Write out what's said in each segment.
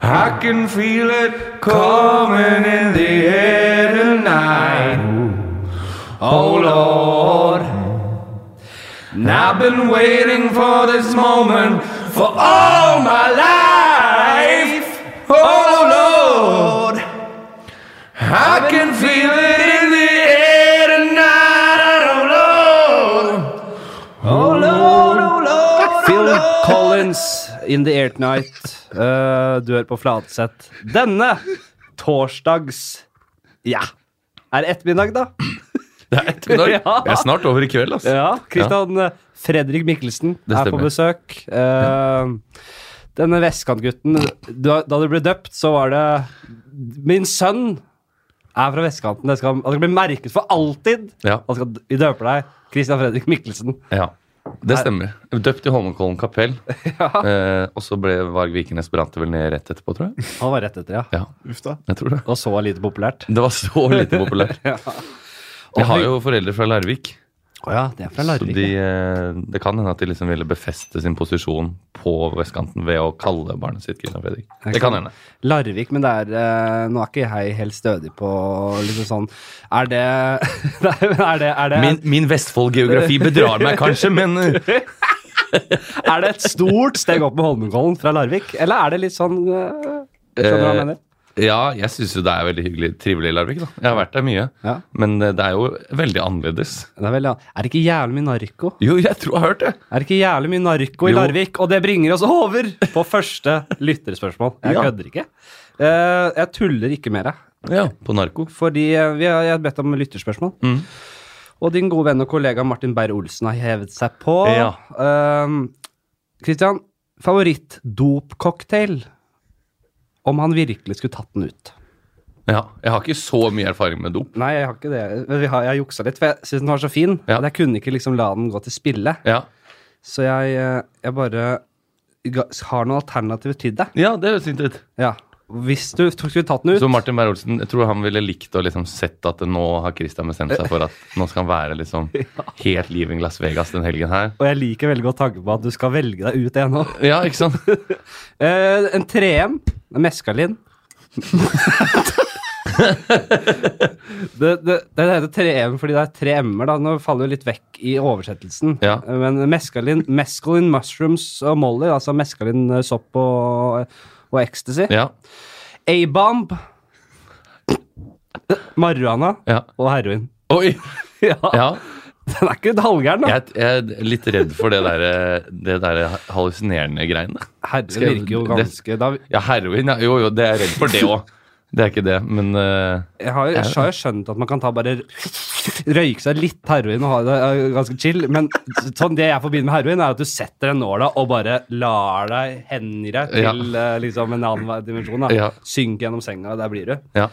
I can feel it coming in the air tonight. Oh Lord. And I've been waiting for this moment for all my life. Oh Lord. I can feel it in the air tonight. Oh Lord. Oh Lord, oh Lord. Phil Collins, In The Air Tonight, eh, du er på Flatseth. Denne torsdags Ja. Er det ettermiddag, da? Det er ettermiddag. Ja. Det er snart over i kveld, altså. Ja, Kristian eh, Fredrik Mikkelsen Det er på stemmer. besøk. Eh, denne vestkantgutten Da da du ble døpt, så var det Min sønn er fra vestkanten. Det skal, han skal bli merket for alltid. Ja. Han skal, vi døper deg Kristian Fredrik Mikkelsen. Ja, det stemmer. Døpt i Holmenkollen kapell. Eh, og så ble Varg Vikernes brant det vel ned rett etterpå, tror jeg. Han var rett etter, ja. Ja, Uff da. jeg tror det. Og så lite populært. Det var så lite populært. Jeg har jo foreldre fra Larvik, Å ja, det er fra så Larvik. de, eh, det kan hende at de liksom ville befeste sin posisjon på vestkanten ved å kalle barnet sitt Christian Fredrik. Det kan hende. ja. Larvik, men det er eh, Nå er ikke jeg helt stødig på liksom sånn Er det Nei, men er det, er det, Min, min Vestfold-geografi bedrar meg kanskje, men eh, er det et stort steg opp med Holmenkollen fra Larvik? Eller er det litt sånn eh, Skjønner du hva jeg mener? Ja, jeg syns jo det er veldig hyggelig, trivelig i Larvik, da. Jeg har vært der mye. Ja. Men eh, det er jo veldig annerledes. Det er, veldig, er det ikke jævlig mye narko? Jo, jeg tror jeg har hørt det. Er det ikke jævlig mye narko i Jo. Larvik? Og det bringer oss over på første lytterspørsmål. Jeg Ja. kødder ikke. Eh, jeg tuller ikke mer, jeg. Ja, På narko. Fordi eh, vi har, jeg har bedt om lytterspørsmål. Mm. Og din gode venn og kollega Martin Beyer-Olsen har hevet seg på. Ja. Ehm, Christian, favoritt-dopcocktail? Om han virkelig skulle tatt den ut? Ja, Jeg har ikke så mye erfaring med dop. Nei, jeg har ikke det. Men vi har, jeg har juksa litt, for jeg syns den var så fin. Ja. At jeg kunne ikke liksom la den gå til spille. Ja, Så jeg, eh, jeg bare ga, har noen alternativer til deg. ja det høres fint ut. Ja. Hvis du tok- skulle tatt den ut Så Martin Beyer-Olsen, jeg tror han ville likt å liksom sett at nå har Christian bestemt seg for at nå skal han være liksom helt living Las Vegas den helgen her. Og jeg liker veldig godt tanken på at du skal velge deg ut en nå. Ja, ikke sant? Eh, en 3M, en meskalin. det, det, det heter 3M fordi det er tre M-er. da. Nå faller jo litt vekk i oversettelsen. Eh, Ja. Men meskalin, meskalin, mushrooms og molly, altså meskalin, eh, sopp og, og ecstasy. Ja, A-bomb, marihuana ja. og heroin. Oi! Ja, Ja, Den er ikke halvgæren, da. jeg, jeg er litt redd for det der, det der hallusinerende greiene. Herre Skal jeg- virker jo det- ganske da, Ja, heroin. Ja, jo, jo, det er jeg redd for det òg. Det er ikke det, men eh, Jeg har, jeg har jo skjønt at man kan ta bare røyke seg litt heroin og ha det eh, ganske chill, men sånn det jeg forbinder med heroin, er at du setter den nåla og bare lar deg hengi deg til eh, liksom en annen dimensjon. Da. Ja. Synk gjennom senga, der blir du. ja.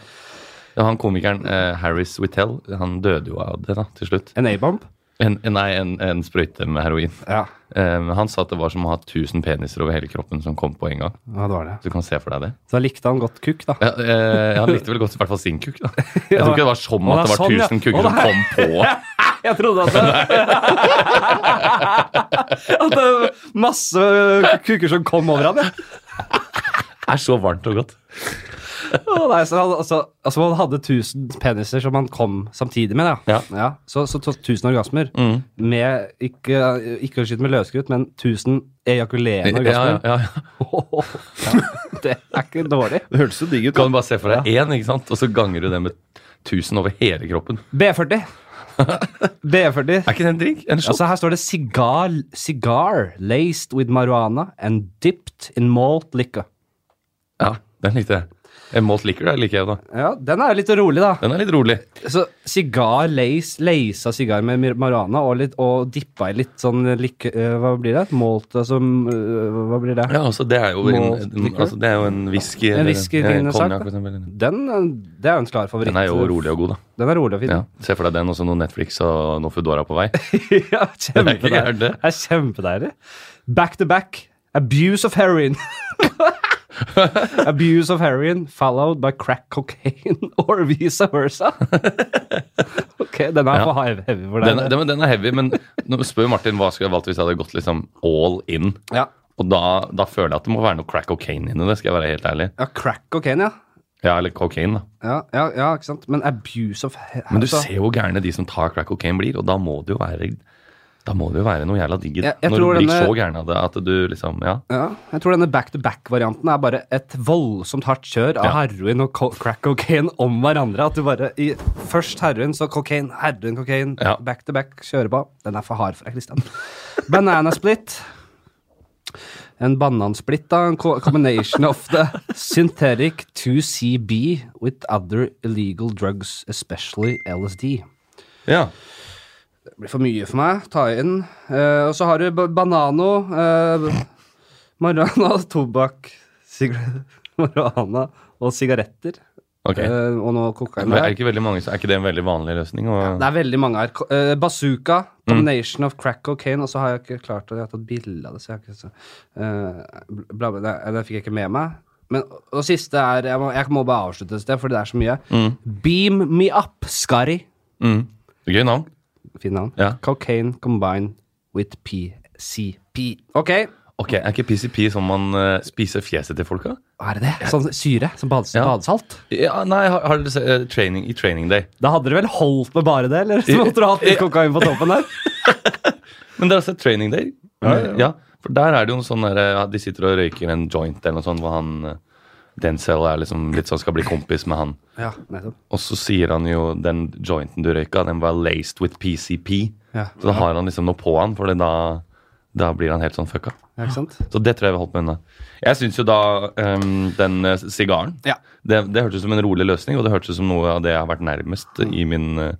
ja han komikeren eh, Harris Whittell, han døde jo av det da, til slutt. En A-bomb? En, en, nei, en, en sprøyte med heroin. Ja. Eh, men han sa at det var som å ha 1000 peniser over hele kroppen som kom på en gang. ja, det var det. Du kan se for deg det. Så da likte han godt kukk, da. Ja, eh, han likte vel godt i hvert fall sin kuk, da. Jeg tror ikke det var som Å, at det er det var sånn, ja. 1000 Å, kuker som det er- kom på. Jeg trodde at det, at det var masse kukker som kom over ham, jeg. Det er så varmt og godt. Å, nei, så han, altså, altså han hadde 1000 peniser som han kom samtidig med. Da. Ja. Mm. så, så 1000 orgasmer. Med, ikke, ikke å skyte med løsskrutt, men 1000 ejakulerende Ja, ja, orgasmer. ja, ja. Ja, det er ikke dårlig. Det hørtes så digg ut. Kan du bare se for deg én, ikke sant? og så ganger du det med 1000 over hele kroppen. B40. B40. Er ikke det en drink? En shot? Altså Her står det cigar, cigar laced with marijuana and dipped in malt liquor. Ja, den likte jeg. En malt liquor der liker jeg, da. Ja, Den er jo litt rolig, da. Den er litt rolig. Så sigar lace, lacet sigar med mir- marihuana og, litt, og dippa i litt sånn lik, eh, Hva blir det? Malt altså, mm, eh, Hva blir det? Ja, altså, det er jo en, Malt liquor? altså, det er jo en whisky En whisky-lignende sak, da. for eksempel. Den, eh, det er jo en klar favoritt. Den er jo rolig og god, da. Den er rolig og fin. Ja. Se for deg den, og så noe Netflix og noe Foodora på vei. Ja, Det er ikke kjempedeilig. gærent, Det det. er kjempedeilig. Back to back. Abuse of heroin. Abuse of heroin followed by crack cocaine or vice versa. Ok, den er Ja. for heavy heavy for deg. Den, er- den, den er heavy, men nå spør Martin hva skulle jeg valgt hvis jeg hadde gått liksom all in. ja. Og da, da føler jeg at det må være noe crack cocaine inni det, skal jeg være helt ærlig. Ja, crack cocaine, ja. Ja, eller cocaine, da. Altså, Ja, ja, ja, ikke sant? Men abuse of altså, Men du ser jo hvor gærne de som tar crack cocaine blir, og da må det jo være da må det jo være noe jævla digg i det. Jeg- jeg Når du tror blir denne- så gæren av det at du liksom Ja. ja, Jeg tror denne back-to-back-varianten er bare et voldsomt hardt kjør av Ja. heroin og co- crack cocaine om hverandre. At du bare i Først heroin, så cocaine, heroin, cocaine. Ja. Back-to-back kjører på. Den er for hard for deg, Christian. Banana split. En banansplitt, da. En co- combination of the synthetic 2CB with other illegal drugs, especially LSD. ja. Det blir for mye for meg. Ta inn. Eh, og så har du ba- banano, eh, marihuana, tobakk, sigare- marihuana og sigaretter. Ok. Eh, Men og nå kokain. Er det der. ikke veldig mange, som- er ikke det en veldig vanlig løsning? Det Og, er veldig mange her. Ko- eh, Mm. bazooka, combination of crack cocaine, og så har jeg ikke klart det. Jeg har tatt bilde av det, så jeg har ikke så eh, bla, bla, det, det fikk jeg ikke med meg. Men, og siste er Jeg må, jeg må bare avslutte et sted, fordi det er så mye. Beam me up, Skari. mm. Gøy navn. Fin navn. Ja. Cocaine combined with PCP. Ok, Ok, Er ikke PCP sånn man eh, spiser fjeset til folka? hva er det? Sånn syre? Som bades Ja. badesalt? Ja, nei, har, har dere sett eh, training, i Training Day? Da hadde dere vel holdt med bare det, eller? Så måtte dere hatt litt kokain på toppen der? Men dere har sett Training Day? Ja, For der er det jo en sånn derre ja, De sitter og røyker en joint eller noe sånt, hvor han eh, Denzel er liksom litt sånn skal bli kompis med han. Ja, nettopp. Og så sier han jo den jointen du røyka, den var laced with PCP. Ja. Så da har han liksom noe på han, for da, da blir han helt sånn fucka. Ja, ikke sant? Så det tror jeg vi har holdt meg unna. Jeg syns jo da ehm, den eh, sigaren Ja. det, det hørtes ut som en rolig løsning, og det hørtes ut som noe av det jeg har vært nærmest i min eh,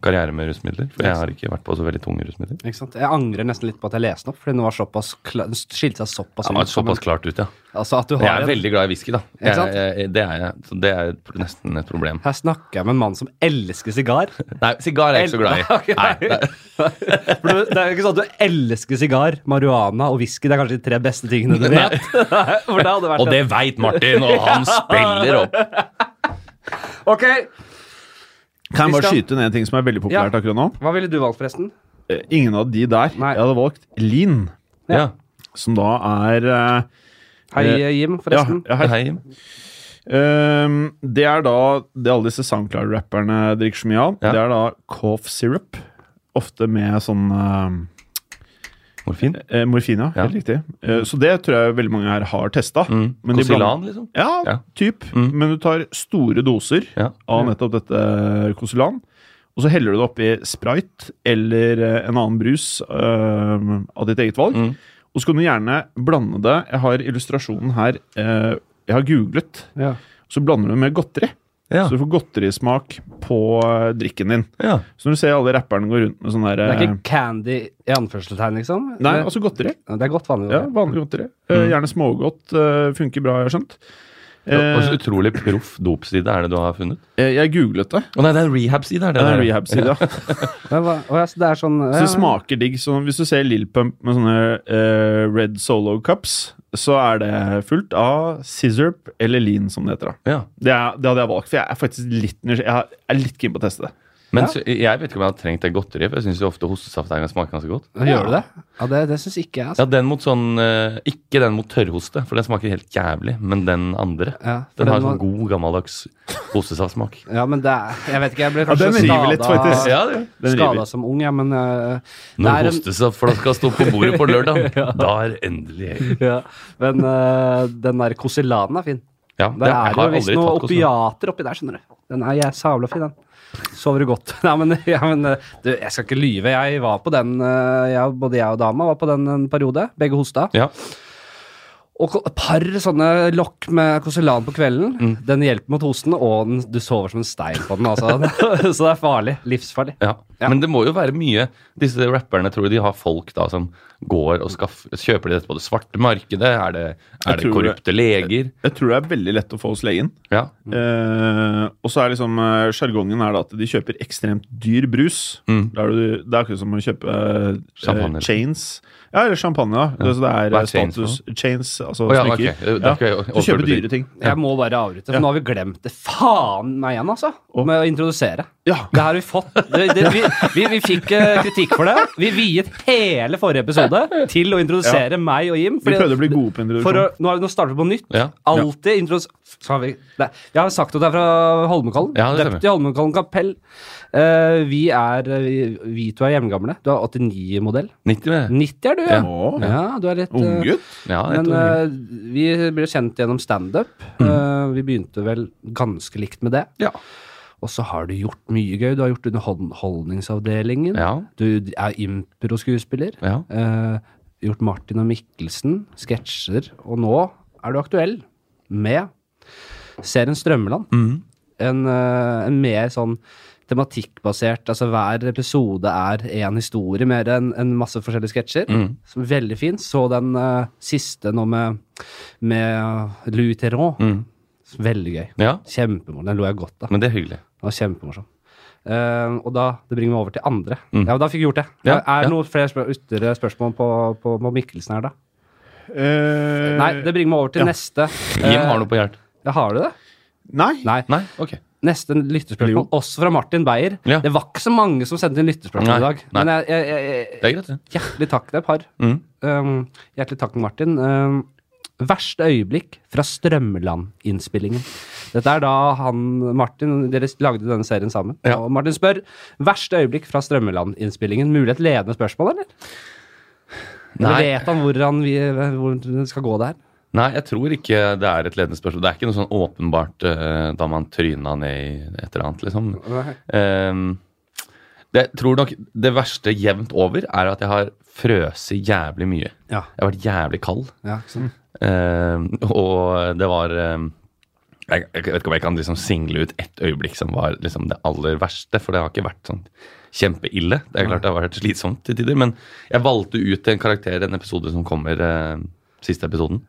karriere med rusmidler. For jeg har ikke vært på så veldig tunge rusmidler. Ikke sant? Jeg angrer nesten litt på at jeg leste den opp, fordi den var såpass kla- den skilte seg såpass Det var Men- såpass klart ut, ja. Altså at du Jeg har er en, veldig glad i whisky, da. Ikke Jeg, sant? jeg, det er jeg. Så det er et- nesten et problem. Her snakker jeg med en mann som elsker sigar. Nei, sigar er jeg ikke så glad i. Ok, nei. For du- Det er jo ikke sånn at du elsker sigar, marihuana og whisky. Det er kanskje de tre beste tingene du Nei. vet. Nei, For det hadde vært Og det veit Martin, og han spiller opp. Ok, Kan jeg bare Christian? skyte ned en ting som er veldig populært akkurat nå? Hva ville du valgt, forresten? Eh, Ingen av de der. Nei. Jeg hadde valgt Lean, Ja. som da er eh, Hei, Eh, Jim, ja, forresten. ja, hei. Hei. Ehm, det er da det alle disse SoundCloud-rapperne drikker så mye av. Ja. Det er da cough syrup. Ofte med sånn Morfin? eh, eh, morfin, ja. Ja. Helt riktig. Eh, så det tror jeg veldig mange her har testa. Mm. Men de Kosilan, liksom? Ja, Ja. typ. Mm. Men du tar store doser Ja. av nettopp dette Kosilan. Og så heller du det oppi sprite eller eh, en annen brus eh, av ditt eget valg. Mm. Og så kan du gjerne blande det. Jeg har illustrasjonen her. eh, jeg har googlet. Ja. Så blander du det med godteri. Ja. Så du får godterismak på eh, drikken din. ja. Så når du ser alle rapperne gå rundt med sånn der Det er eh, ikke candy i anførselstegn, liksom? Nei, Det- altså godteri. Det er godt vanlig. Ja, Vanlig godteri. Eh, gjerne smågodt. eh, funker bra, jeg har skjønt. Og så Eh, utrolig proff dopside er det du har funnet? eh, jeg googlet det. Å nei, det er en rehab-side. Er det Det er en der? rehab-side. ja. Men hva- å, ja, så det er sånn Så ja, det smaker digg. Så hvis du ser Lil Pump med sånne eh, Red Solo Cups, så er det fullt av Scissorp eller Lean, som det heter. da. Ja. Det, er, det hadde jeg valgt, for jeg er faktisk litt nysgjerrig. Jeg er- er litt keen på å teste det. Men så- jeg vet ikke om jeg har trengt det godteriet, for jeg syns ofte hostesaft er- smaker ganske godt. Ja, Gjør du det? Ja, Det, det syns ikke jeg. Ja, Altså. den mot sånn eh, Ikke den mot tørrhoste, for den smaker helt jævlig, men den andre. Ja, for Den har den sånn god, gammeldags hostesaftsmak. Ja, men det er Jeg vet ikke, jeg ble Ja, kanskje den river litt, faktisk. skada, Ja, det. Den river. skada som ung, ja, men eh, det Når er en, hostesaftflaska sto på bordet på lørdag, da er endelig jeg. ja, Men eh, den der Kosilanen er fin. Ja, det- Der jeg er har det jo visst aldri noe tatt Kosilan. opiater oppi der, skjønner du. Den er jeg sabla fin, den. Sover du godt? Nei, men, ja, men eh, du, jeg skal ikke lyve. Jeg var på den, eh, jeg, både jeg og dama var på den en periode. Begge hosta. Ja. Og ko- et par sånne lokk med Kosilan på kvelden. Mm. Den hjelper mot hosten, og den, du sover som en stein på den. Altså. Så det er farlig. Livsfarlig. Ja. Ja. Men det må jo være mye Disse rapperne tror jeg de har folk da som går og skaff, kjøper de dette på det svarte markedet? Er det, er Jeg det tror det. korrupte leger? Jeg tror det er veldig lett å få hos legen. Ja. Eh, og så er liksom eh, sjargongen er da at de kjøper ekstremt dyr brus. Mm. Da er det, det er akkurat som å kjøpe eh, Champagne. liksom. eh, chains. Ja, eller champagne. Ja. Det, så det er, Hva er eh, chains for status chains, altså Å, ja, ok. smykker. Det er ikke Så kjøper overbutikk. dyre ting. Jeg må bare avbryte, for nå har vi glemt det. Faen meg igjen, altså! Med å introdusere. Ja. Det har vi fått. Det, det, vi, vi, vi fikk eh, kritikk for det. Vi viet hele forrige episode til å introdusere meg og Jim. Vi fordi- prøvde å bli gode på for å, introduksjon. nå, er det, nå starter vi på nytt. Ja. Alltid intros... så har vi- Nei, Jeg har sagt at det er fra Holmenkollen. Ja, det Døpt i Holmenkollen kapell. Eh, vi er vi, vi to er hjemmegamle. Du er 89-modell. 90 med. 90 er du, ja. Ja. Å, ja du er litt eh, Unggutt? Ja, jeg Men tror- eh, vi ble kjent gjennom standup. Eh, vi begynte vel ganske likt med det. Ja. Og så har du gjort mye gøy. Du har gjort Underholdningsavdelingen. ja. Du er impro-skuespiller. ja. Eh, gjort Martin og Mikkelsen, sketsjer, og nå er du aktuell med serien Strømmeland. Mm. En, eh, en mer sånn tematikkbasert Altså hver episode er én historie mer enn en masse forskjellige sketsjer. Mm. Som er veldig fin. Så den eh, siste nå med, med Louis Theron. Mm. Veldig gøy. ja. Kjempemorsom. Den lo jeg godt av. Men det er hyggelig. Det var kjempemorsom. Eh, og da, det bringer meg over til andre. Ja, og Da fikk jeg gjort det. Mm. Ja, er ja. det noen flere spør ytterligere spørsmål på, på, på Mikkelsen her, da? Eh, Nei, det bringer meg over til neste. Eh, Jim har noe på hjertet. Ja, har du det? nei. Nei. Eh, Nei? Ok. Neste lytterspørsmål, også fra Martin Beyer. Ja. Det var ikke så mange som sendte inn lytterspørsmål Nei, i dag. nei. Men jeg, jeg, jeg, Det er greit, det. hjertelig takk, det er et par. Mm. Um, hjertelig takk, Martin. Um, verste øyeblikk fra Strømmeland-innspillingen. Dette er da han Martin Dere lagde denne serien sammen. Ja. Og Martin spør verste øyeblikk fra Strømmeland-innspillingen. Mulig et ledende spørsmål, eller? Eller Nei. vet han hvor, han vi, hvor det skal gå der? Nei, jeg tror ikke det er et ledende spørsmål. Det er ikke noe sånn åpenbart eh, da man tryna ned i et eller annet, liksom. Ehm, det, jeg tror nok det verste jevnt over er at jeg har frøset jævlig mye. Ja. Jeg har vært jævlig kald. ja ikke sant? Ehm, og det var ehm, jeg, jeg vet ikke om jeg kan liksom single ut ett øyeblikk som var liksom det aller verste, for det har ikke vært sånn kjempeille. Det er klart det har vært slitsomt til tider, men jeg valgte ut en karakter i en episode som kommer, ehm, siste episoden.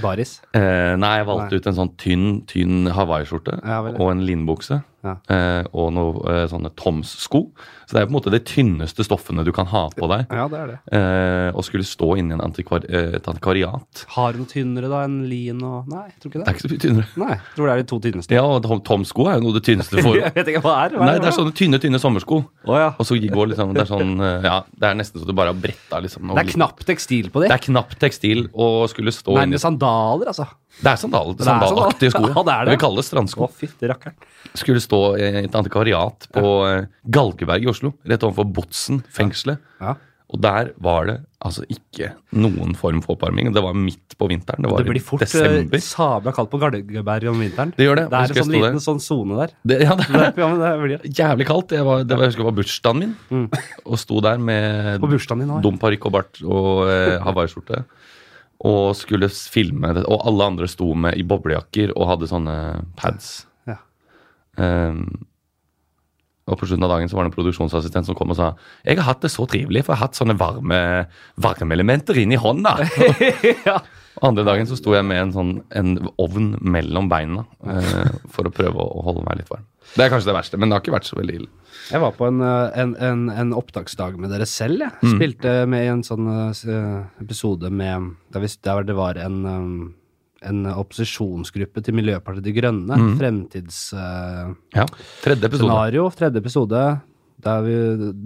Baris. Eh, nei, jeg valgte Nei. ut en sånn tynn tynn hawaiiskjorte Ja, vel. og en linbukse. Ja. eh, og noen sånne Toms-sko. Så det er på en måte de tynneste stoffene du kan ha på deg. Ja, det er det. Eh, og skulle stå inni en antikvar, eh, et antikvariat. Har du noe tynnere da enn lin og Nei, jeg tror ikke Det det. er ikke så mye tynnere. Nei, jeg tror det er de to tynneste. Ja, og Tom- Toms-sko er jo noe av det tynneste du får. Jeg vet ikke hva det er. Hva Nei, det er sånn- sånne tynne, tynne sommersko. Å, ja. Og så går liksom, det er sånn eh, Ja, det er nesten så du bare har bretta liksom det er knapt tekstil på de. Det er knapp tekstil og skulle stå Nei, inni med sandaler, altså. Det er sandal, er sandalaktige sko. sandal. Ja, det er det. Vi kaller det strandsko. Å, fytti rakkeren. skulle stå i et antikvariat på eh, Galgeberg i Oslo, rett overfor Botsen fengselet. Ja. Og der var det altså ikke noen form for oppvarming. Det var midt på vinteren. Det var Det blir fort i eh, desember. sabla kaldt på Galgeberg om vinteren. Det gjør det. Det er en sånn Husker jeg sto liten der. sånn sone der. Det, ja, det Det er er- Ja, men det blir det. jævlig kaldt. Jeg, var, det var, jeg husker det var bursdagen min, og sto der med Mm. På bursdagen din nå, ja. dum parykk og bart og eh, hawaiiskjorte. Og skulle s- filme det. Og alle andre sto med i boblejakker og hadde sånne pads. Ja. Ehm, og på slutten av dagen så var det en produksjonsassistent som kom og sa Jeg har hatt det så trivelig, for jeg har hatt sånne varme varmeelementer inni hånda. Ja. Andre dagen så sto jeg med en sånn en ovn mellom beina eh, for å prøve å, å holde meg litt varm. Det er kanskje det verste, men det har ikke vært så veldig ille. Jeg var på en, eh, en, en, en opptaksdag med dere selv, jeg. Mm. Spilte med i en sånn eh, s- eh, episode med der, vi, der det var en, eh, en opposisjonsgruppe til Miljøpartiet De Grønne. Mm. Fremtidsscenario. Ja, Tredje episode. Tredje episode. Der vi,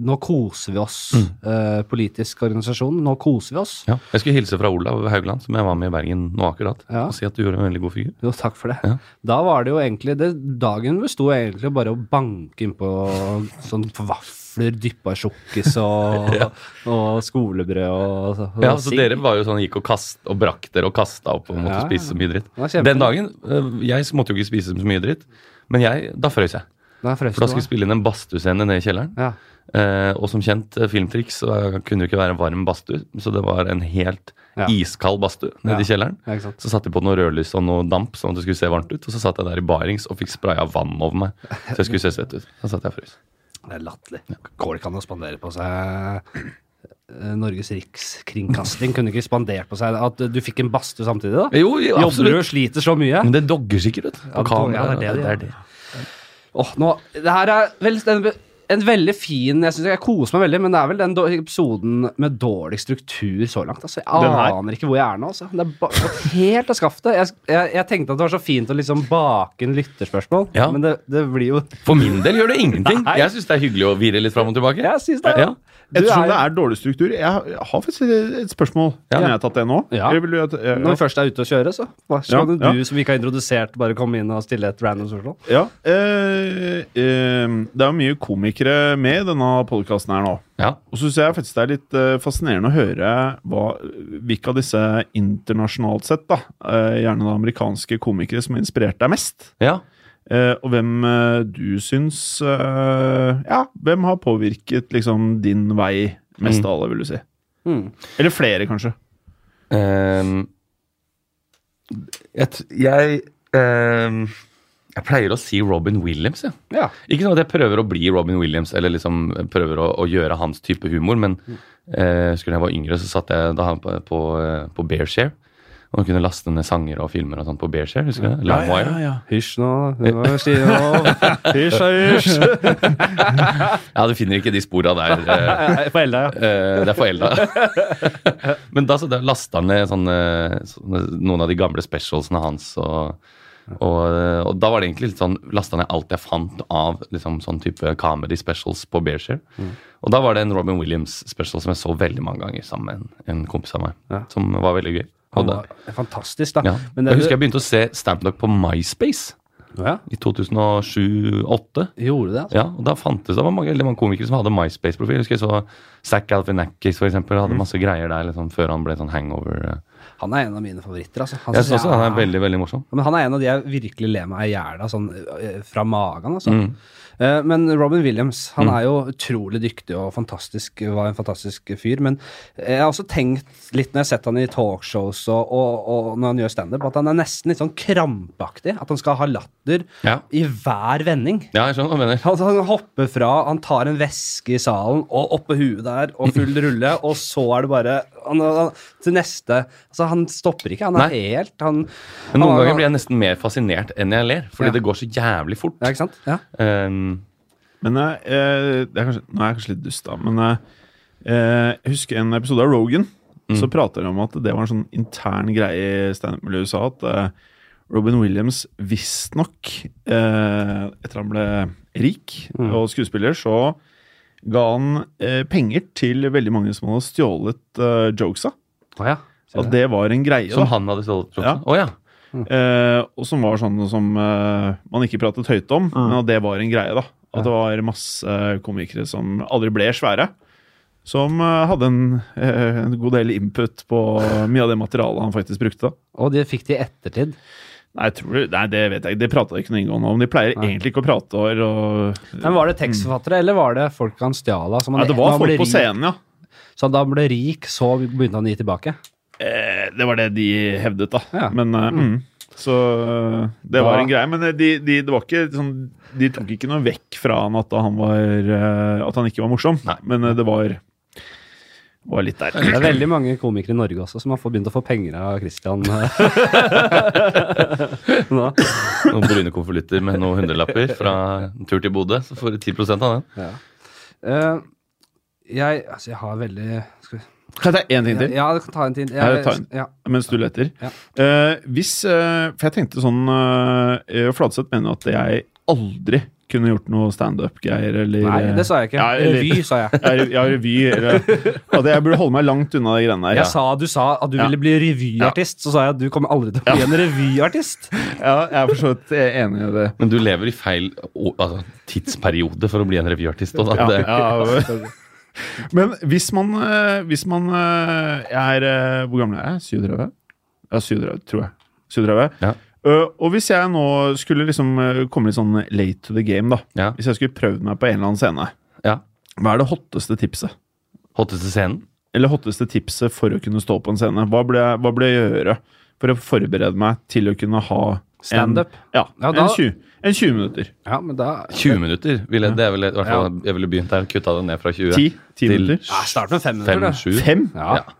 nå koser vi oss, Mm. eh, politisk organisasjon. Nå koser vi oss. Ja. Jeg skulle hilse fra Olav Haugland, som jeg var med i Bergen nå akkurat, Ja. og si at du gjorde en veldig god figur. Jo, takk for det. Ja. Da var det jo egentlig det, Dagen besto egentlig bare å banke innpå sånn vafler dyppa i sjokkis og, og skolebrød og, og Ja, så sigg. dere var jo sånn, gikk og kast, og brakk dere og kasta opp og måtte Ja, ja. spise så mye dritt. var kjempe- Den dagen eh, Jeg måtte jo ikke spise så mye dritt, men jeg, da frøs jeg. Da frøs For da det, skulle vi spille inn en badstuescene nede i kjelleren. Ja. Eh, og som kjent, eh, filmtriks så eh, kunne det jo ikke være en varm badstue, så det var en helt Ja. iskald badstue nede i Ja. kjelleren. Ja, ikke sant. Så satte jeg på noe rødlys og noe damp, sånn at det skulle se varmt ut. Og så satt jeg der i barings og fikk spraya vann over meg, så jeg skulle se svett ut. Da satt jeg og frøs. Det er latterlig. Kål kan jo spandere på seg eh, Norges Rikskringkasting kunne ikke spandert på seg at du fikk en badstue samtidig, da. Jo, jo, Jobber du absolutt. og sliter så mye? Men det dogger sikkert, vet du. Ja, På kamera. ja, det er det, ja. det. Åh, nå, det her er vel den be- en veldig fin Jeg, synes, jeg koser meg veldig, men det er vel den dår- episoden med dårlig struktur så langt. Altså. Jeg Den her. aner ikke hvor jeg er nå. Altså. Det er ba gått helt av skaftet. Jeg, jeg, jeg tenkte at det var så fint å liksom bake inn lytterspørsmål, Ja. men det, det blir jo For min del gjør det ingenting. Nei. Jeg syns det er hyggelig å vire litt fram og tilbake. Jeg synes det. Ja. Du Ettersom det er, er dårlig struktur Jeg har jeg har faktisk et et spørsmål. Ja. Kunne jeg tatt det nå? Ja. Eller vil du at- ja, når vi først er ute å kjøre, så hva skal Ja, du ja. som vi ikke har introdusert, bare komme inn og stille et random spørsmål? ja. Eh, eh, det er jo mye komikere med i denne podkasten her nå. Ja. Og så syns jeg faktisk det er litt eh, fascinerende å høre hva, hvilke av disse internasjonalt sett, da, eh, gjerne da amerikanske komikere, som har inspirert deg mest. ja. Eh, og hvem eh, du syns eh, Ja, hvem har påvirket liksom din vei mest av alle, vil du si? Mm. Eller flere, kanskje. Ehm, jeg, t- jeg, ehm, jeg pleier å si Robin Williams, jeg. Ja. Ikke sånn at jeg prøver å bli Robin Williams eller liksom prøver å, å gjøre hans type humor, men Mm. eh, husker da jeg var yngre, så satt jeg da han på, på, eh, på Bearshare. Og kunne laste ned sanger og filmer og sånt på Bearshare. husker du det? Limewire. Hysj nå. Det var si nå. Hysj og hysj. Ja, du finner ikke de spora der. eh, Foreldra, ja. Eh, det er forelda. Men da, så da lasta han ned sånne, sånne, noen av de gamle specialsene hans. Og, og, eh, og da var det egentlig litt sånn lasta ned alt jeg fant av liksom, sånn type comedy specials på Bearshare. Mm. Og da var det en Robin Williams-special som jeg så veldig mange ganger sammen med en, en kompis av meg. Ja. Som var veldig gøy. Og Han da, var fantastisk, da. ja. Men jeg det, husker jeg begynte å se standup på MySpace ja, i 2007-2008. gjorde det, altså. Ja, og da fantes det var mange, veldig mange komikere som hadde MySpace-profil. Jeg Husker jeg så Zack Galifianakis for eksempel, hadde Mm. masse greier der liksom, før han ble sånn hangover. eh. Han er en av mine favoritter, altså. Han Jeg synes synes også han er er- veldig, veldig morsom. Ja, Men han er en av de jeg virkelig ler meg i hjel av, sånn eh, fra magen, altså. Mm. Eh, Men Robin Williams, han er jo utrolig dyktig og fantastisk, var en fantastisk fyr. Men jeg har også tenkt litt når jeg har sett han i talkshows og, og, og når han gjør standup, at han er nesten litt sånn krampaktig. At han skal ha latter Ja. i hver vending. Ja, jeg skjønner hva du mener. Altså, han hopper fra, han tar en veske i salen, og opp på huet der, og full rulle, og så er det bare han, han, Til neste Altså, han stopper ikke. Han er Nei. helt han, Men noen han, ganger blir jeg nesten mer fascinert enn jeg ler, fordi Ja. det går så jævlig fort. Ja, ikke sant? Ja. Um, Men eh, eh, det er kanskje, nå er jeg kanskje litt dust, da, men eh, eh, jeg husker en episode av Rogan. Så prater de om at det var en sånn intern greie i standup-miljøet i USA at eh, Robin Williams visstnok, eh, etter han ble rik og skuespiller, så ga han eh, penger til veldig mange som hadde stjålet eh, jokesa. Å ja. At det var en greie. som da. han hadde stått Ja. Å ja. Eh, og som var sånne som eh, man ikke pratet høyt om, men at det var en greie, da. At det var masse eh, komikere som aldri ble svære. Som eh, hadde en, eh, en god del input på mye av det materialet han faktisk brukte. da. Og det fikk de i ettertid. Nei, jeg tror, nei det vet jeg ikke. Det prata ikke noe inngående om. De pleier egentlig ikke å prate over og Men Var det tekstforfattere, eller var det folk han stjal av? som han- Nei, det når var han folk ble på rik- scenen, ja. Så da han ble rik, så begynte han å gi tilbake? Eh, det var det de hevdet, da. Ja. Men eh, mm. Så eh, det Da- var en greie. Men eh, de, de, det var ikke sånn De tok ikke noe vekk fra han at han, var, eh, at han ikke var morsom. Nei. Men eh, det var, var litt der. Det er veldig mange komikere i Norge også som har fått- begynt å få penger av Christian. Nå. Noen brune konvolutter med noen hundrelapper fra en tur til Bodø. Så får du 10 av den. Eh, jeg, altså, jeg har veldig skal vi, Kan jeg ta én ting ja, til? ja, det kan ta en tid. Ja, det tar en. Ja. Mens du leter. Ja. Eh, hvis eh, For jeg tenkte sånn eh, Fladseth mener jo at jeg aldri kunne gjort noe standup-greier eller eh, Nei, det sa jeg ikke. Ja, eller- Revy, sa jeg. Ja, rev- ja, revy eller At jeg burde holde meg langt unna de greiene der. Jeg sa, du sa at du Ja. ville bli revyartist, så sa jeg at du kommer aldri til å bli en revyartist. Ja, jeg er for så vidt enig i det. Men du lever i feil å- altså, tidsperiode for å bli en revyartist. og da- Ja, det- ja. Men hvis man, eh, hvis man eh, er eh, Hvor gammel er jeg? 37? Ja, 37, tror jeg. 37. Ja. Eh, og hvis jeg nå skulle liksom eh, komme litt sånn late to the game, da. Ja. Hvis jeg skulle prøvd meg på en eller annen scene, ja. hva er det hotteste tipset? Hotteste scenen? Eller hotteste tipset for å kunne stå på en scene? Hva burde jeg, hva burde jeg gjøre for å forberede meg til å kunne ha en- Standup. Ja, Ja, en, da- 20, en 20 minutter. Ja, men da 20 minutter. Ville, det er vel, i hvert fall, Jeg ville begynt der, kutta det ned fra 20 10, 10 til minutter. ja, Start med fem minutter, du. 5-7. Fem? Ja. Ja.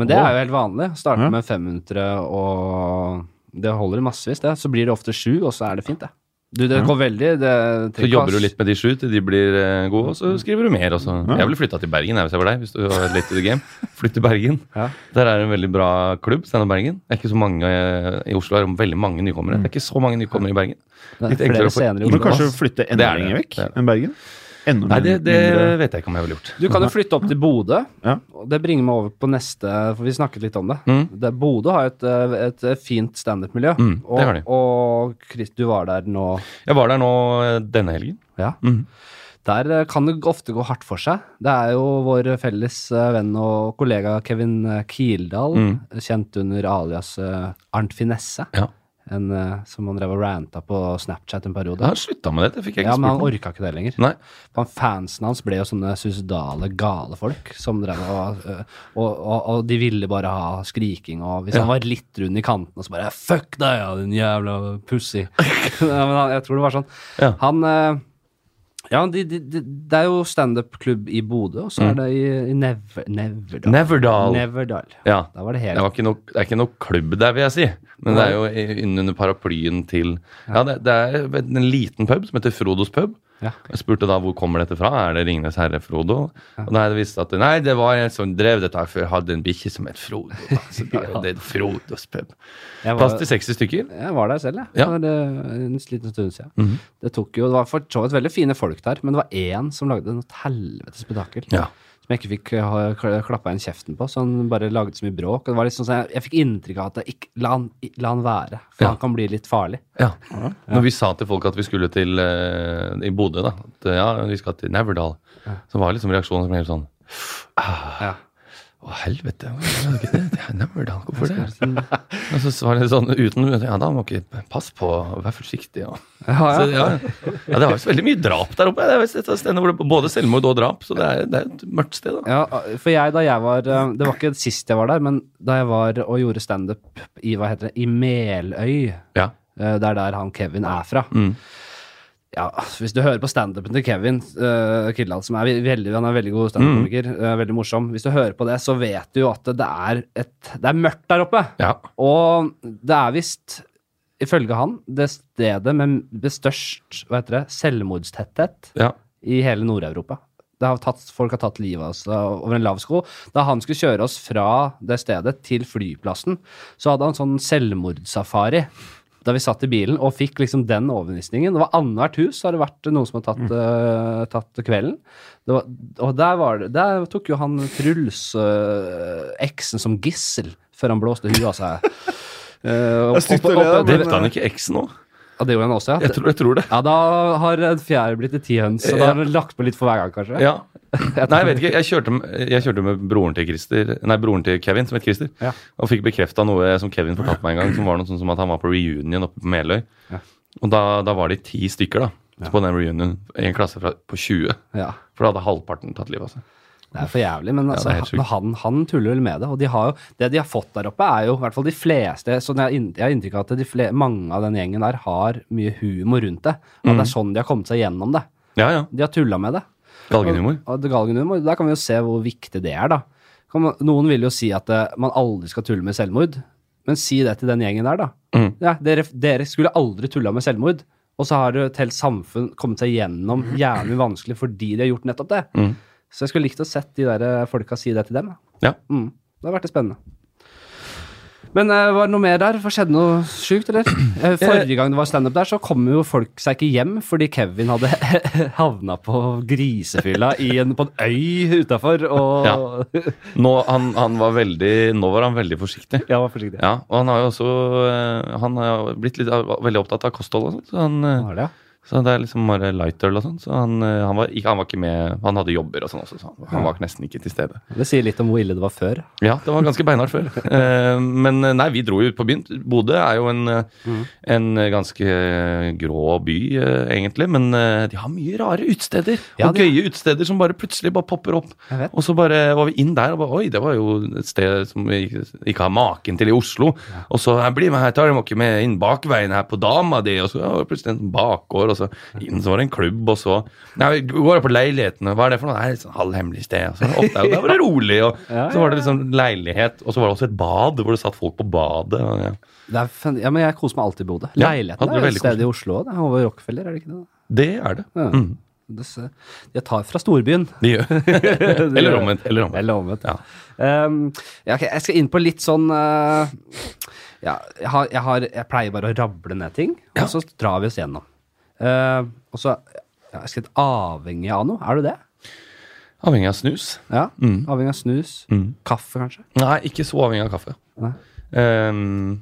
Men det er jo helt vanlig. Starte Ja. med 500 og det holder i massevis, det. Så blir det ofte sju, og så er det fint, det. Du, det går veldig det, Så jobber du litt med de sju til de blir eh, gode, og så skriver du mer. og så- Jeg ville flytta til Bergen jeg, hvis jeg var deg. hvis du var late to the game. Flytt til Bergen. Ja. Der er det en veldig bra klubb, Steinar Bergen. Det er ikke så mange eh, I Oslo er det veldig mange Mm. nykommere. Det er ikke så mange nykommere i Bergen. Det er litt flere enklere å få- scener i Må du Oslo, kanskje ass. flytte Det enda er det. lenger vekk Det er det. enn Bergen? Enda Nei, det, det mindre- vet jeg ikke om jeg ville gjort. Du kan jo flytte opp til Bodø. Ja. Og Det bringer meg over på neste, for vi snakket litt om det. Mm. det Bodø har et, eh, et fint standup-miljø. Mm, det har de. og, og Chris, du var der nå. Jeg var der nå eh, denne helgen. Ja. Mhm. Der eh, kan det ofte gå hardt for seg. Det er jo vår felles eh, venn og kollega Kevin eh, Kildahl, Mm. kjent under alias eh, Arnt Finesse, Ja. en, eh, som han drev og ranta på Snapchat en periode. Da slutta med det. Det fikk jeg Ja, ikke men han spurt om. orka ikke det lenger. Nei. Han, fansen hans ble jo sånne suicidale, gale folk som drev og, øh, og, og, og de ville bare ha skriking. Og hvis han var litt rund i kanten, så bare Fuck deg, ja, din jævla pussy. ja, men han, jeg tror det var sånn. Ja. Han øh, Ja, de, de, de, det er jo standup-klubb i Bodø, og så er det i, i Never, Neverdal. Mm. Neverdal. Neverdal. Ja. Da var det Det, helt var ikke noe, det er ikke noe klubb der, vil jeg si. Men det er jo i- innunder paraplyen til Ja, det, det er en liten pub som heter Frodos pub. Ja. Jeg spurte da hvor kommer dette fra. Er det Ringnes herre Frodo? Og da visste jeg at nei, det var en som drev dette her før. Hadde en bikkje som het Frodo. da. Så da, er det Frodos pub. Jeg var- Plass til 60 stykker. Jeg var der selv, jeg. Ja. Mhm. For eh, en liten stund siden. Det tok jo, det var for så vidt veldig fine folk der, men det var én som lagde noe helvetes spetakkel. Ja. Som jeg ikke fikk eh, ha- kla- klappa inn kjeften på, så han bare lagde så mye bråk. Og det var liksom sånn, jeg, jeg fikk inntrykk av at det ikke, la, han, i- la han være, for Ja. han kan bli litt farlig. Ja. Når vi sa til folk at vi skulle til eh, i Bodø, da at eh, ja, vi skal til Neverdal, så var liksom reaksjonen som helt sånn Ja. Å, helvete. hva er Det Det er Neverdal, hvorfor det? Og så var det sånn uten Ja, da må ikke Pass på, vær forsiktig. Ja. Ja, Så, ja. ja, det var jo så veldig mye drap der oppe. Det er jo et sted hvor det både selvmord og drap, så det er, det er et mørkt sted, da. for jeg, da jeg var eh, Det var ikke sist jeg var der, men da jeg var og gjorde standup i hva heter det, i Meløy, Ja. Eh, Det er der han Kevin er fra. Mm. Ja, altså, Hvis du hører på standupen til Kevin uh, Kildahl, som er ve- veldig, han er veldig god standup-komiker, Mm. eh, veldig morsom Hvis du hører på det, så vet du jo at det er, et, det er mørkt der oppe. ja. Og det er visst, ifølge han, det stedet med det størst hva heter det, selvmordstetthet ja. i hele Nord-Europa. Det har tatt, folk har tatt livet av seg over en lav sko. Da han skulle kjøre oss fra det stedet til flyplassen, så hadde han sånn selvmordssafari da vi satt i bilen og fikk liksom den overbevisningen. Det var annethvert hus har det vært noen som har tatt, Mm. eh, tatt kvelden. Det var, og der, var det, der tok jo han Truls, eh, eksen, som gissel før han blåste huet av seg. Eh, Det er stygt opp- å le, opp- da, opp- men- Drepte han ikke eksen òg? Ja, det gjorde han også, ja. Jeg, tror- jeg tror det. Ja, da har en fjær blitt til ti høns, så da har han lagt på litt for hver gang, kanskje. Ja. Nei, jeg vet ikke. Jeg kjørte, med- jeg kjørte med broren til, Christer, nei, broren til Kevin, som het Christer, Ja. og fikk bekrefta noe som Kevin fortalte meg en gang, som var noe sånn som at han var på reunion oppe på Meløy. Og da, da var de ti stykker da, på den reunion i en klasse fra, på 20. Ja, For da hadde halvparten tatt livet av seg. det er for jævlig, men altså, det er helt sykt. men han, han tuller vel med det. Og de har jo, det de har fått der oppe, er jo i hvert fall de fleste så Jeg har inn- jeg har inntrykk av at de fle, mange av den gjengen der har mye humor rundt det. At Mm. det er sånn de har kommet seg gjennom det. Ja, ja. De har tulla med det. Galgenhumor. Og, og det galgenhumor, Der kan vi jo se hvor viktig det er, da. Kan man- Noen vil jo si at eh, man aldri skal tulle med selvmord, men si det til den gjengen der, da. Mm. Ja, dere, dere skulle aldri tulla med selvmord, og så har jo et helt samfunn kommet seg gjennom jævlig vanskelig fordi de har gjort nettopp det. Så jeg skulle likt å sett de der eh, folka si det til dem. da. Ja. Mm. Det har vært det spennende. Men eh, var det noe mer der? Hva skjedde noe sjukt, eller? Eh, Forrige gang det var standup der, så kom jo folk seg ikke hjem fordi Kevin hadde havna på grisefylla i en, på en øy utafor, og ja. Nå, han, han var veldig, nå var han veldig forsiktig. vær forsiktig. Ja, og han har jo også eh, han har jo blitt litt, veldig opptatt av kosthold og sånt. Så han, eh, Var det, ja? Så det er liksom bare light øl og sånn. Så han, eh, han, var, ikke, han var ikke med Han hadde jobber og sånn også, så han, han var nesten ikke til stede. Det sier litt om hvor ille det var før. Ja, det var ganske beinhardt før. Eh, Men eh, nei, vi dro jo ut på byen. Bodø er jo en, eh, Mm. en eh, ganske eh, grå by, eh, egentlig. Men eh, de har mye rare utesteder. Ja, og de har- gøye utesteder som bare plutselig bare popper opp. Jeg vet. Og så bare var vi inn der og bare Oi, det var jo et sted som vi ikke, ikke har maken til i Oslo. Og så «Ja, Bli med her, tar dem ikke med inn bakveien her på dama di. Og så ja, plutselig en bakgård år, og så inn så var det en klubb, og så Nei, vi går opp på leiligheten, og hva er det for noe? Nei, et sånn halvhemmelig sted. Og så opp der, og der var det rolig, og så var det liksom leilighet, og så var det også et bad, hvor det satt folk på badet. Og, ja. Det er fan... Ja, men jeg koser meg alltid i Bodø. Ja, Leiligheten hadde er det jo et veldig sted i Oslo også. Det er over Rockefeller, er det ikke det? Det er det. Ja. Mm, Det ser- Jeg tar fra storbyen. de gjør. eller omvendt. Eller omvendt. Eller omvendt. Ja. Um, ja, ok, jeg skal inn på litt sånn uh, ja, jeg, har, jeg, har, jeg pleier bare å rable ned ting, og så drar vi oss gjennom. Uh, og så ja, Jeg skal litt avhengig av noe. Er du det? Avhengig av snus. Ja, Mm. Avhengig av snus? Kaffe, kanskje? Nei, ikke så avhengig av kaffe. Nei. Ehm,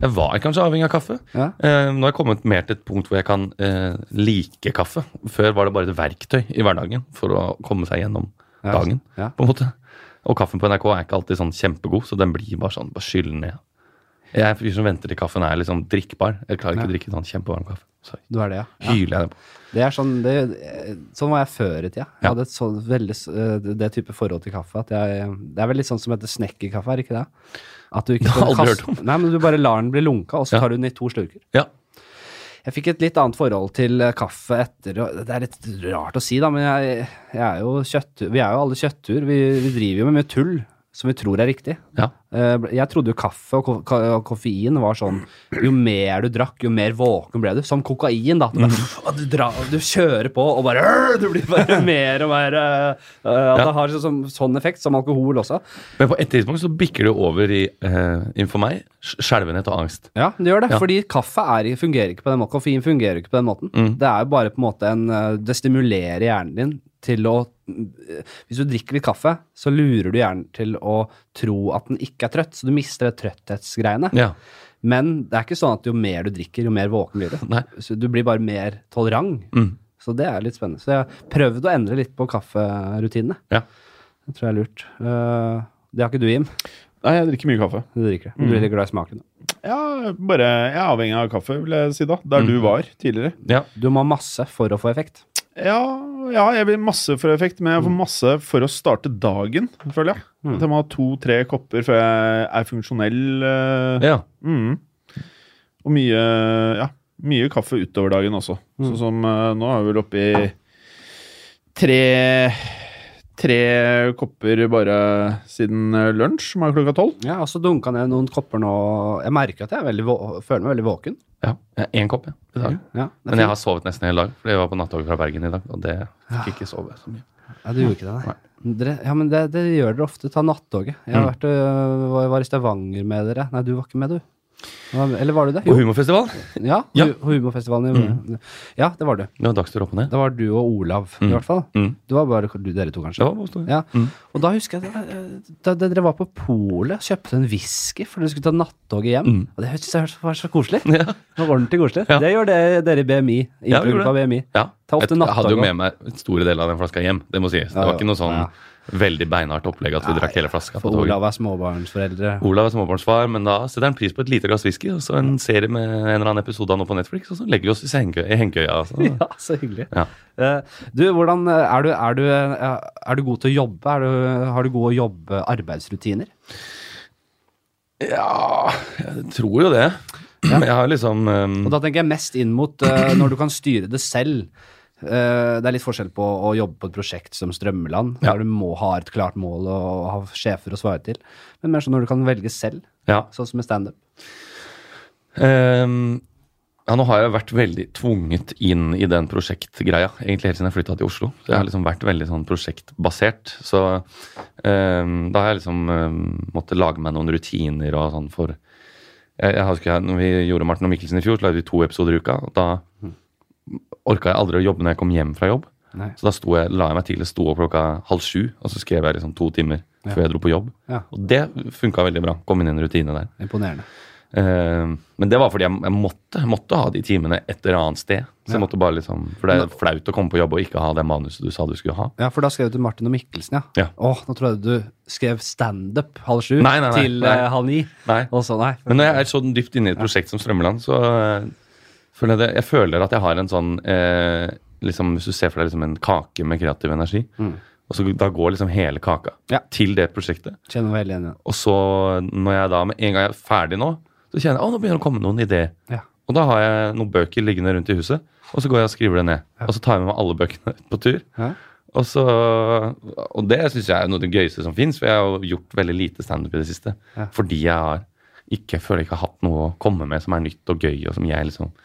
jeg var kanskje avhengig av kaffe. Ja. Ehm, nå har jeg kommet mer til et punkt hvor jeg kan eh, like kaffe. Før var det bare et verktøy i hverdagen for å komme seg gjennom Ja, dagen. ja. på en måte. Og kaffen på NRK er ikke alltid sånn kjempegod, så den blir bare sånn bare skyll ned. Jeg er en fyr som venter til kaffen er liksom drikkbar. Jeg klarer ikke å drikke sånn kjempevarm kaffe. Så Du er det, ja. ja. hyler jeg det på. Det er sånn, det, sånn var jeg før i tida. Jeg Ja. hadde et sånn veldig, s- eh, det type forhold til kaffe. At jeg, det er vel litt sånn som heter snekkerkaffe, er det ikke det? At du ikke Det har jeg skal aldri kaste- hørt Nei, men du bare lar den bli lunka, og så Ja. tar du den i to slurker. Ja. Jeg fikk et litt annet forhold til eh, kaffe etter og Det er litt rart å si, da, men jeg, jeg er jo kjøttur. Vi er jo alle kjøttur. Vi, vi driver jo med mye tull som vi tror er riktig. ja. Eh, Jeg trodde jo kaffe og ko- ka- og koffein var sånn Jo mer du drakk, jo mer våken ble du. Som kokain, da. at Du, bare, du, dra, du kjører på og bare øh, Du blir bare mer og mer eh, eh, At Ja. det har sånn, sånn effekt, som alkohol også. Men på et tidspunkt så bikker det over i, eh, innenfor meg, sj- skjelvenhet og angst. Ja, det gjør det. Ja. Fordi kaffe er, ikke- fungerer ikke på den måten. Koffein fungerer ikke på den måten. Mm. Det er jo bare på en måte en eh, Det stimulerer hjernen din til å eh, Hvis du drikker litt kaffe, så lurer du hjernen til å tro at den ikke er trøtt, så du mister det trøtthetsgreiene. Ja. Men det er ikke sånn at jo mer du drikker, jo mer våken blir du. Nei. Mm. Så du blir bare mer tolerant. Så det er litt spennende. Så jeg har prøvd å endre litt på kafferutinene. Ja. Det tror jeg er lurt. Eh, det har ikke du, Jim. Nei, jeg drikker mye kaffe. Du drikker det. Du blir Mm. litt glad i smaken. Ja, bare, jeg er avhengig av kaffe, vil jeg si da. Der du var tidligere. ja. Du må ha masse for å få effekt. Ja, ja, jeg vil masse for effekt, men jeg får masse for å starte dagen, føler jeg. At jeg må ha to-tre kopper før jeg er funksjonell. eh, ja. Mm. Og mye, ja, mye kaffe utover dagen også. Mm. Sånn som eh, nå er vi vel oppe i tre, tre kopper bare siden eh, lunsj, som er klokka tolv. Ja, og så dunka ned noen kopper nå. Jeg merker at jeg er veldig vå- føler meg veldig våken. Ja, jeg har én kopp jeg, i dag. Ja, det er Men jeg fint. har sovet nesten hele dag, fordi jeg var på nattoget fra Bergen i dag. Og det fikk ikke sove så mye. ja, du gjorde ikke det, nei. Dere, ja, men det, det gjør dere ofte. Ta nattoget. Jeg Mm. har vært, øh, var, var i Stavanger med dere. Nei, du var ikke med, du. Hva- Eller var du det? På humorfestival. Ja, Ja. hu- Humorfestivalen. i- Ja, det var du. Det var dagstur opp og ned. Det var du og Olav, i hvert fall. Mm. Det var bare du, dere to, kanskje. Det var Mm. bare Ja. Og da husker jeg at, eh, da, da dere var på polet, kjøpte en whisky for dere skulle ta nattoget hjem. Mm. Og det hørtes det var så koselig. Ja. Det var ordentlig koselig. Ja. Det gjør det, dere i BMI. Ja, vi Intergruppa gjorde det. BMI. Ja. Ta ofte Jeg, jeg hadde nattdag jo også. med meg en store del av den flaska hjem. Det må sies. Det Ja, var ja. ikke noe sånn Ja. veldig beinhardt opplegg at vi drakk hele flaska på For toget. Olav er småbarnsforeldre. Olav er småbarnsfar, men da setter han pris på et lite glass whisky og så en serie med en eller annen episode av noe på Netflix, og så legger vi oss i sengekø- i hengekøya. så- Ja, så hyggelig. Ja. Eh, Du, hvordan eh, er du, er du, eh, er du god til å jobbe? Er du, har du gode jobbe-arbeidsrutiner? ja, jeg tror jo det. Jeg har liksom um, Og da tenker jeg mest inn mot eh, når du kan styre det selv. Eh, det er litt forskjell på å jobbe på et prosjekt som Strømmeland, Ja. der du må ha et klart mål og ha sjefer å svare til, men mer sånn når du kan velge selv, ja. sånn som med standup. Ehm, ja, nå har jeg vært veldig tvunget inn i den prosjektgreia, egentlig helt siden jeg flytta til Oslo. Så jeg har liksom vært veldig sånn prosjektbasert. Så ehm, da har jeg liksom ehm, måttet lage meg noen rutiner og sånn for jeg, jeg husker jeg, når vi gjorde Martin og Mikkelsen i fjor, så lagde vi to episoder i uka. og Da orka jeg aldri å jobbe når jeg kom hjem fra jobb. Mm. Nei. Så da sto jeg, la jeg meg tidlig, sto opp klokka halv sju, og så skrev jeg liksom to timer før jeg dro på jobb. Ja. Og det funka veldig bra. Kom inn i en rutine der. Imponerende. Eh, men det var fordi jeg, jeg måtte, måtte ha de timene et eller annet sted. Så jeg måtte bare liksom, For det er flaut å komme på jobb og ikke ha det manuset du sa du skulle ha. Ja, for da skrev du til Martin og Mikkelsen, ja. Ja. Åh, nå trodde jeg du skrev standup halv sju Nei, nei, nei, til eh, nei. halv ni. Nei. Og så, nei. Men når jeg er så dypt inne i et prosjekt som Strømmeland, så eh, føler jeg, det, jeg føler at jeg har en sånn eh, liksom, Hvis du ser for deg liksom en kake med kreativ energi, og så da går liksom hele kaka Ja. til det prosjektet. Kjenner meg veldig igjen. Og så, når jeg da med en gang jeg er ferdig nå, så kjenner jeg å, nå begynner det å komme noen ideer. Ja. Og da har jeg noen bøker liggende rundt i huset, og så går jeg og skriver det ned. Og så tar jeg med meg alle bøkene ut på tur. Ja. Og, så, og det syns jeg er noe av det gøyeste som fins, for jeg har jo gjort veldig lite standup i det siste. Ja. Fordi jeg har ikke, jeg føler jeg ikke har hatt noe å komme med som er nytt og gøy, og som jeg liksom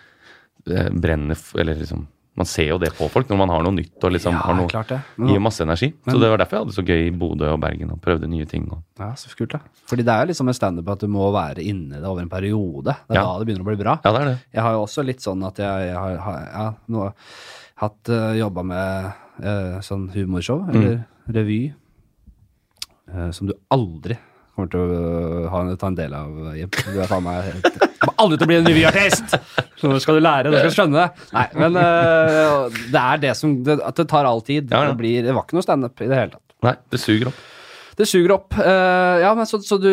eh, brenner f- Eller liksom Man ser jo det på folk når man har noe nytt og liksom Ja, har noe, klart det. Men- gir masse energi. Men- så det var derfor jeg hadde det så gøy i Bodø og Bergen og prøvde nye ting. Og, Ja, så kult, da. Fordi det er jo liksom med standup at du må være inni det over en periode. Det er Ja. da det begynner å bli bra. ja, det er det. Jeg har jo også litt sånn at jeg, jeg har, har ja, nå, har jeg hatt uh, jobba med eh, sånn humorshow, Mm. eller revy, eh, som du aldri kommer til å eh, ha, ta en del av, Jim. Du er faen meg helt Du kommer aldri til å bli en revyartist! Så nå skal du lære, du skal skjønne det. Nei, men eh, det er det som det, At det tar all tid. Ja, ja. Det, blir, det var ikke noe standup i det hele tatt. Nei, det suger opp. Det suger opp. Eh, ja, men så, så du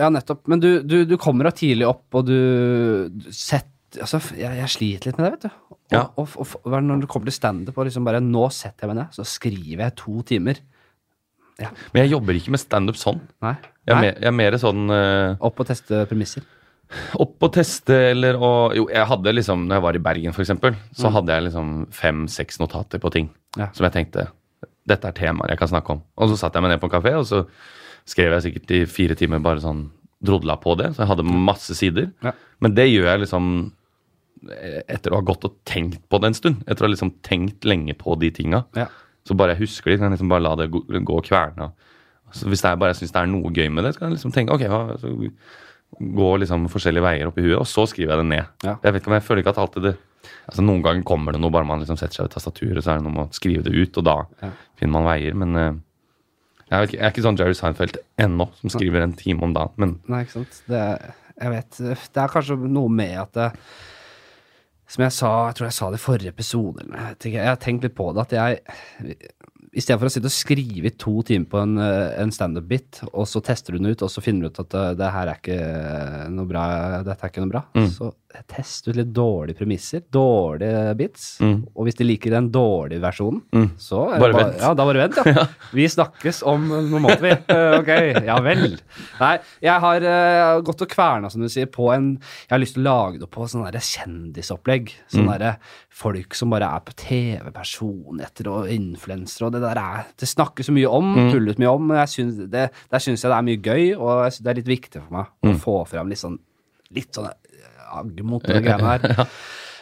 Ja, nettopp. Men du, du, du kommer da tidlig opp, og du, du sett, altså, jeg, jeg sliter litt med det, vet du. Og, Ja. og, og, og hva er det når du kommer til standup og liksom bare Nå setter jeg meg ned, så skriver jeg to timer. Men jeg jobber ikke med standup sånn. Nei. Jeg er, Nei. mer, jeg er mer sånn eh, Opp og teste premisser. opp og teste eller å Jo, jeg hadde liksom Når jeg var i Bergen, for eksempel, så hadde jeg liksom fem-seks notater på ting Mm. Ja. som jeg tenkte Dette er temaer jeg kan snakke om. Og så satt jeg meg ned på en kafé, og så skrev jeg sikkert i fire timer bare sånn drodla på det. Så jeg hadde masse sider. Ja. Men det gjør jeg liksom eh, etter å ha gått og tenkt på det en stund. Etter å ha liksom tenkt lenge på de tinga. Ja. Så bare jeg husker det, kan jeg liksom bare la det gå, gå og kverne. Så hvis jeg bare syns det er noe gøy med det, så kan jeg liksom tenke ok, hva, så gå liksom forskjellige veier opp i huet, og så skriver jeg det ned. Ja. Jeg vet ikke om jeg føler ikke at alltid det altså Noen ganger kommer det noe, bare man liksom setter seg ved tastaturet, så er det noe med å skrive det ut, og da Ja. finner man veier. Men eh, jeg, vet ikke, jeg er ikke sånn Jerry Seinfeld ennå, som skriver en time om dagen. Men Nei, ikke sant. Det, jeg vet. Det er kanskje noe med at det, Som jeg sa, jeg tror jeg sa det i forrige episode, eller noe, jeg, vet ikke, jeg har tenkt litt på det, at jeg i stedet for å sitte og skrive i to timer på en, eh, en standup-bit, og så tester du den ut, og så finner du ut at eh, det her er ikke eh, noe bra, dette er ikke noe bra, Mm. så test ut litt dårlige premisser, dårlige bits, og hvis de liker den dårlige versjonen, så er det Mm. Bare vent. Ja, da bare vent, ja. Vi snakkes om noe måte, vi. Eh, Ok, ja vel. Nei, jeg har eh, gått og kverna, som du sier, på en Jeg har lyst til å lage det på sånn derre kjendisopplegg. Sånn derre folk som bare er på TV, personligheter og influensere og det der er Det snakkes så mye om, tulles mye om, men jeg syns det, der syns jeg det er mye gøy, og jeg synes det er litt viktig for meg å få fram litt sånn litt sånn eh, agg mot de greiene her.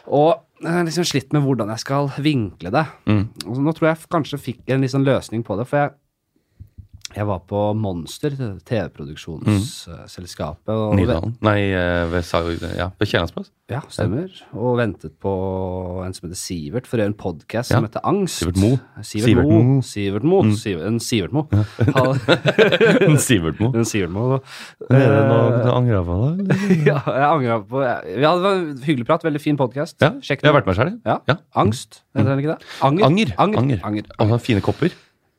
Og jeg har liksom slitt med hvordan jeg skal vinkle det. Mm. Og så nå tror jeg f- kanskje fikk en litt sånn løsning på det, for jeg, jeg var på Monster, TV-produksjonsselskapet, og, Nydalen Nei, eh, ved, Sa- ja, ved Kiellandsplass. ja, stemmer, og ventet på en som heter Sivert, for å gjøre en podkast som Ja. heter Angst. Sivert Mo. Sivert Sivert Mo. Mo. Sivert Mo. Mm. Siv- En Sivert Mo. Han- Sivertmo. En Sivert Mo. Dere, nå angrer jeg på det. eller? Ja, jeg angrer på Vi hadde en hyggelig prat, veldig fin podkast. Ja, jeg har vært med sjøl, jeg. Ja. Ja. Mm. Angst, heter den ikke det? Anger. Anger. Anger. Anger. Og så fine kopper.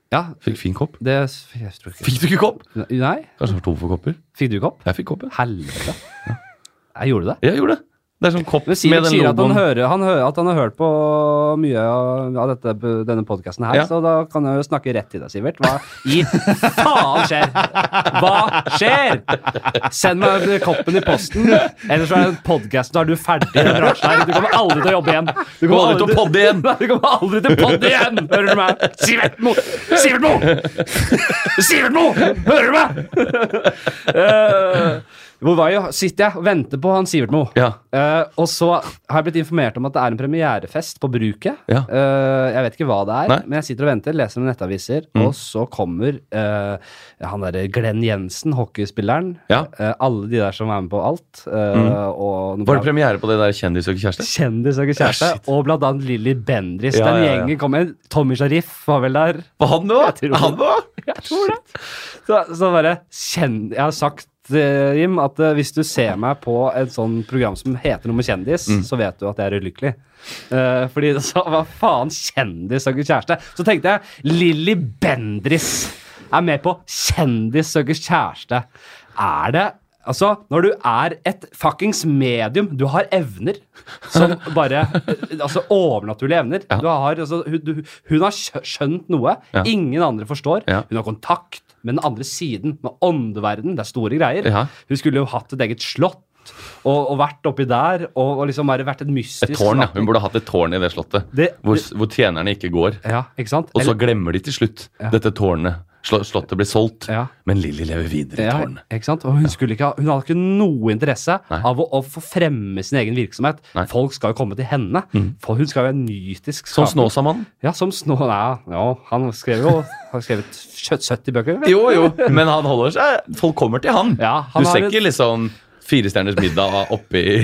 Ja, Fikk fin kopp. det s- jeg tror ikke Fikk du ikke kopp? Nei, Kanskje jeg var tom for kopper? fikk du ikke opp? Jeg fikk kopp, ja. Helvete. Jeg gjorde det. Jeg gjorde det. Det er sånn kopp Men med Sivert den sier at han, logoen. hører, han hører, at han har hørt på mye av av dette, denne podkasten her, Ja. så da kan jeg jo snakke rett til deg, Sivert. Hva i faen skjer? Hva skjer?! Send meg koppen i posten, ellers så er podkasten, da er du ferdig i den bransjen her. Du kommer aldri til å jobbe igjen. Du Du kommer aldri til å podde igjen! Nei, du kommer aldri til podd igjen! Hører du meg? Sivert Mo! Sivert Mo! Sivert Mo! Hører du meg? Eh, hvor var jeg? Sitter jeg og venter på han Sivert Mo. Ja. Eh, og så har jeg blitt informert om at det er en premierefest på Bruket. Ja. Eh, jeg vet ikke hva det er, Nei. Mm. men jeg sitter og venter, leser noen nettaviser, og så kommer eh, han derre Glenn Jensen, hockeyspilleren. Ja. Mm. Eh, alle de der som er med på alt. eh, og Var det premiere på det der Kjendis søker kjæreste? Kjendis og kjæreste, Ja, shit. og blant annet Lilly Bendriss. Ja, den ja, ja. gjengen kom inn. Tommy Sharif var vel der. Var han nå? Jeg tror- Han nå? Jeg tror det. Så, så bare kjenn... Jeg har sagt, eh, Jim, at eh, hvis du ser meg på et sånn program som heter noe med kjendis, Mm. så vet du at jeg er ulykkelig. Eh, fordi det sa hva faen, kjendis søker kjæreste. Så tenkte jeg Lilly Bendriss er med på Kjendis søker kjæreste. Er det Altså, når du er et fuckings medium, du har evner som bare eh, Altså overnaturlige evner. Ja. Du har, altså, hun, du, hun har skjø- skjønt noe Ja. ingen andre forstår. Ja. Hun har kontakt med den andre siden, med åndeverden. Det er store greier. Ja. Hun skulle jo hatt et eget slott. slott og, og vært oppi der og, og liksom bare vært et mystisk Et tårn, ja. slapp- Hun burde hatt et tårn i det slottet. Det- hvor, hvor tjenerne ikke går. Ja, ikke sant? Og så Eller- glemmer de til slutt dette tårnet. Sl- Slottet blir solgt, Ja. men Lilly lever videre i ja, tårnet. ikke sant? Og hun, skulle ikke ha, hun hadde ikke noe interesse Nei. av å, å få fremme sin egen virksomhet. Nei. Mm. Folk skal jo komme til henne. For hun skal jo være en mytisk Som skapelse. Sånn Snåsamannen. Ja, som Snå... Ja, ja han skrev jo har skrevet 70 bøker. vel? Jo, jo, men han holder seg Folk kommer til han. Ja, han du har ser et- ikke liksom Fire stjerners middag oppi,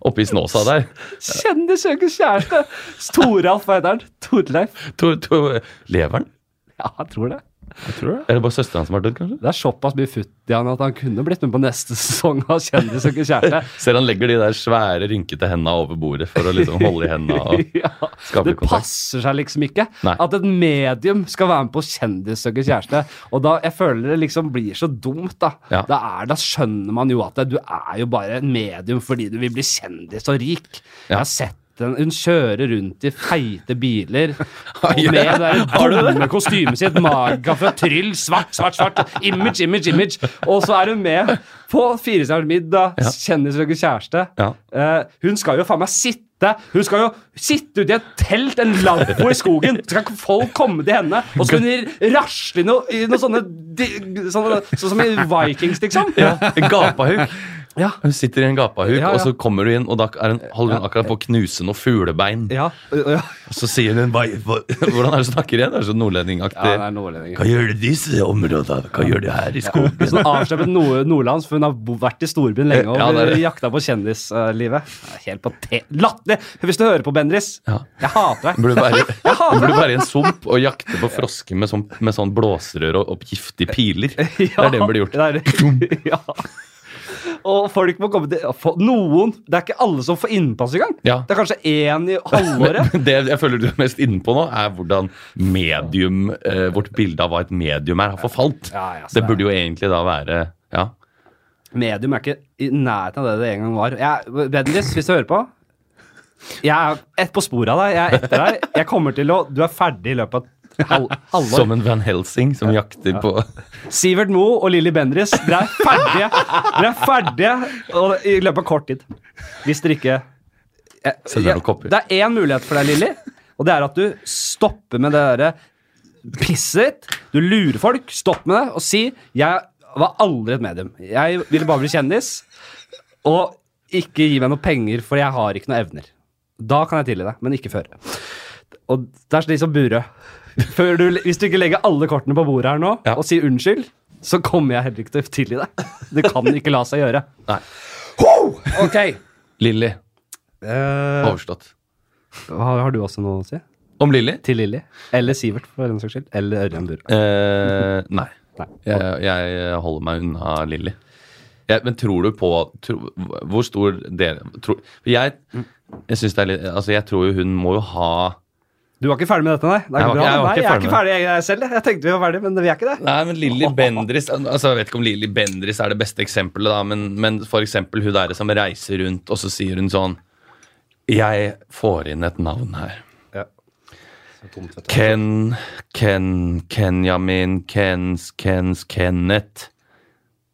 oppi Snåsa der. Kjendis søker kjæreste! Storalf, hva heter han? Torleif? To, to, lever han? Ja, jeg tror det. Jeg tror det. Er det bare søsteren som har dødd, kanskje? Det er såpass mye futt i han at han kunne blitt med på neste sesong av Kjendis søker kjæreste. Ser han legger de der svære, rynkete henda over bordet for å liksom holde i henda og Ja, skape det kontakt. passer seg liksom ikke Nei. at et medium skal være med på Kjendis søker kjæreste. Og da, jeg føler det liksom blir så dumt, da. Ja. Da, er, da skjønner man jo at det, du er jo bare en medium fordi du vil bli kjendis og rik. Jeg har sett den. Hun kjører rundt i feite biler og ja. med det der dumme kostymet sitt. Maga fra Tryll. Svart, svart, svart. Image, image, image. Og så er hun med på Firestjerners middag, Kjendisrøkers kjæreste. Ja. Eh, hun skal jo faen meg sitte Hun skal jo sitte ute i et telt, en lavvo i skogen. Så skal folk komme til henne, og så skal hun rasle i noe, i noe sånne, di- sånne Sånn som i Vikings, liksom. Ja, en Gapahuk. Ja. Hun sitter i en gapahuk, Ja, ja. og så kommer hun inn, og da er hun, holder hun akkurat på å knuse noen fuglebein. Ja, ja. Og så sier hun hva, hva, Hvordan er det du snakker igjen? Det er så nordlendingaktig. ja det er nordlendinger. Hva gjør du i disse områdene? Hva gjør du her i skogen? Sånn avslappet nord nordlands, for hun har bo- vært i storbyen lenge og Ja, det er det. jakta på kjendislivet. Helt på te... Latterlig! Hvis du hører på, Bendris, Ja. jeg hater deg. Burde være, Jeg hater burde være i en sump og jakte på frosker med sånn, med sånn blåserør og, og giftige piler. Det er det hun burde gjort. det er- ja. Og folk må komme til få- Noen Det er ikke alle som får innpass engang. Ja. Det er kanskje én i halvåret. Men det jeg føler du er mest inne på nå, er hvordan medium, eh, vårt bilde av hva et medium er, har forfalt. Ja, altså. ja, så det burde jo egentlig da være ja. Medium er ikke i nærheten av det det en gang var. Jeg, Bendris, hvis du hører på Jeg er ett på sporet av deg. Jeg er etter deg. Jeg kommer til å Du er ferdig i løpet av et halv, halvår. Som en Van Helsing som jakter på Sivert Moe og Lilly Bendriss, dere er ferdige Dere er ferdige og i løpet av kort tid. Hvis dere ikke jeg, Selger noen kopper. Det er én mulighet for deg, Lilly, og det er at du stopper med det derre pisset ditt. Du lurer folk. Stopp med det, og si 'Jeg var aldri et medium. Jeg ville bare bli kjendis', og ikke gi meg noe penger, for jeg har ikke noe evner. Da kan jeg tilgi deg, men ikke før. Og det er slik som Burøe. Før du, hvis du ikke legger alle kortene på bordet her nå Ja. og sier unnskyld, så kommer jeg heller ikke til å tilgi deg. Det kan ikke la seg gjøre. Nei. Ok. Lilly. Eh, Overstått. har, har du også noe å si? Om Lilly? Til Lilly? Eller Sivert, for den saks skyld. Eller Ørjan Burøe. Eh, nei. Nei. Jeg, jeg holder meg unna Lilly. Jeg, men tror du på tro, Hvor stor del tro, Jeg, jeg syns det er litt Altså, jeg tror jo hun må jo ha Du var ikke ferdig med dette, nei? Det er Jeg ikke bra. var ikke- jeg var nei, jeg ikke er ikke ferdig med ferdig jeg selv. jeg. Jeg tenkte vi var ferdige, men vi er ikke det. Nei, men Lilly Bendris altså Jeg vet ikke om Lilly Bendris er det beste eksempelet, da, men, men for eksempel hun derre som reiser rundt, og så sier hun sånn Jeg får inn et navn her. Ken, Ken, Kenjamin, Kens, Kens, Kenneth.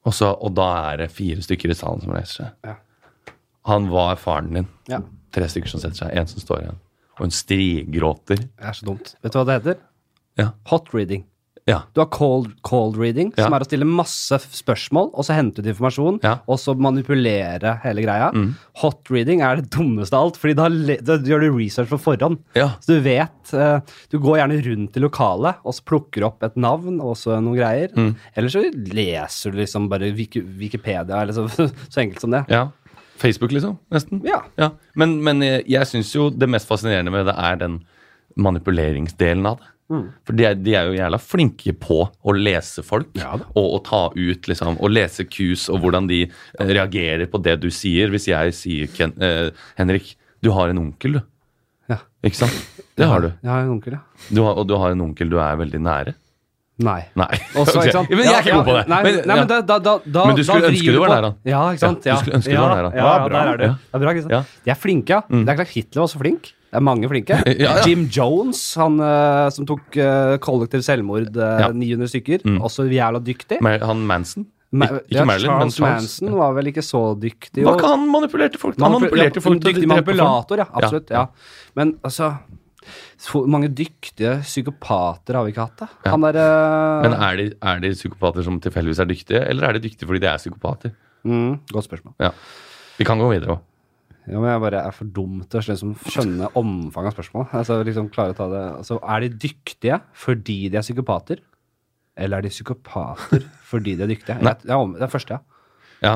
Og, så, og da er det fire stykker i salen som reiser seg. Ja. Han var faren din. Ja. Tre stykker som setter seg, én som står igjen. Og hun strigråter. Det er så dumt. Vet du hva det heter? Ja. Hot reading. Ja. Du har cold, cold reading, Ja. som er å stille masse f- spørsmål, og så hente ut informasjon, Ja. Mm. og så manipulere hele greia. Hot reading er det dummeste av alt, fordi da, le- da gjør du research på forhånd. Ja. Så du vet eh, Du går gjerne rundt i lokalet og så plukker opp et navn og så noen greier. Mm. Eller så leser du liksom bare Wiki, Wikipedia, eller så, så enkelt som det. ja. Facebook, liksom. Nesten. Ja. Ja. Men, men jeg, jeg syns jo det mest fascinerende med det er den manipuleringsdelen av det. Mm. For de er, de er jo jævla flinke på å lese folk og å ta ut liksom, og lese kus og hvordan de eh, reagerer på det du sier. Hvis jeg sier Ken, eh, Henrik, du har en onkel, du. Ja. Ikke sant? Det har du. Jeg har en onkel, ja. du har, og du har en onkel du er veldig nære. Nei. Nei. Også, Ok. ikke sant? Men jeg er ikke Ja, god på det. ja, Nei, men, nei, ja. men da, da, da, da, Men du skulle da vrir ønske du var på- der, da. Ja, ikke sant? Ja, Ja, du skulle ønske du ja, var der, da. Ja, Ja, ja, bra. der er du. Ja. Det er bra, ikke sant? Ja. De er flinke, ja. Det er klart Hitler var også flink. Det er mange flinke. Mm. Ja, ja. Jim Jones, han eh, som tok uh, kollektiv selvmord, eh, Ja. 900 stykker, også jævla dyktig. Men Han Manson? Ma- Ikke ja, Marilyn, men Charles Charles. Manson var vel ikke så dyktig. Hva og- kan han manipulerte folk? Han Manipu- manipulerte ja, folk en til å Dyktig drepe folk. manipulator, ja. Absolutt. Ja. Men altså så mange dyktige psykopater har vi ikke hatt, da. Ja. Han eh, derre Men er de, er de psykopater som tilfeldigvis er dyktige, eller er de dyktige fordi de er psykopater? mm, Godt spørsmål. Ja. Vi kan gå videre òg. Ja, men jeg bare er for dum til å liksom skjønne omfanget av spørsmålet. Altså, liksom klare å ta det. Altså, er de dyktige fordi de er psykopater? Eller er de psykopater fordi de er dyktige? Nei. Jeg, jeg, om- det er første, ja. Ja.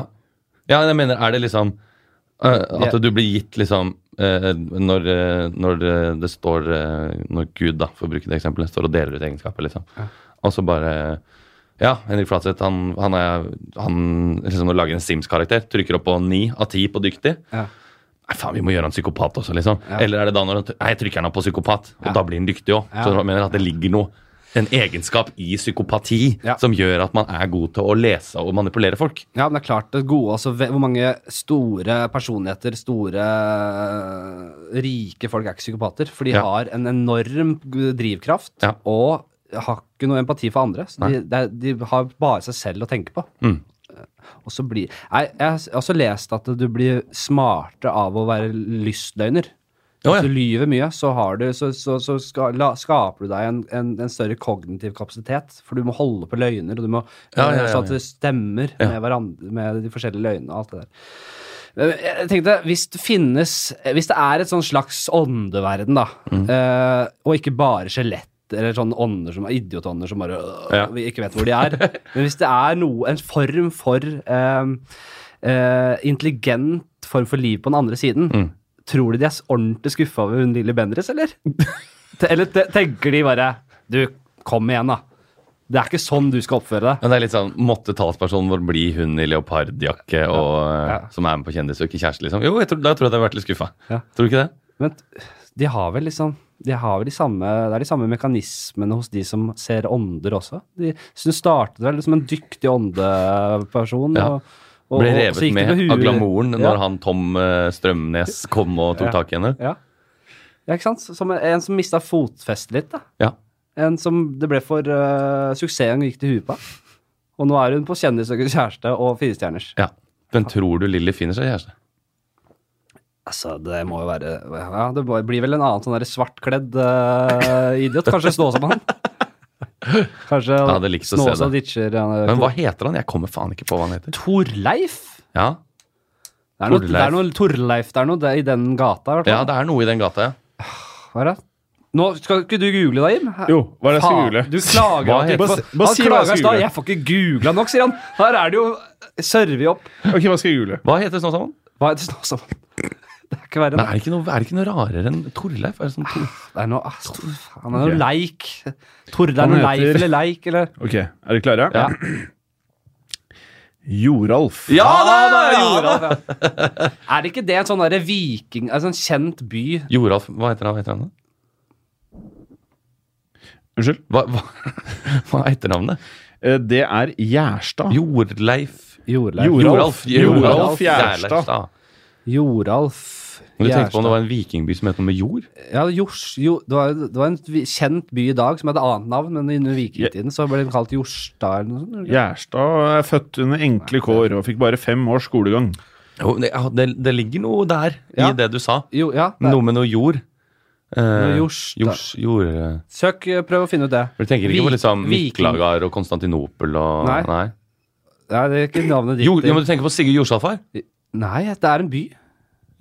ja, jeg mener, er det liksom øh, At Ja. du blir gitt liksom øh, når, øh, når øh, det står øh, Når Gud, da, for å bruke det eksempelet, står og deler ut egenskaper, liksom. Og så bare Ja, Henrik Flatseth, han, han er Han liksom når du lager en Sims-karakter, trykker opp på ni av ti på dyktig. Ja. Nei, faen, vi må gjøre han psykopat også, liksom. Eller er det da når han Nei, jeg trykker han opp på psykopat, og da blir han dyktig òg. Så Ja. jeg mener at det ligger noe en egenskap i psykopati Ja. som gjør at man er god til å lese og manipulere folk. Ja, men det er klart det gode altså, ve- Hvor mange store personligheter, store eh, rike folk er ikke psykopater? For de Ja. har en enorm g- drivkraft Ja. og har ikke noe empati for andre. Så de, det er- de har bare seg selv å tenke på. Mm. Eh, Og så blir Nei, jeg har s- også lest at du blir smarte av å være lystløgner. Å, ja. Hvis du lyver mye, så, har du, så, så, så ska, la, skaper du deg en, en, en større kognitiv kapasitet. For du må holde på løgner, og du må Ja, ja, ja, så Eh, altså at ja. det stemmer med, hverandre, med de forskjellige løgnene og alt det der. Men Jeg tenkte, Hvis det finnes Hvis det er et sånn slags åndeverden, da, Mm. eh, og ikke bare skjelett eller sånne ånder som idiotånder som bare øh, Ja. vi ikke vet hvor de er Men hvis det er noe, en form for eh, eh, intelligent form for liv på den andre siden, Mm. tror du de er s- ordentlig skuffa over hun lille Bendriss, eller? Te- eller te tenker de bare Du, kom igjen, da. Det er ikke sånn du skal oppføre deg. Men det er litt sånn, Måtte talspersonen vår bli hun i leopardjakke og, eh, som er med på Kjendis og ikke kjæreste? liksom? Jo, jeg tror, da tror jeg at jeg hadde vært litt skuffa. Ja. Tror du ikke det? Men de har vel liksom de har vel de samme, Det er de samme mekanismene hos de som ser ånder også. De, så du startet vel som en dyktig åndeperson. Ja. Og, og, Ble og så revet gikk det med huet. av glamouren ja. når han Tom eh, Strømnes kom og tok Ja. tak i henne. Ja. ja, ikke sant? Som en- en som mista fotfestet litt. da. Ja. En som det ble for uh, suksessen gikk til huet på. Og nå er hun på Kjendis og kjæreste og firestjerners. ja. Men tror du Lilly finner seg kjæreste? Altså, det må jo være Ja, det må- blir vel en annen sånn der svartkledd eh, idiot. Kanskje Snåsa med han. Kanskje Jeg hadde likt å se Snåsa det. ditcher han, Men hva heter han? Jeg kommer faen ikke på hva han heter. Torleif? Ja, Det er noe, det Torleif. er noe Torleif der nå, det er i den gata i hvert ja fall. det er noe i den gata, ja. Hva er det? Nå skal ikke du google deg, Jim? Her- Jo, hva er det jeg skal Faen, google? Du klager Hva at du heter- ikke får- Bare si- bare Han si hva jeg klager i skal stad. google. Jeg får ikke googla nok, sier han. Her er det jo Server opp. Ok, hva skal jeg google? Hva heter sånn, Snåsamann? Hva er det Snåsa? Det er ikke verre Men enn er det ikke noe, er det ikke noe rarere enn Torleif? Er det sånn Tor... det. er noe ah, Tor- Han er noe leik. Torleif Han Leif heter- eller Leik eller Ok, Er dere klare? Ja. Joralf. Ja Joralf, ja. Er det ikke det en sånn derre viking altså En kjent by Joralf, hva heter han? Hva heter han da? Unnskyld. Hva, hva, hva er etternavnet? Eh, Det er Gjerstad. Jorleif Jorleif. Joralf. Joralf, Joralf Gjerstad. Gjerstad. Joralf. Men du tenkte på om det var en vikingby som het noe med jord? Ja, Jors, jo, det, var, det var en vi- kjent by i dag som hadde annet navn, men innen vikingtiden så ble den kalt Jorstad eller noe sånt. eller? Gjerstad er født under enkle kår og fikk bare fem års skolegang. Jo, det, ja, det, det ligger noe der Ja. i det du sa. Jo, ja, det er- Noe med noe jord. Eh, jors, da. jors, jord eh. Søk, eh, prøv å finne ut det. For Du tenker ikke Vi- på liksom viking- Miklagar og Konstantinopel og Nei. Nei, det er ikke navnet ditt. Jo, ja, men du tenker på Sigurd Jorsalfar? Nei, det er en by.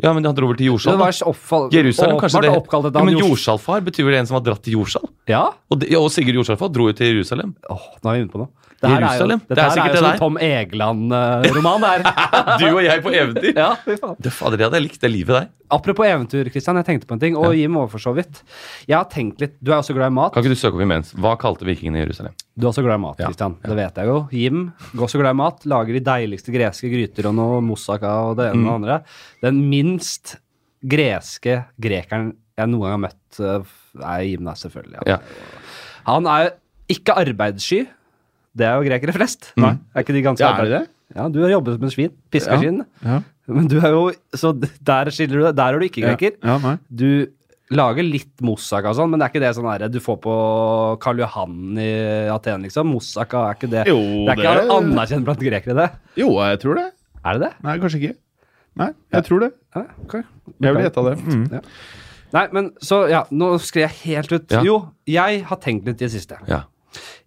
Ja, men han dro over til Det Jorsalf. var da. så oppfall... Jerusalem, kanskje åpenbart det oppkalt etter ja, han Men Jors- Jorsalfar betyr vel en som har dratt til Jorsalf? Ja? Og, det, ja, og Sigurd Jorsalfar dro jo til Jerusalem. Åh, nå er vi inne på noe. Det her Jerusalem? Er jo, dette her Det er er jo sikkert det sånn der. Tom eh, Egeland-roman, det her. Du og jeg på eventyr! ja, fy faen. Det fader, det hadde jeg likt. Det livet der. Apropos eventyr, Kristian, jeg tenkte på en ting, og Jim også for så vidt. Jeg har tenkt litt, Du er også glad i mat. Kan ikke du søke opp imens? Hva kalte vikingene i Jerusalem? Du er også glad i mat, Kristian. Det vet jeg jo. Jim går også glad i mat. Lager de deiligste greske gryter og noe moussaka og det ene og det Mm. andre. Den minst greske grekeren jeg noen gang har møtt, øh, er Jim, da, selvfølgelig. Ja. Han er jo ikke arbeidssky. Det er jo grekere flest. Nei. Er ikke de ganske Mm. Ja, er de det? Ja, du har jobbet som en svin. Piskeskinn. Ja. Men du er jo Så der skiller du deg. Der er du ikke Ja. greker. Ja, nei. Du Lager litt moussaka og sånn, men det er ikke det sånn her, du får på Karl Johan i Aten, liksom. Moussaka er ikke det. Jo, det er ikke det- anerkjent blant grekere, det. Jo, jeg tror det. Er det det? Nei, kanskje ikke. Nei, jeg tror det. Ja, ok. Jeg vil gjette det. Mm. Nei, men så, ja, nå skrev jeg helt ut. Ja. Jo, jeg har tenkt litt i det siste. Ja.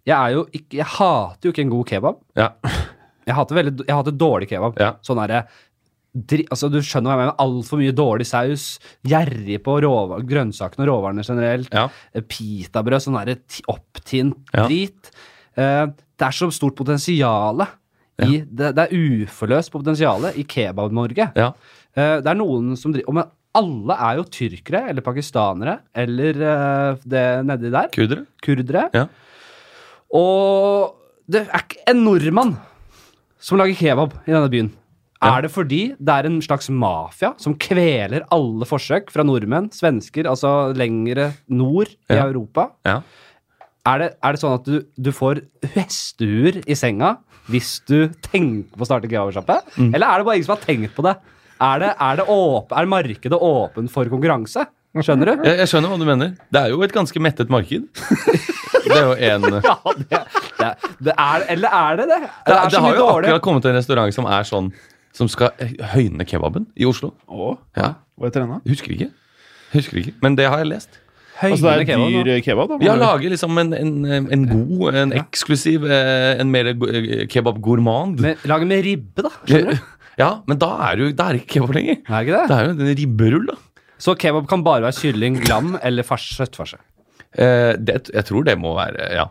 Jeg er jo ikke, jeg hater jo ikke en god kebab. Ja. Jeg hater, veldig, jeg hater dårlig kebab. Ja. Sånn er det. Dri, altså, du skjønner hva jeg mener. Altfor mye dårlig saus. Gjerrig på råva- grønnsakene og råvarene generelt. Ja. Eh, Pitabrød, sånn derre ti- opptint Ja. drit. Eh, det er så stort potensial. I, det, det er uforløst potensial i Kebab-Norge. Ja. Eh, det er noen som driver Men alle er jo tyrkere eller pakistanere eller eh, det nedi der. Kurdere? Kurdere. Ja. Og det er ikke en nordmann som lager kebab i denne byen. Er det fordi det er en slags mafia som kveler alle forsøk fra nordmenn, svensker, altså lengre nord i Ja. Europa? Ja. Er det, er det sånn at du, du får hestehuer i senga hvis du tenker på å starte kebabsjappe? Mm. Eller er det bare ingen som har tenkt på det? Er, det, er, det åp er markedet åpen for konkurranse? Skjønner du? Jeg, jeg skjønner hva du mener. Det er jo et ganske mettet marked. Det er jo en Det, Ja, det, det, det er, eller er det det? Det, det, er så har mye jo dårlig. akkurat kommet en restaurant som er sånn Som skal høyne kebaben i Oslo. Å, Ja. hva heter den da? Husker ikke. Husker ikke. Men det har jeg lest. Altså, Høyere det kebab nå. er dyr kebab, da? Vi har laget liksom en, en, en god, en eksklusiv, eh, en mer go- eh, kebab-gourmand. Men, lager med ribbe, da. Skjønner du? Ja, men da er det jo da er det ikke kebab lenger. Er det ikke det? Det er jo en ribberull, da. Så kebab kan bare være kylling, lam eller fars, kjøttfarse. Eh, det, jeg tror det må være Ja,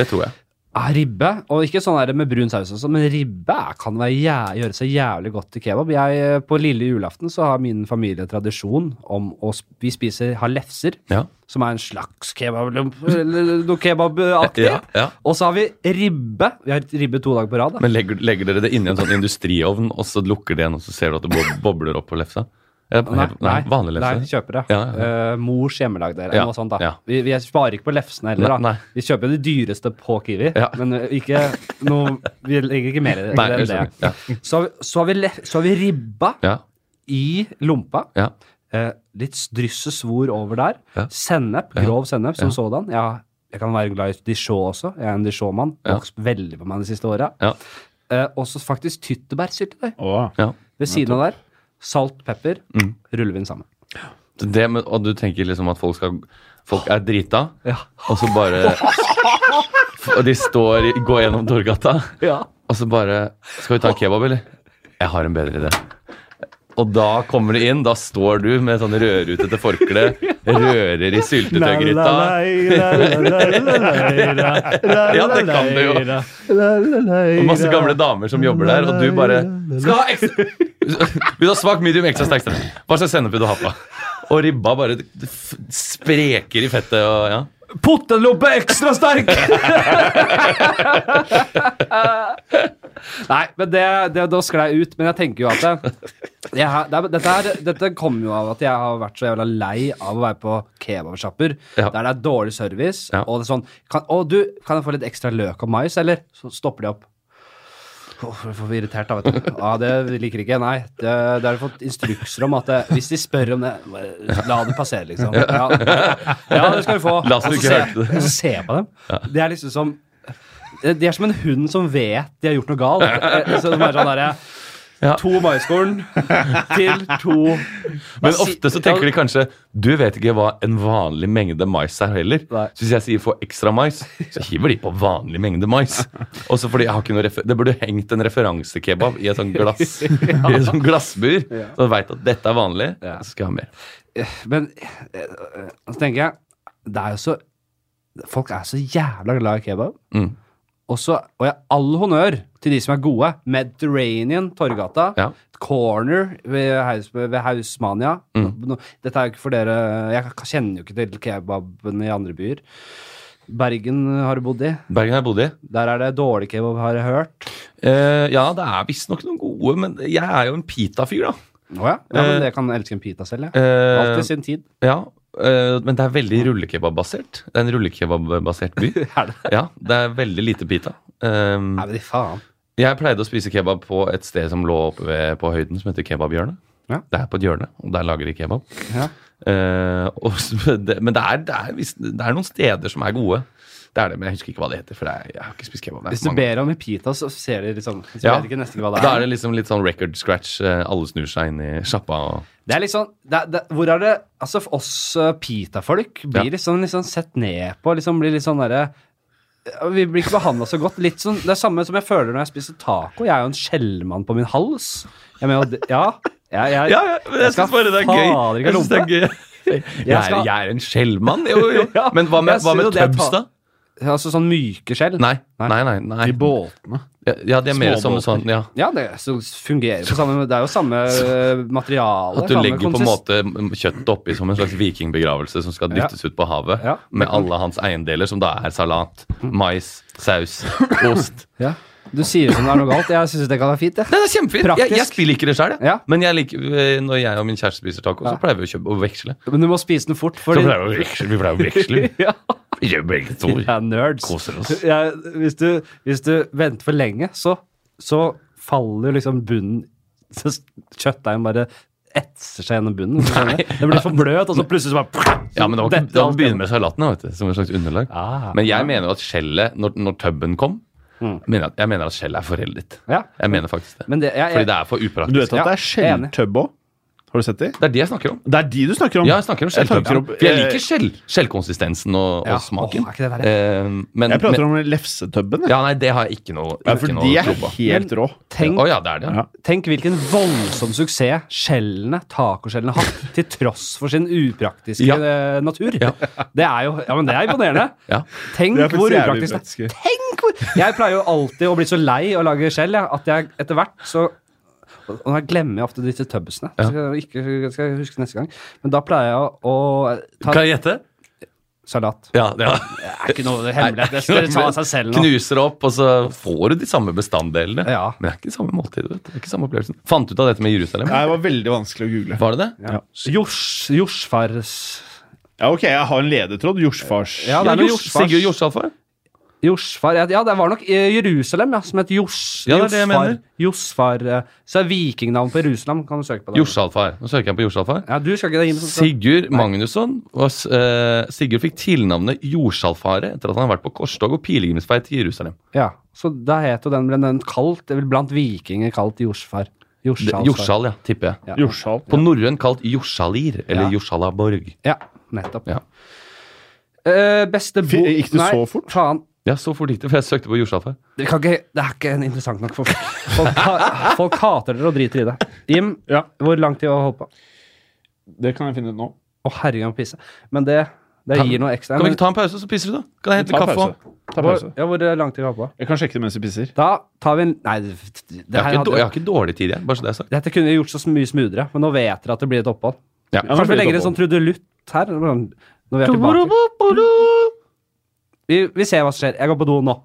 det tror jeg. Ah, ribbe, og ikke sånn der med brun saus også, men ribbe er- kan være, jæ- gjøre seg jævlig godt til kebab. Jeg, eh, på lille julaften så har min familie tradisjon om å sp- Vi spiser har lefser, Ja. som er en slags kebablump, eller noe kebabaktig. Ja, ja. Og så har vi ribbe. Vi har ribbe to dager på rad. da. Men legger, legger dere det inni en sånn industriovn, og så lukker det igjen, og så ser du at det bo- bobler opp på lefsa? Eller, Nei, helt- nei, vanlig lefse? Nei, kjøper det. Ja, Eh, mors hjemmelagde eller Ja, noe sånt. da. ja. Vi, vi sparer ikke på lefsene heller. da. Nei, nei. Vi kjøper de dyreste på Kiwi, Ja. men eh, ikke noe, vi legger ikke mer i det Nei, enn jeg det. skjønner. Ja. Så, har vi- så, har vi lef, så har vi ribba Ja, i lompa. ja, Eh, litt drysse svor over der. Ja. Sennep, Ja. grov sennep som Ja. sådan. Jeg, jeg kan være glad i Dijon også. Jeg er en Dijon-mann. Ja. Vokst veldig på meg de siste åra. ja. Eh, også faktisk tyttebærsyltetøy Å, ja. ved siden av der. Salt, pepper, Mm. ruller vi den sammen. Det, med- og du tenker liksom at folk, skal, folk er drita, Ja. og så bare Og de står, i- går gjennom Torgata, Ja. og så bare Skal vi ta en kebab, eller? Jeg har en bedre idé. Og da kommer du inn, da står du med sånn rødrutete forkle, rører i syltetøygryta. Ja, det kan du jo. Og masse gamle damer som jobber der, og du bare Skal ha ekstra Vil du ha svak, medium, ekstra sterk sennep? Hva slags sennep vil du ha på? Og ribba bare f- spreker i fettet og ja. Potteloppe ekstra sterk! Nei, men det, det da sklei jeg ut. Men jeg tenker jo at det, jeg, har- det, er- dette, er, dette kommer jo av at jeg har vært så jævla lei av å være på kebabsjapper Ja. der det er dårlig service. Ja. Og det er sånn kan, 'Å, du, kan jeg få litt ekstra løk og mais, eller?' Så stopper de opp. Åh, Jeg får vi irritert, da, vet du. Ja, det liker ikke. Nei. Det, det har de fått instrukser om at det, hvis de spør om det, la det passere, liksom. Ja, ja det skal du få. La oss Og så ikke se- hørte det. Og så ser jeg på dem. Det er liksom som eh, De er som en hund som vet de har gjort noe galt. Eh, Så de er sånn derre Ja. To maiskorn til to Men ofte så tenker de kanskje Du vet ikke hva en vanlig mengde mais er heller. Nei. Så hvis jeg sier 'få ekstra mais', så hiver de på vanlig mengde mais. Også fordi jeg har ikke noe refer Det burde hengt en referansekebab i et sånt glass I et sånt glassbur. Så du veit at dette er vanlig. Ja. Så skal jeg ha mer. Men eh, eh, så tenker jeg Det er jo så Folk er så jævla glad i kebab. Mm. Og så, og jeg all honnør til de som er gode. Mediterranean, Torgata, Ja. Corner ved, Haus, ved Hausmania. Mm. Nå- Dette er jo ikke for dere Jeg k- kjenner jo ikke til kebaben i andre byer. Bergen har du bodd i. Bergen har jeg bodd i. Der er det dårlig kebab, har jeg hørt. Eh, ja, det er visstnok noen gode, men jeg er jo en pita-fyr, da. Å ja? ja Eh, men jeg kan elske en pita selv, jeg. Eh, Alltid sin tid. Ja, eh, men det er veldig rullekebab-basert. Det er en rullekebab-basert by. Er det? Ja, det er veldig lite pita. Um, Nei, men i faen. jeg pleide å spise kebab på et sted som lå oppe ved, på høyden, som heter Kebabhjørnet. Ja. Det er på et hjørne, og der lager de kebab. Ja. Eh, og, s- det, men det er, det, er, visst- det er noen steder som er gode. Det er det, men jeg husker ikke hva det heter. For det er, jeg har ikke spist kebab. Det er Hvis du mange- ber om en pita, så ser de liksom Så Ja. vet ikke nesten hva det Da er er. det liksom litt sånn record scratch. eh, Alle snur seg inn i sjappa. Og, Det er litt sånn det er, det, Hvor er det Altså, for oss eh, pitafolk blir Ja. liksom, liksom sett ned på, liksom blir litt sånn derre ja, vi blir ikke behandla så godt. Litt sånn, det er samme som jeg føler når jeg spiser taco. Jeg er jo en skjellmann på min hals. Jeg mener, jo det- ja, jeg, jeg, skal fader ikke lompe. Jeg, Jeg er, skal- jeg er en skjellmann, jo, jo. Ja, Men hva med, jeg hva synes med jo det er tubs, ta- da? Altså sånn myke skjell. Nei, nei, nei. nei. I båtene. Ja, de er mer som Småbåter. sånn ja. Ja, det så fungerer på samme Det er jo samme eh, materiale. At du samme legger på en konsist- måte kjøttet oppi som en slags vikingbegravelse som skal dyttes ut på havet, Ja. med alle hans eiendeler, som da er salat, mais, saus, ost. Ja. Du sier som det er noe galt. Jeg syns det kan være fint, jeg. Nei, det er kjempefint! Jeg, Praktisk. jeg spiller ikke det sjøl, jeg. Ja. men jeg liker, eh, når jeg og min kjæreste spiser taco, så Ja. pleier vi å kjøpe og veksle. Men du må spise den fort, Så fordi pleier vi, å veksle, vi pleier å veksle. ja, Vi gjør begge to. vi er nerds. Koser oss. Ja, hvis, du, hvis du venter for lenge, så, så faller liksom bunnen så s- Kjøttdeigen bare etser seg gjennom bunnen. hvis du skjønner. Det blir for bløt, og så plutselig så bare Ja, men det var Dette ikke, da alt begynner med salatene, vet du, som en slags underlag. Ah. Men jeg mener jo at skjellet, når, når tubben kom, Mm. mener jeg, jeg mener at skjellet er foreldet. Ja. Jeg mener faktisk det. Men det, jeg, Fordi jeg, det er for Men du upraktisk. vet at Ja, det er jeg er enig. skjelltøbb òg? Har du sett de? Det er det jeg snakker om. Det er de du snakker om? Ja, jeg snakker om Jeg skjelltøbb. snakker om- Eh, For jeg liker skjell. Skjellkonsistensen og, Eh, Ja. og smaken. Åh, er ikke det verre? Eh, men, Jeg prater men, om lefsetubben. jeg. Ja, nei, det har jeg ikke noe, Ja, ikke for noe de er tro på. helt rå. tenk, Å ja, det er det. Ja. Ja. tenk hvilken voldsom suksess skjellene, tacoskjellene, har hatt til tross for sin upraktiske Ja. eh, natur. Det er jo Ja, men det er imponerende. Ja. Tenk De er faktisk hvor jævlig upraktisk det er. praktiske. Tenk hvor Jeg pleier jo alltid å bli så lei av å lage skjell, jeg, at jeg etter hvert så og og jeg glemmer jeg ofte disse tubsene. Ja. Så skal jeg, ikke, skal jeg huske neste gang. Men da pleier jeg å, å ta Kan jeg gjette? salat. Ja, ja. Det er ikke noe hemmelig. Det skal ta seg selv nå. Knuser opp, og så får du de samme bestanddelene. Ja. Men det er ikke samme måltid. Vet du. Det er ikke samme opplevelsen. Fant du ut av dette med Jerusalem? Nei, Det var veldig vanskelig å google. Var det det? Ja. Jors, jorsfars Ja, ok, jeg har en ledetråd. Jorsfars. Ja, det er noe Jors- jorsfars. Sigurd Jorshalfar? Jorsfar Ja, det var nok eh, Jerusalem, ja, som het Jors, Ja, det er det jeg Jorsfar. mener. Jorsfar eh, Så er vikingnavn på Jerusalem. Kan du søke på det? Jorshalfar. Nå søker jeg på Jorshalfar. Ja, du skal ikke det, Jim. som skal- Sigurd Magnusson var, s- eh, Sigurd fikk tilnavnet Jorsalfaret etter at han har vært på korstog og pilegrimsferd til Jerusalem. Ja, så da het jo den ble den kalt, det er vel blant vikinger kalt Jorsfar. Det- Jorsalsfar. Jorsal, ja, tipper jeg. Ja. Jorshall. På norrøn kalt Jorsalir, eller Ja. Jorsalaborg. Ja, nettopp. Ja. Eh, beste Fi- bok gikk det så fort? Faen. Ja, så fort gikk det, for jeg søkte på Jorsalfar. Dere kan ikke, det er ikke en interessant nok for folk. Folk, ha, folk hater dere og driter i det. Jim, Ja. hvor lang tid har du holdt på? Å, Det kan jeg finne ut nå. herregud, jeg må pisse. Men det, det Kan- gir noe ekstra. Kan vi Men, ikke ta en pause, så pisser du, da? Kan jeg hente Ta kaffe pause. òg? Ta hvor, pause. ja, hvor lang tid har du holdt på? Jeg kan sjekke det mens vi pisser. Da tar vi en Nei, det, det Jeg, har her ikke dår- jeg hadde, har ikke dårlig tid, jeg. Bare så det er sagt. dette kunne vi gjort så mye smoothere, men nå vet dere at det blir et opphold. Ja. Ja, nå Kanskje blir vi det legger en sånn opphold. trudelutt her? eller sånn, Når vi er tilbake. Vi, vi ser hva som skjer. Jeg går på do nå.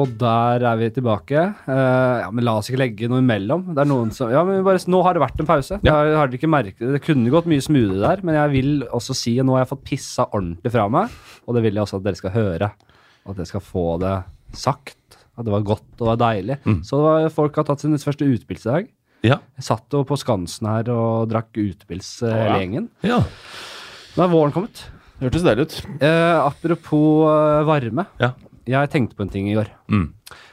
Og der er vi tilbake. Eh, ja, Men la oss ikke legge noe imellom. Det er noen som, ja, men vi bare, nå har det vært en pause. Det, har, har dere ikke merket, det kunne gått mye smoothere der, men jeg vil også si at nå har jeg fått pissa ordentlig fra meg. Og det vil jeg også at dere skal høre. At dere skal få det sagt. At det var godt og det var deilig. Så det var, folk har tatt sin første utpils i dag. Ja. Jeg satt jo på Skansen her og drakk utpils eh, hele gjengen. ja. Nå er våren kommet. Det hørtes deilig ut. Eh, apropos eh, varme. Ja. Jeg tenkte på en ting i går Mm.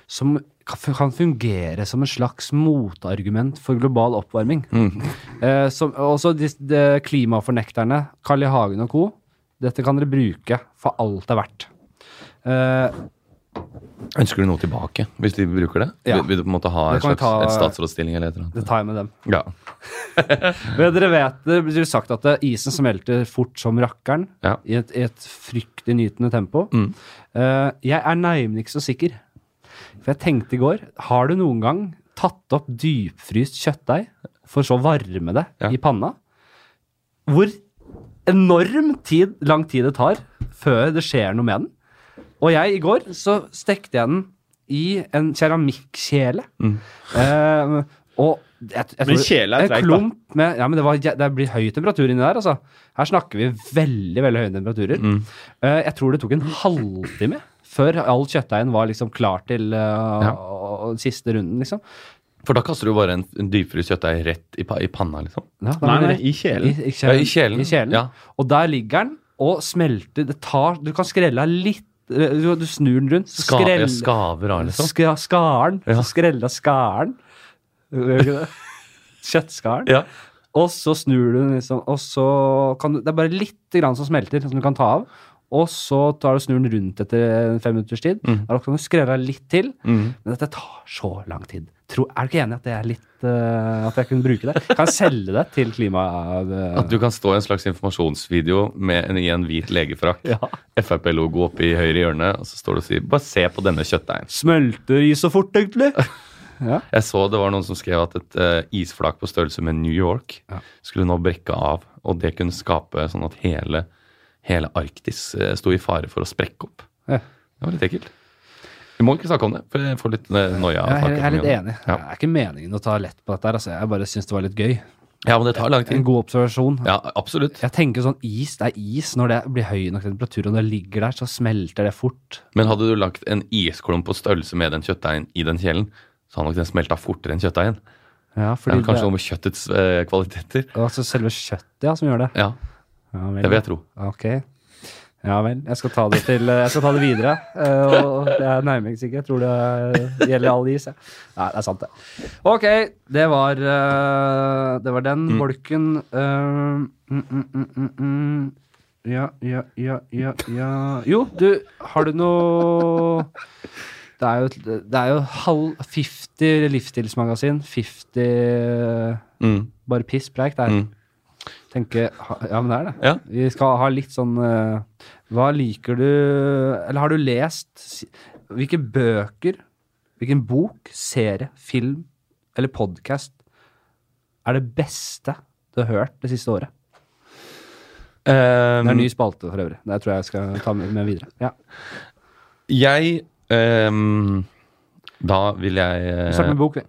som kan kan fungere som en slags motargument for global oppvarming. Eh, som, også de, de klimafornekterne, Carl I. Hagen og co. Dette kan dere bruke for alt det er verdt. Eh, Ønsker du noe tilbake, hvis de bruker det? Ja. Vil, vil du på en måte ha Det en kan vi slags, ta- et statsrådsstilling eller et eller det annet? tar jeg med dem. Ja. Men dere vet, det blir sagt at eh, isen smelter fort som rakkeren Ja. Mm. i, et, i et fryktelig nytende tempo. Eh, jeg er nærmere ikke så sikker. For jeg tenkte i går, har du noen gang tatt opp dypfryst kjøttdeig for så å varme det Ja. i panna? Hvor enorm tid, lang tid det tar før det skjer noe med den. Og jeg i går så stekte jeg den i en keramikkkjele. Eh, og jeg, jeg tror- Mm. Men kjele er en treigt, da. klump med, ja, men det, var, jæ- det blir høy temperatur inni der, altså. Her snakker vi veldig veldig høye temperaturer. Mm. Eh, jeg tror det tok en halvtime før all kjøttdeigen var liksom klar til eh, å- å- siste runden, liksom. For da kaster du bare en, en dypfryst kjøttdeig rett i, pa, i panna, liksom. Ja, da Nei, er det nei, rett- i kjelen. I, i Ja, kjelen. I kjelen. I kjelen. Ja. Og der ligger den og smelter. Det tar, du kan skrelle av litt eh, du, du snur den rundt. så Ska, skrell- ja, skaver av, liksom. ska, skaren. Ja. Så skrelle av skaren. Gjør du ikke det? Kjøttskaren. Ja. Og så snur du den, liksom, og så kan du Det er bare lite grann som smelter, som du kan ta av. Og så tar du snur den rundt etter en fem minutters tid. Da kan du skrelle av litt til. Mm. Men dette tar så lang tid. Tro, er du ikke enig i at det er litt eh, At jeg kunne bruke det? Kan jeg selge det til klima... eh, At du kan stå i en slags informasjonsvideo med en, i en hvit legefrakk, Ja. Frp-logo oppe i høyre hjørne, og så står du og sier 'bare se på denne kjøttdeigen'. Smelter i så fort, egentlig? Jeg så det var noen som skrev at et eh, isflak på størrelse med New York Ja. skulle nå brekke av, og det kunne skape sånn at hele, hele Arktis eh, sto i fare for å sprekke opp. Ja. Det var litt ekkelt. Vi må ikke snakke om det, for jeg får litt eh, noia. av å Jeg er, jeg er snakke for mye litt om enig. det. Det er ikke meningen å ta lett på dette. her, Altså. Jeg bare syns det var litt gøy. Ja. ja, men det tar En lang tid. god observasjon. Ja, absolutt. Jeg tenker sånn is, det er is når det blir høy nok temperatur, og det ligger der, så smelter det fort. Men hadde du lagt en isklump på størrelse med den kjøttdeigen i den kjelen, så hadde nok den smelta fortere enn kjøttdeigen. Ja, Det er fordi vel kanskje det, noe med kjøttets eh, kvaliteter. altså selve kjøttet ja, som gjør det. Ja, Ja vel. det vil jeg tro. Ok. Ja vel. Jeg skal ta det, til, jeg skal ta det videre. eh, Og det er nærmest ikke. Jeg tror det eh, gjelder all is. jeg. Nei, det er sant, det. Ok, det var, eh, det var den Mm. bolken. Eh, mm, mm, mm, mm, mm. Ja, ja, ja, ja, ja Jo, du, har du noe Det er jo, et- det er jo halv 50 livsstilsmagasin. eh, 50 Mm. bare pisspreik der. Mm. Tenker, ha- ja, men det er det. Ja. Vi skal ha litt sånn eh, Hva liker du Eller har du lest si- Hvilke bøker, hvilken bok, serie, film eller podkast er det beste du har hørt det siste året? Ehm, Mm. Det er en ny spalte for øvrig. Det tror jeg jeg skal ta med, med videre. Ja. Jeg ehm, Da vil jeg eh, Vi starter med bok, vi.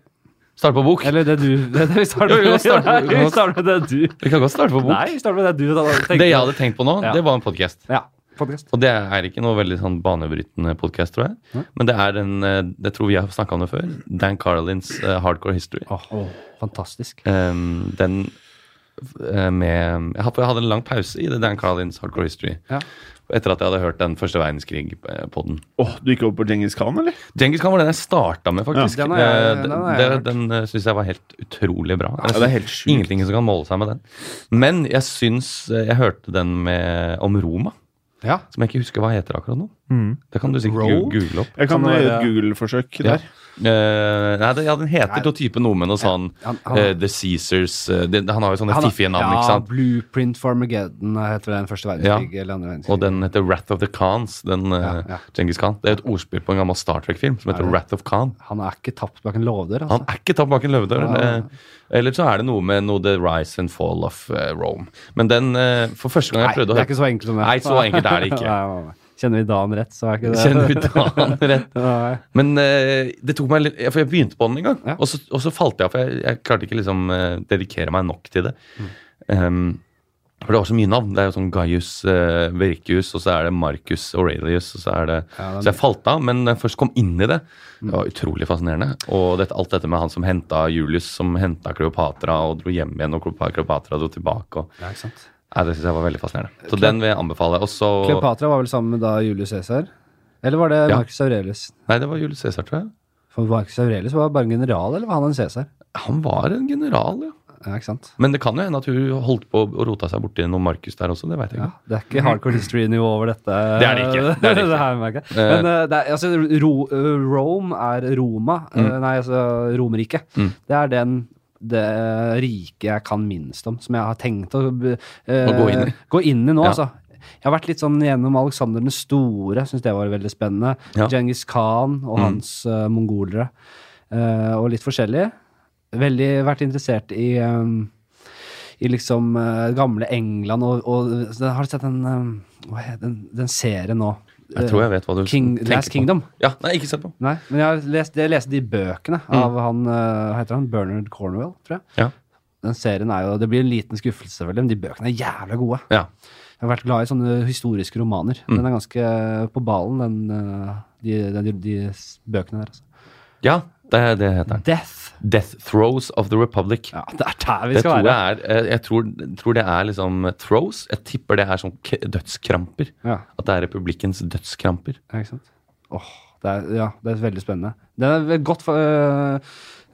starte på bok. Eller det du det, det vi starter Jo, jo, med- start med- Nei, vi starter med det du Vi kan godt starte på bok. Nei, vi starter med det du da, tenkte. det jeg hadde tenkt på nå, Ja. det var en podkast. Ja. Podcast. Og det er ikke noe veldig sånn banebrytende podkast, tror jeg. Men det er en eh, Jeg tror vi har snakka om det før. Dan Carlins eh, Hardcore History. Åh, fantastisk. Ehm, den eh, med jeg hadde, jeg hadde en lang pause i det Dan Carlins Hardcore History. Ja. Etter at jeg hadde hørt den første eh, verdenskrig-podden. Åh, du gikk over på Djengis Khan, eller? Djengis Khan var den jeg starta med, faktisk. Ja, den har jeg- Eh, den har jeg det- hørt. den den syns jeg var helt utrolig bra. Ja, det er helt sjukt. Ingenting som kan måle seg med den. Men jeg syns eh, Jeg hørte den med, om Roma, Ja. Mm. som jeg ikke husker hva heter akkurat nå. Det kan du sikkert Rome? gu- google opp. Jeg kan Kan det gjøre være- et Google-forsøk Ja. der. Eh, nei, det, ja, den heter noe type noe med noe sånn han- han- eh, The Caesars eh, det, Han har jo sånne Han har- fiffige navn, ja, ikke sant? Blueprint for Armageddon eh, heter den første verdenskrig. Eller andre verdenskrig. Og den heter Wrath of the Khans, den eh, Ja, ja. Djengis Khan. Det er et ordspill på en gammel Star Trek-film som heter det? Wrath of Khan. Han er ikke tapt bak en låvdør, Han altså. er ikke tapt bak en Ja, løvedør. ja, ja. eh, Eller så er det noe med noe The Rise and Fall of eh, Rome. Men den, eh, for første gang Nei, jeg prøvde det å er ikke så enkelt som det. Nei, så enkelt er det ikke. Nei, nei, nei. Kjenner vi dagen rett, så er ikke det Kjenner ut annen rett. Nei. Men eh, det tok meg litt ja, For jeg begynte på den en gang, Ja. og, så, og så falt jeg av. For jeg, jeg klarte ikke liksom eh, dedikere meg nok til det. Mm. Ehm, for det var så mye navn. Det er jo sånn Gaius eh, Verkius, og så er det Marcus Aurelius, og så er det Ja, det Mm. er Så jeg falt av, men da jeg først kom inn i det, det var utrolig fascinerende. Og dette, alt dette med han som henta Julius, som henta Kleopatra og dro hjem igjen, og Kleopa- Kleopatra dro tilbake og Ja, ikke sant. Nei, Det syns jeg var veldig fascinerende. Så den vil jeg anbefale. Og så Kleopatra var vel sammen med da Julius Cæsar? Eller var det Ja. Marcus Aurelius? Nei, det var Julius Cæsar, tror jeg. For Marcus Aurelius var bare en general, eller var han en Cæsar? Han var en general, ja. Ja, ikke sant. Men det kan jo hende at hun holdt på å rote seg borti noe Markus der også. Det vet jeg Ja, ikke. det er ikke hardcore history-nivå over dette. Det er det ikke, det er det ikke. her merker jeg. Men eh, det er, altså, Ro, eh, Rome er Roma, eh, Mm. nei, altså Romerriket. Det er den det eh, riket jeg kan minst om, som jeg har tenkt å, eh, gå inn i. gå inn i nå. Ja. Altså. Jeg har vært litt sånn gjennom Alexander den store, syns det var veldig spennende. Ja. Mm. Djengis Khan og hans eh, mongolere, eh, og litt forskjellig. Veldig vært interessert i eh, i liksom eh, gamle England og, og så Har du sett den, eh, hva heter den, den serien nå? Eh, Jeg tror jeg vet hva du King, tenker Last på. Kingdom? Ja, nei, ikke sett på. Nei, men jeg har lest, jeg leste de bøkene av han, eh, hva heter han, Bernard Cornwell, tror jeg. Mm. Ja. Den serien er jo, Det blir en liten skuffelse, selvfølgelig, men de bøkene er jævla gode. ja. Jeg har vært glad i sånne historiske romaner. Mm. Den er ganske på ballen, eh, den, eh, de, de, de, de s- bøkene der. altså. ja det, det heter den. Death Death Throes of the Republic. Ja, det er der vi Det skal være. tror jeg, er, eh, jeg tror, tror det er liksom throws. Jeg tipper det er sånn k dødskramper. Ja. At det er republikkens dødskramper. Ja, ikke sant? Åh, det er, ja, det er veldig spennende. Det er et godt, øh,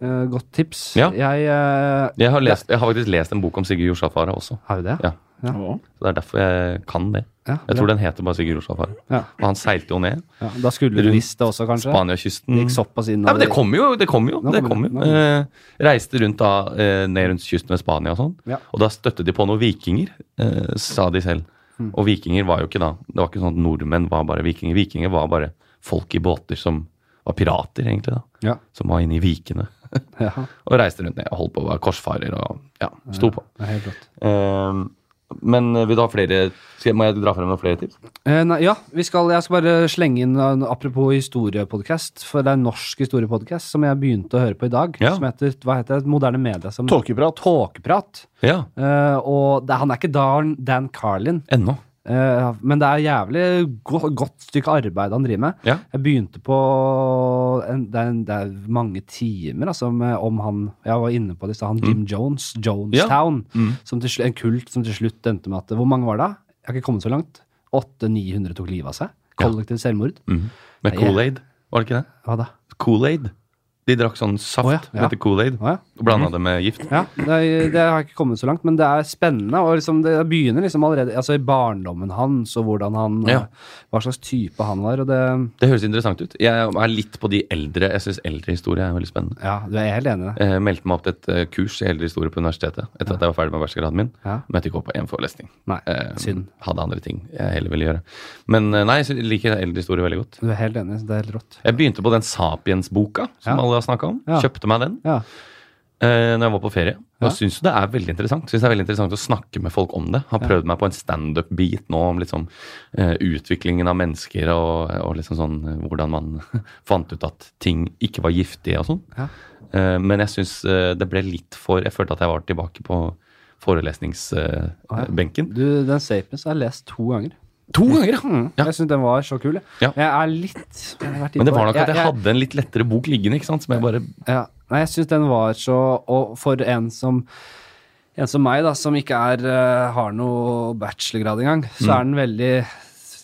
øh, godt tips. Ja. Jeg øh, Jeg har, lest, jeg har faktisk lest en bok om Sigurd Jorsalfare også. Har du det? Ja. Ja. Hva? Så Det er derfor jeg kan det. Ja, Jeg tror bra. den heter bare Sigurd Jorsalfare. Ja. Og han seilte jo ned Ja, da skulle du Rundt visst det også, kanskje? Spaniakysten. Gikk såpass inn Ja, men det kommer jo! det kommer jo, Nå det kommer kommer det, jo. nå kommer Eh, reiste rundt da, eh, ned rundt kysten ved Spania og sånn. Ja. Og da støtte de på noen vikinger, eh, sa de selv. Mm. Og vikinger var jo ikke da Det var ikke sånn at nordmenn var bare vikinger. Vikinger var bare folk i båter som var pirater, egentlig. da. Ja. Som var inne i vikene. ja, og reiste rundt ned og holdt på å være korsfarer og ja, sto på. det er helt rått. Eh, men eh, vil du ha flere skal, Må jeg dra frem noen flere tips? Eh, nei, ja, vi skal, jeg skal bare slenge inn en apropos historiepodkast. For det er en norsk historiepodkast som jeg begynte å høre på i dag. Ja. Som heter hva heter det, Moderne Media. Som, Tåkeprat. Tåkeprat. Ja. Eh, og det, han er ikke Dan, Dan Carlin, Ennå. eh, men det er jævlig go godt stykke arbeid han driver med. Ja. Jeg begynte på en, det, er en, det er mange timer altså, med, om han Jeg var inne på det i stad. Han Mm. Jim Jones, Jonestown. Som til, slu- en kult som til slutt endte med at Hvor mange var det? da? Jeg har ikke kommet så langt. 800-900 tok livet av seg. Kollektivt selvmord. Mhm. Med Nei, Kool-Aid, var det ikke det? Hva da? Kool-Aid. De drakk sånn saft Å ja, som ja. heter Kool-Aid, Å ja. og blanda det med gift. Ja, det, er- det har jeg ikke kommet så langt, men det er spennende. Og liksom, det begynner liksom allerede altså, i barndommen hans, og hvordan han Ja. eh, hva slags type han var. Og det, Det høres interessant ut. Jeg er litt på de eldre. Jeg syns eldrehistorie er veldig spennende. ja, du er helt enig i det. Jeg meldte meg opp til et eh, kurs i eldrehistorie på universitetet etter at jeg var ferdig med bachelorgraden min. Ja. Møtte ikke opp på én forelesning. Nei, Eh, synd. Hadde andre ting jeg heller ville gjøre. Men eh, nei, jeg liker eldrehistorie veldig godt. Du er helt enig, det er helt rått. Jeg begynte på den Sapiens-boka som Ja. alle har snakka om. Ja. Kjøpte meg den Ja. eh, når jeg var på ferie. Ja. Og syns jo det er veldig interessant Synes det er veldig interessant å snakke med folk om det. Har prøvd meg på en standup-beat nå om liksom, eh, utviklingen av mennesker og, og liksom sånn eh, hvordan man fant ut at ting ikke var giftige og sånn. Ja. Eh, men jeg syns eh, det ble litt for Jeg følte at jeg var tilbake på Å, ja. forelesningsbenken. Du, den Sapiens har jeg lest to ganger. Mm, to ganger, ja! Jeg syns den var så kul. jeg. Ja. Jeg er litt jeg har vært inne Men det på- var nok at jeg jeg- hadde en litt lettere bok liggende, ikke sant, som jeg bare Ja. Nei, jeg syns den var så Og for en som en som meg, da, som ikke er, eh, har noe bachelorgrad engang, så er den Mm. veldig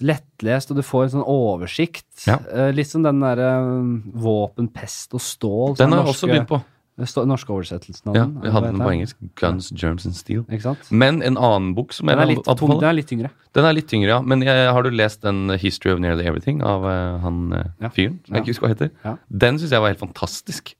lettlest, og du får en sånn oversikt. Ja. Eh, litt som den derre eh, våpen, pest og stål. sånn som Den har er jeg også begynt på. sto- norske oversettelsen av Ja, den. jeg hadde sånn, vet den på engelsk. Guns, Germs and Steel. Ikke sant? Men en annen bok som jeg Den er litt, tung, den anbefaler er litt tyngre. Den er litt tyngre, ja. Men jeg, har du lest den History of Nearly Everything av eh, han eh, Ja. fyren? Som jeg Ja. ikke husker hva heter. Ja. Den syns jeg var helt fantastisk.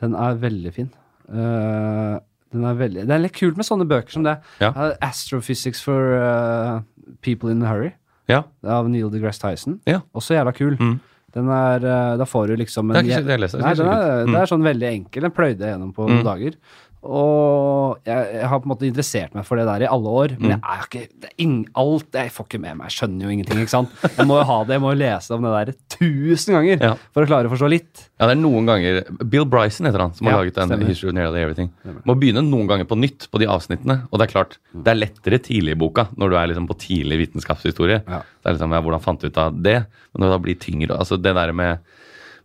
Den er veldig fin. Eh, den er veldig Det er litt kult med sånne bøker som det. Ja. Eh, Astrophysics for eh, People in a Hurry Ja, av Neil deGrasse Tyson. ja. Også jævla kul. Mm. Den er, eh, da får du liksom Det er ikke så- det jeg leser, det er Nei, ikke den så er, kult. Mm. det er sånn veldig enkel. Den pløyde jeg gjennom på noen dager. Og jeg, jeg har på en måte interessert meg for det der i alle år, Mm. men jeg er ikke, det er ing, alt Jeg får ikke med meg, jeg skjønner jo ingenting, ikke sant. Jeg må jo ha det, jeg må jo lese om det der tusen ganger Ja. for å klare å forstå litt. ja, det er noen ganger Bill Bryson heter han, som Ja, har laget den stemmer. History of Nearly Everything. Må begynne noen ganger på nytt på de avsnittene. Og det er klart, Mm. det er lettere tidlig i boka, når du er liksom på tidlig vitenskapshistorie. Ja. Det er liksom, ja, hvordan fant du ut av det? Men når det da blir tyngre Altså det der med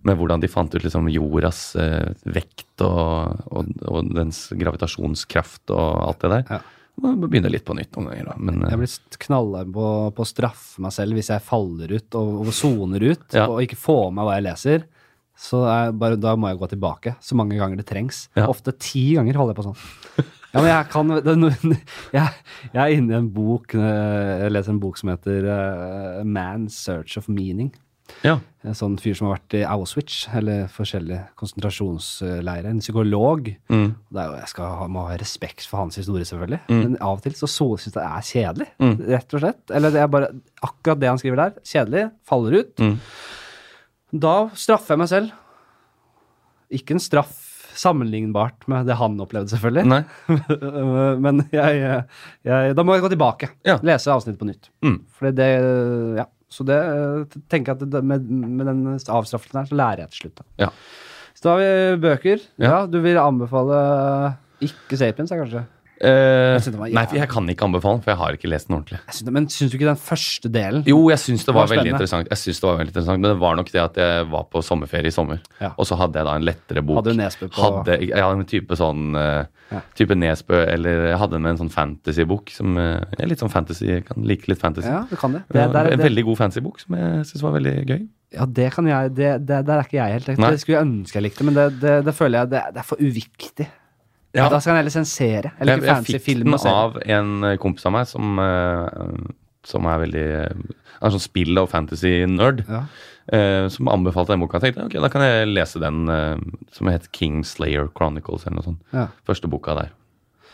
med hvordan de fant ut liksom jordas eh, vekt og, og, og dens gravitasjonskraft og alt det der. Ja. Må begynne litt på nytt noen ganger, da. Men, eh, Jeg blir knallhard på, på å straffe meg selv hvis jeg faller ut og, og soner ut Ja. og ikke får med meg hva jeg leser. Så er bare, da må jeg gå tilbake så mange ganger det trengs. Ja. Ofte ti ganger holder jeg på sånn. Ja, men jeg kan det, er noen- jeg, jeg er inne i en bok eh, Jeg leser en bok som heter eh, Man's Search of Meaning. eh, ja. En sånn fyr som har vært i Auschwitz, eller forskjellige konsentrasjonsleirer. En psykolog. Det er jo, jeg skal ha, må ha respekt for hans historie, selvfølgelig. Men av og til så syns jeg det er kjedelig. Rett og slett. Eller det er bare akkurat det han skriver der. Kjedelig. Faller ut. Da straffer jeg meg selv. Ikke en straff sammenlignbart med det han opplevde, selvfølgelig. Nei. Men jeg, jeg Da må jeg gå tilbake. Ja. Lese avsnittet på nytt. Mm. Fordi det Ja. Så det eh, tenker jeg at det, med, med den avstraffelsen her, så lærer jeg til slutt. Da. Ja. Så da har vi bøker. Ja, Ja. du vil anbefale ikke Sapiens, ja, kanskje? Eh, synes det var nei, jævlig. for jeg kan ikke anbefale, for jeg har ikke lest den ordentlig. Jeg synes, men syns du ikke den første delen? Jo, jeg syns det var, var veldig spennende. interessant. Jeg synes det var veldig interessant, Men det var nok det at jeg var på sommerferie i sommer. Ja. Og så hadde jeg da en lettere bok. Hadde du Nesbø på- Hadde, ja, en type sånn eh, Ja. type Nesbø, eller jeg hadde med en sånn fantasybok som eh, er litt sånn fantasy. Jeg kan like litt fantasy. Ja, du kan det. Det, det, der, en det veldig god fantasybok som jeg syns var veldig gøy. ja, det kan jeg det, det, Der er ikke jeg helt Nei. Det skulle jeg ønske jeg likte, men det, det, det føler jeg det, det er for uviktig. Ja. Da skal jeg heller sensere. Eller Jeg, ikke jeg fancy fikk film den og serier. av en eh, kompis av meg som, eh, som er veldig eh, Han er sånn spill- og fantasy-nerd. Ja. eh, som anbefalte den boka. Jeg tenkte ok, da kan jeg lese den eh, som het Kingslayer Chronicles eller noe sånt. Ja. Første boka der.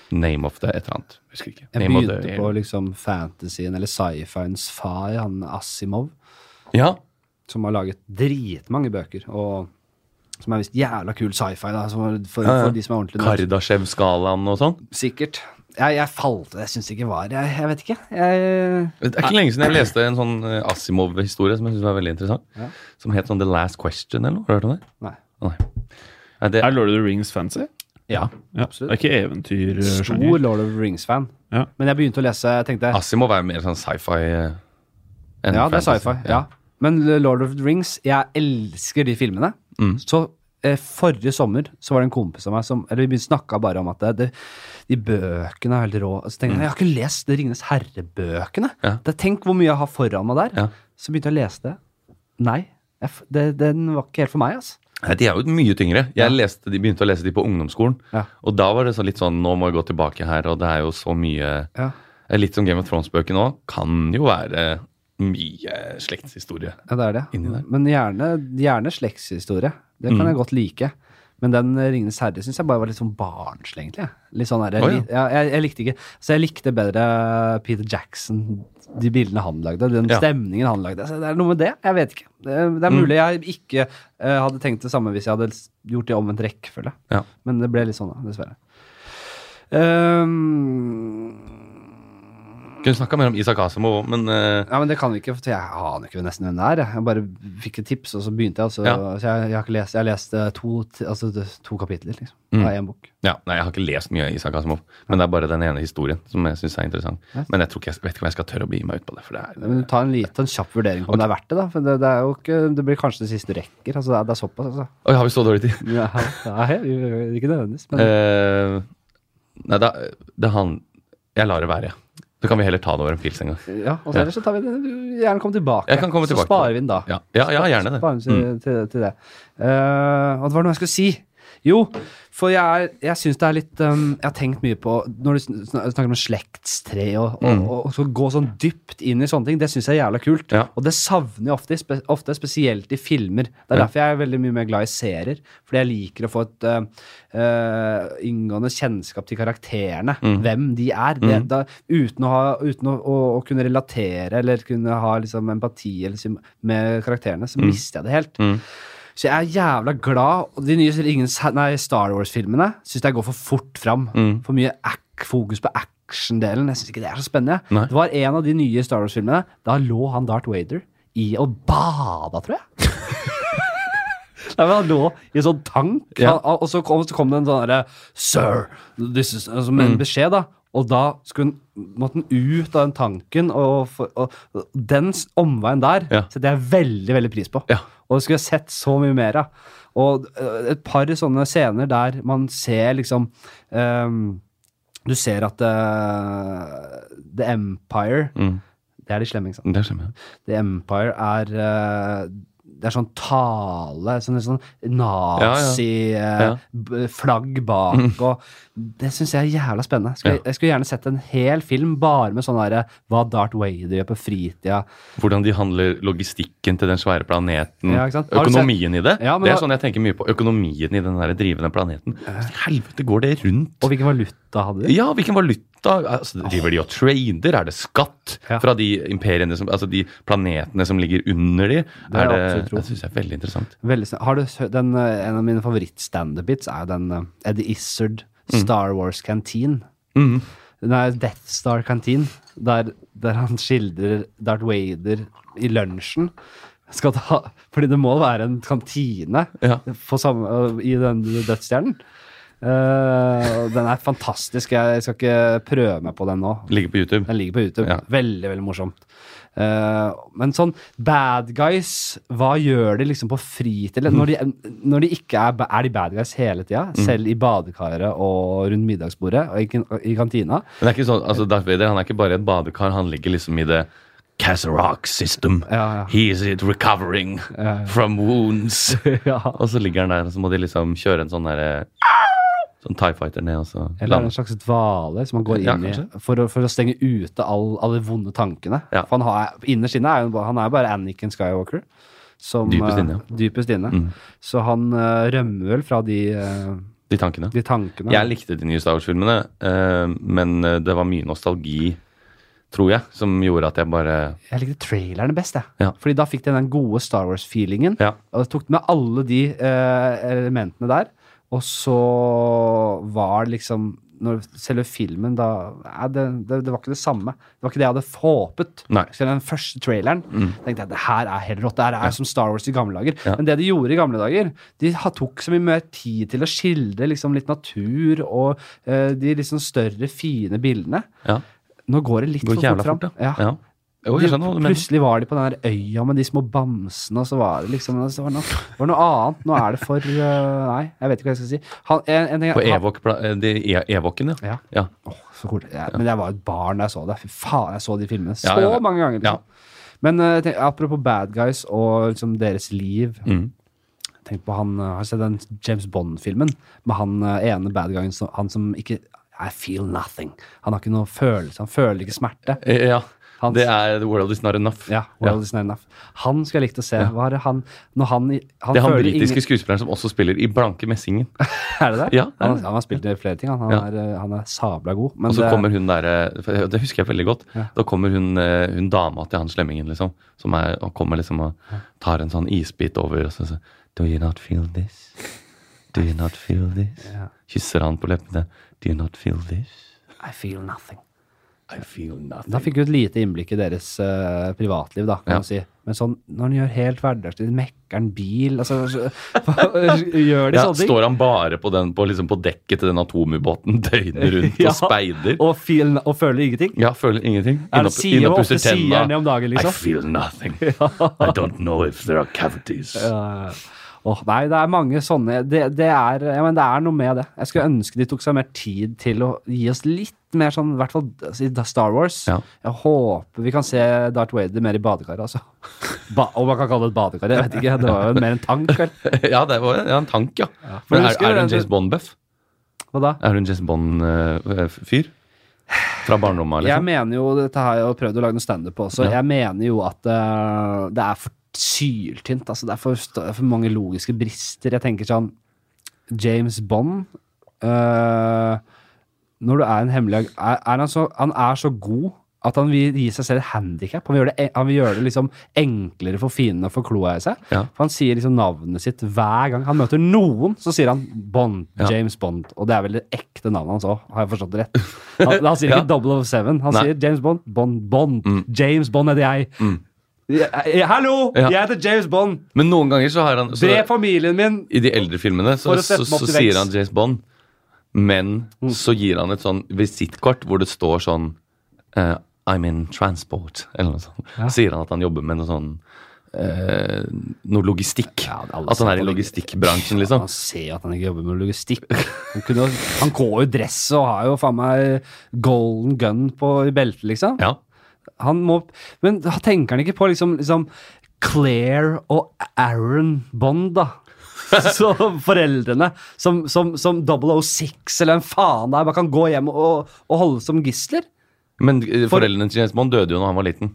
Name of the et eller annet. Husker ikke. Jeg Name of begynte the- på liksom fantasyen eller sci-fiens far, han Asimov, Ja. som har laget dritmange bøker, og som er visst jævla kul sci-fi, da, som er for, ja. for de som er ordentlig nerd. Kardashev-skalaen og sånn. Sikkert. Jeg, jeg falt Jeg syns det ikke var jeg, jeg vet ikke. Jeg, Det er ikke lenge siden jeg leste en sånn eh, Asimov-historie som jeg synes var veldig interessant. Ja. Som het sånn The Last Question eller noe. Har du hørt om det? nei. Å, Nei. Nei, det, Er Lord of the Rings fancy? ja. Ja, Absolutt. Det er ikke eh, Stor eventyrsjanger? Lord of the Rings-fan. Ja. Men jeg begynte å lese, jeg tenkte Asimov er jo mer sånn sci-fi eh, enn Ja, det er fantasy. sci-fi. Ja. Men Lord of the Rings, jeg elsker de filmene. Mm. Så eh, forrige sommer så var det en kompis av meg som Eller vi snakka bare om at eh, det, det, de bøkene er helt rå. Og så tenkte jeg jeg har ikke lest det Ringenes herre-bøkene. Mm. Ja. Det- Tenk hvor mye jeg har foran meg der. Ja. Så begynte jeg å lese det. Nei, jeg, f- det, den var ikke helt for meg, altså. Nei, De er jo mye tyngre. Jeg leste, de begynte å lese de på ungdomsskolen. Ja. Og da var det så litt sånn Nå må jeg gå tilbake her, og det er jo så mye Ja. Eh, Litt som Game of Thrones-bøkene òg. Kan jo være mye slektshistorie. Ja, det er det. Inni der. Mm. Men gjerne, gjerne slektshistorie. Det kan jeg godt like. Men den eh, 'Ringenes herre' syns jeg bare var litt sånn barnslig, egentlig. jeg. Litt sånn der, Å, ja. li- ja, jeg, jeg likte ikke Så jeg likte bedre Peter Jackson, de bildene han lagde, den Ja. Mm. stemningen han lagde. Så det er noe med det. Jeg vet ikke. Det, er- det er mulig jeg ikke eh, hadde tenkt det samme hvis jeg hadde s- gjort det i omvendt rekkefølge. Ja. Men det ble litt sånn, da, dessverre. Ehm, Kunne snakka mer om Isak Asimov òg, men eh, ja, men det kan vi ikke, for jeg aner ikke nesten hvem det er. jeg. Jeg bare fikk et tips, og så begynte jeg. Og så, Ja. så jeg, jeg har ikke lest Jeg har lest eh, to, t- altså, det- to kapitler liksom, av én bok. ja, Nei, jeg har ikke lest mye av Isak Asimov. Men det er bare den ene historien som jeg syns er interessant. Men jeg tror ikke jeg vet ikke om jeg skal tørre å begi meg ut på det. For det er, Men ta en liten kjapp vurdering på om det er verdt det. da For det, det, er jo ikke, det blir kanskje det siste du rekker. Altså, det, er, det er såpass, altså. Oi, har vi så dårlig tid? Ja, nei, ikke nødvendigvis, men Eh, nei, da, det han Jeg lar det være, jeg. Så kan vi heller ta det over en pils en gang. Eh, ja. Og så ellers så tar vi den. Du gjerne kom tilbake. Jeg kan komme tilbake så sparer vi den da. Ja, ja, ja gjerne det. Mm. Bare til, til, til det. Eh, og det var noe jeg skulle si. Jo, for jeg, er- jeg syns det er litt um, Jeg har tenkt mye på Når du sn- sn- snakker om slektstre og, Mm. og, og, og så gå sånn dypt inn i sånne ting, det syns jeg er jævla kult. Ja. Og det savner jeg ofte, spe, ofte, spesielt i filmer. Det er Ja. derfor jeg er veldig mye mer glad i serier. Fordi jeg liker å få et eh, eh, inngående kjennskap til karakterene. Mm. Hvem de er. Det, da, uten å, ha, uten å, å, å kunne relatere eller kunne ha liksom, empati eller, sym- med karakterene, Mm. så mister jeg det helt. Så jeg er jævla glad. Og de nye Ringens, Her- nei, Star Wars-filmene syns jeg går for fort fram. Mm. For mye ack, fokus på action-delen. Jeg syns ikke det er så spennende. Nei. Det var en av de nye Star Wars-filmene. Da lå han Darth Vader i og bada, tror jeg. Nei, men Han lå i en sånn tank, Ja. han, og så kom, så kom det en sånn derre Sir! This is, altså, med Mm. en beskjed, da. Og da skulle den, måtte den ut av den tanken, og, for- og, og den s- omveien der Ja. setter jeg veldig veldig pris på. Ja. Og det skulle jeg sett så mye mer av. Og øh, et par sånne scener der man ser liksom øhm, Du ser at øh, The Empire Mm. Det er de slemme, ikke sant? Det skjønner jeg. The Empire er øh, det er sånn tale, sånn, sånn Ja. Mm. nazi-flagg bak og Det syns jeg er jævla spennende. Skulle, Ja. Jeg skulle gjerne sett en hel film bare med sånn derre hva Darth Vader gjør på fritida. Hvordan de handler logistikken til den svære planeten. Ja, ikke sant? Har du Økonomien i det. Ja, men det er har- sånn jeg tenker mye på. Økonomien i den der drivende planeten. Hvordan i helvete går det rundt? Og hvilken valuta hadde de? Ja, hvilken valuta? Altså, driver de og trader? Er det skatt Ja. fra de imperiene som, altså de planetene som ligger under de? Det er er det, jeg absolutt tro. det syns jeg er veldig interessant. Veldig snill. Har du hø- den, eh, en av mine favoritt-standup-bits er den eh, Eddie Izzard Star Wars Canteen. Nei, Death Star Canteen, der, der han skildrer Darth Vader i lunsjen. Skal ta, fordi det må være en kantine Ja. på samme, i den dødsstjernen. Eh, og den er fantastisk. Jeg skal ikke prøve meg på den nå. Ligger på YouTube. Den ligger på YouTube. Ja. Veldig, veldig morsomt. Eh, men sånn bad guys, hva gjør de liksom på fritid? Eller Når, Mhm. de, når de ikke er, ba- er de bad guys hele tida? Selv i badekaret og rundt middagsbordet og i, kan- i kantina? Men det er ikke sånn, altså Darth Vader han er ikke bare et badekar, han ligger liksom i det Casserock system. Ja, ja. He is it recovering from wounds. ja. Og så ligger han der, og så må de liksom kjøre en sånn der, Sånn Tie Fighter ned, og så Eller er det en lande. slags dvale som han går Ja, inn i kanskje. for å, for å stenge ute all, alle vonde tankene? Ja. For han har, innerst inne er jo bare- han er bare Anniken Skywalker. Som, Dypest eh, inne, Mhm. dypest inne. Så han eh, rømmer vel fra de, eh, De tankene. de tankene. Jeg likte de nye Star Wars-filmene, eh, men eh, det var mye nostalgi, tror jeg, som gjorde at jeg bare Jeg likte trailerne best, jeg. Ja. Fordi da fikk de den gode Star Wars-feelingen. Ja. Og jeg tok med alle de eh, elementene der. Og så var det liksom når Selve filmen, da nei, det, det, det var ikke det samme. Det var ikke det jeg hadde håpet. Nei. Mm. Selv den første traileren tenkte jeg det her er helt rått. Det her er som Star Wars i gamle dager. Ja. Men det de gjorde i gamle dager, de ha- tok så mye mer tid til å skildre liksom, litt natur og eh, de liksom større, fine bildene. Ja. Nå går det litt Går for fort jævla fram. fort, da. Ja. Ja. Jo, jeg skjønner hva du mener. Plutselig var de på den der øya med de små bamsene, og så var det liksom det var, noe, det var noe annet. Nå er det for øh, Nei, jeg vet ikke hva jeg skal si. Han, en, en, ting- På han- Evok, pla- eh, de E- Evoken, ja. Ja. ja. Åh, så kort. Jeg, men jeg var et barn da jeg så det. Fy faen, jeg så de filmene så Ja, ja, ja. mange ganger. Ja. Liksom. Men øh, jeg tenker, apropos bad guys og liksom deres liv. Mm. Tenk på han, øh, Har du sett den James Bond-filmen med han øh, ene bad guyen som, han som ikke I feel nothing. Han har ikke noe følelse. Han føler ikke smerte. Eh, ja. Hans- Det er The World Is Not Enough. Ja, World is not enough. Han skulle jeg likt å se. Hva er det han, når han, han Det er han føler britiske ingen- skuespilleren som også spiller i Blanke Messingen. Er det det? Ja, det er han, det. han har spilt i flere ting. Han, han, Ja. er, eh, han er sabla god. Men Og så det, kommer hun derre for Det husker jeg veldig godt. Da kommer hun, eh, hun dama til han slemmingen, liksom. Som er, og kommer liksom og tar en sånn isbit over og så sier Do you not feel this? Do you not feel this? Ja. Kysser han på leppene. Do you not feel this? I feel nothing. I feel nothing. Da fikk vi et lite innblikk i deres eh, privatliv, da, kan Ja. man si. Men sånn, når han gjør helt hverdagslig, mekker han bil altså, så- Gjør de Ja, sånne ting? står han bare på, den, på, liksom på dekket til den atomubåten døgnet rundt Ja. og speider? Og, feel, og føler ingenting? Ja, føler ingenting. Er det Innop- sier- innop hvor pusser ofte sier tenna. han det om dagen, liksom? I feel nothing. I don't know if there are cavities. Eh, Åh, nei, det er mange sånne det, det, er, ja, men det er noe med det. Jeg skulle ønske de tok seg mer tid til å gi oss litt mer sånn, i hvert fall i da- Star Wars. Ja. Jeg håper vi kan se Darth Vader mer i badekaret, altså. Ba om man kan kalle det et badekar, jeg vet ikke. Det var jo mer en tank, vel. ja, det var ja, en tank, ja. For Men er, husker er du hun det- James Bond-buff? Hva da? Er hun James Bond-fyr? Fra barndommen, Jeg liksom? mener jo, dette har jeg jo prøvd å lage noe standup på også, jeg mener jo at eh, det er for syltynt. Altså, det er for, st- for mange logiske brister. Jeg tenker sånn James Bond eh, Når du er en hemmelig ag- er, er han, så, han er så god at han vil gi seg selv et handikap. Han vil gjøre det, en- han vil gjøre det liksom enklere for fiendene å få kloa i seg. Ja. For han sier liksom navnet sitt hver gang han møter noen, så sier han Bond. Ja. James Bond. Og det er vel det ekte navnet hans òg, har jeg forstått det rett? Han, han sier Ja. ikke 007. Han Nei. Mm. sier James Bond. Bond. Bond. James Bond heter jeg. Jeg- jeg- Hallo! Ja. Jeg heter James Bond. Men noen ganger så har han så, Drep familien min. I de eldre filmene så, For å sette så, dem så, opp Mm. til vekst. sier han James Bond, men så gir han et sånn visittkort hvor det står sånn eh, I'm in transport, eller noe sånt. Sier han at han jobber med noe sånn eh, noe logistikk. Ja, det er alle at han som- altså. er i logistikkbransjen, liksom. Han ser at han ikke jobber med logistikk. Han, kunne, jo- han går jo i dress og har jo faen meg golden gun på, i beltet, liksom. Ja. Han må, men da tenker han ikke på liksom, liksom Claire og Aaron Bond, da. Så foreldrene som, som, som 006 eller en faen der bare kan gå hjem og, og holde som gisler. Men eh, foreldrene til James Bond døde jo når han var liten.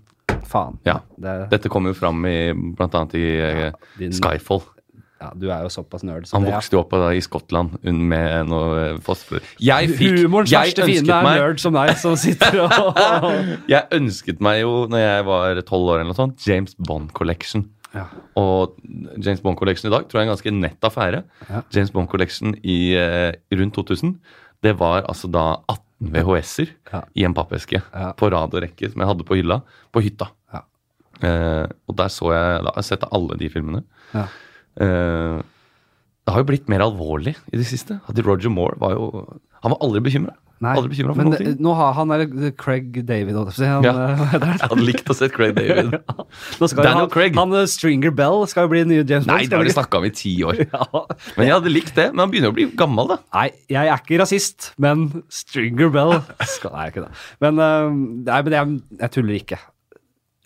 Faen. Ja. Det, Dette kom jo fram i blant annet i eh, din- Skyfall. ja, du er jo såpass nerd. Så Han det, ja. vokste jo opp da, i Skottland un- med noe eh, fosfor. Jeg fikk Humorens jeg verste fiende ønsket er meg, nerd som deg, som sitter og Jeg ønsket meg jo, når jeg var 12 år eller noe sånt, James Bond Collection. Ja. Og James Bond Collection i dag tror jeg er en ganske nett affære. Ja. James Bond Collection i eh, rundt 2000, det var altså da 18 VHS-er Ja. i en pappeske Ja. på rad og rekke som jeg hadde på hylla på hytta. Ja. Eh, og der så jeg Da har jeg sett alle de filmene. Ja. Eh, det har jo blitt mer alvorlig i det siste. At Roger Moore var jo Han var aldri bekymra. Nei, Aldri bekymret for men noen ting. det- nå har han der Craig David holdt jeg på å si, han, Ja. eh, hva heter Jeg han? hadde likt å se Craig David. Nå skal jo Daniel han, Craig. Han eh, Stringer Bell skal jo bli den nye James Bond. Nei, det skal har de han ikke? snakka om i ti år. Ja. Men jeg hadde likt det. Men han begynner å bli gammel, da. Nei, jeg er ikke rasist, men Stringer Bell skal, Nei, jeg er ikke det. Men, eh, nei, men jeg, jeg tuller ikke.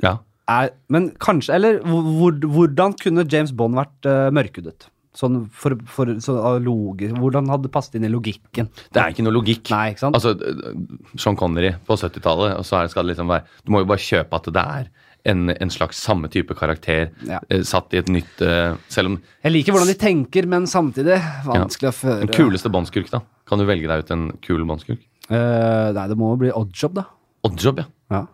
Ja. Er, men kanskje Eller hvor, hvor- hvordan kunne James Bond vært eh, mørkhudet? Sånn for, for så, av logi, Hvordan hadde det passet inn i logikken? Det er ikke noe logikk. Nei, ikke sant? Altså, øh, Sean Connery på 70-tallet, og så er det, skal det liksom være Du må jo bare kjøpe at det er en, en slags samme type karakter Ja. eh, satt i et nytt eh, Selv om jeg liker hvordan de tenker, men samtidig vanskelig å føre den kuleste båndskurk, da. Kan du velge deg ut en kul båndskurk? Eh, nei, det må jo bli oddjob, da. Oddjob, ja. Ja.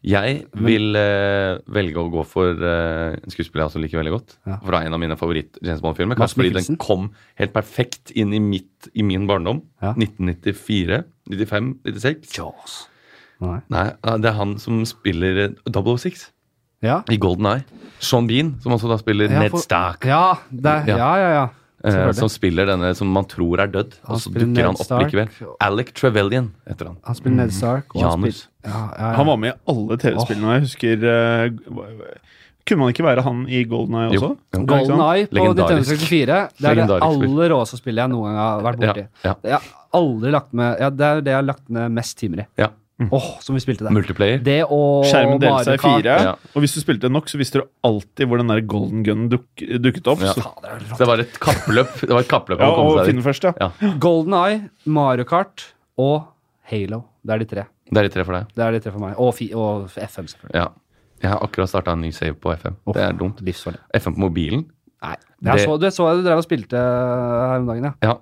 Jeg vil eh, velge å gå for eh, en skuespiller jeg også liker veldig godt. Ja. For det er en av mine favoritt-James Bond-filmer. Mads Kanskje fordi Mikkelsen. den kom helt perfekt inn i, mitt, i min barndom. Ja. 1994, 95, 96. Jaws. Nei. Nei, eh, det er han som spiller eh, 006 Ja. i Golden Eye. Sean Bean, som også da spiller Ja, Ned for- Stark. Ja, det, Ja. ja, ja, ja. eh, Selvfølgelig. som spiller denne som man tror er død, Han og så spiller Ned dukker han opp Stark. likevel. Alec Trevelyan heter han. Han spiller Ned Stark. og han Janus. spiller- Ja, ja, ja. Han var med i alle TV-spillene. Jeg husker eh, hva- Kunne man ikke være han i Golden Eye Jo. også? Jo. Ja, ikke sant? Golden Eye på Legendarisk. 1964. Det er det Legendarisk spill. aller råeste spillet jeg noen gang har vært borti. Ja, ja. Jeg har aldri lagt med, ja, det er det jeg har lagt ned mest timer i. Ja. Åh, som vi spilte det. Multiplayer. Det og Skjermen delte seg i Mario Kart. fire, Ja. og hvis du spilte nok, så visste du alltid hvor den der golden gun duk, dukket opp. Ja. Så, Så det var et kappløp. Det var et kappløp om ja, å komme og seg dit. finne først, ja. Ja, Golden Eye, Mario Kart og Halo. Det er de tre. Det er de tre for deg. Det er de tre for meg. Og, fi, og FM, selvfølgelig. Ja. Jeg har akkurat starta en ny save på FM. Åh, Det er dumt. Livsfarlig. FM på mobilen? Nei. Jeg Det- så, det så jeg du drev og spilte her om dagen, ja. Ja.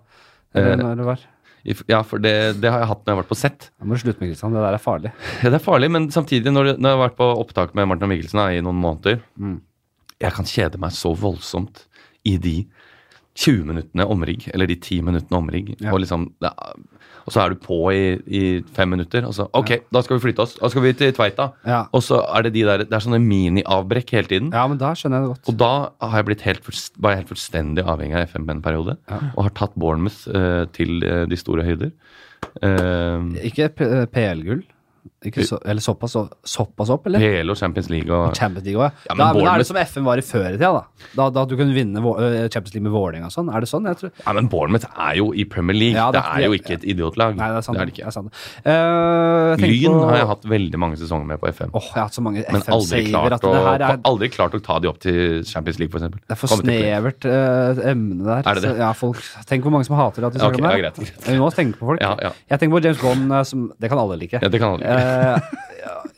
Eller Eh, når det var. if- ja, for det, det har jeg hatt når jeg har vært på sett. Nå må du slutte med Kristian, det der er farlig. Ja, det er farlig, men samtidig, når, det- når jeg har vært på opptak med Martin og Mikkelsen da, i noen måneder Mm. Jeg kan kjede meg så voldsomt i de 20 minuttene omrigg, eller de 10 minuttene omrigg. Ja. Og, liksom, det er- og så er du på i, i fem minutter, og så OK, da skal vi flytte oss. Da skal vi til Tveita. Ja. Og så er det de der Det er sånne mini-avbrekk hele tiden. Ja, men da skjønner jeg det godt. Og da har jeg blitt helt, fullst- var jeg helt fullstendig avhengig av FMB en periode. Og har tatt Bournemouth eh, til eh, de store høyder. Eh, Ikke P- eh, PL-gull? Ikke så, eller såpass, så- såpass opp, eller? PL og Champions League og Champions League også, ja. Ja, Da, men men da er Bournemouth- det som FM var i før i tida, da. Da, da du kunne vinne Vå- eh, Champions League med Vålerenga og sånn. Er det sånn? Jeg tror Nei, men Bournemouth er jo i Premier League. Ja, det, det- er jo ikke et idiotlag. Nei, det er sant. det ikke. sant. Eh, jeg tenker Lyn på- har jeg hatt veldig mange sesonger med på FM. Åh, jeg har hatt så mange men aldri FM-saver at klart, å, det her er, aldri klart å ta de opp til Champions League, f.eks. det er for snevert eh, emne der. Er det det? Så, ja, folk, tenk hvor mange som hater at vi snakker Ok, om det. ja, greit, greit. Men Vi må tenke på folk. Ja, ja. Jeg tenker på James Bond, eh, som Det kan alle like. Ja, det kan alle like. Eh, ja,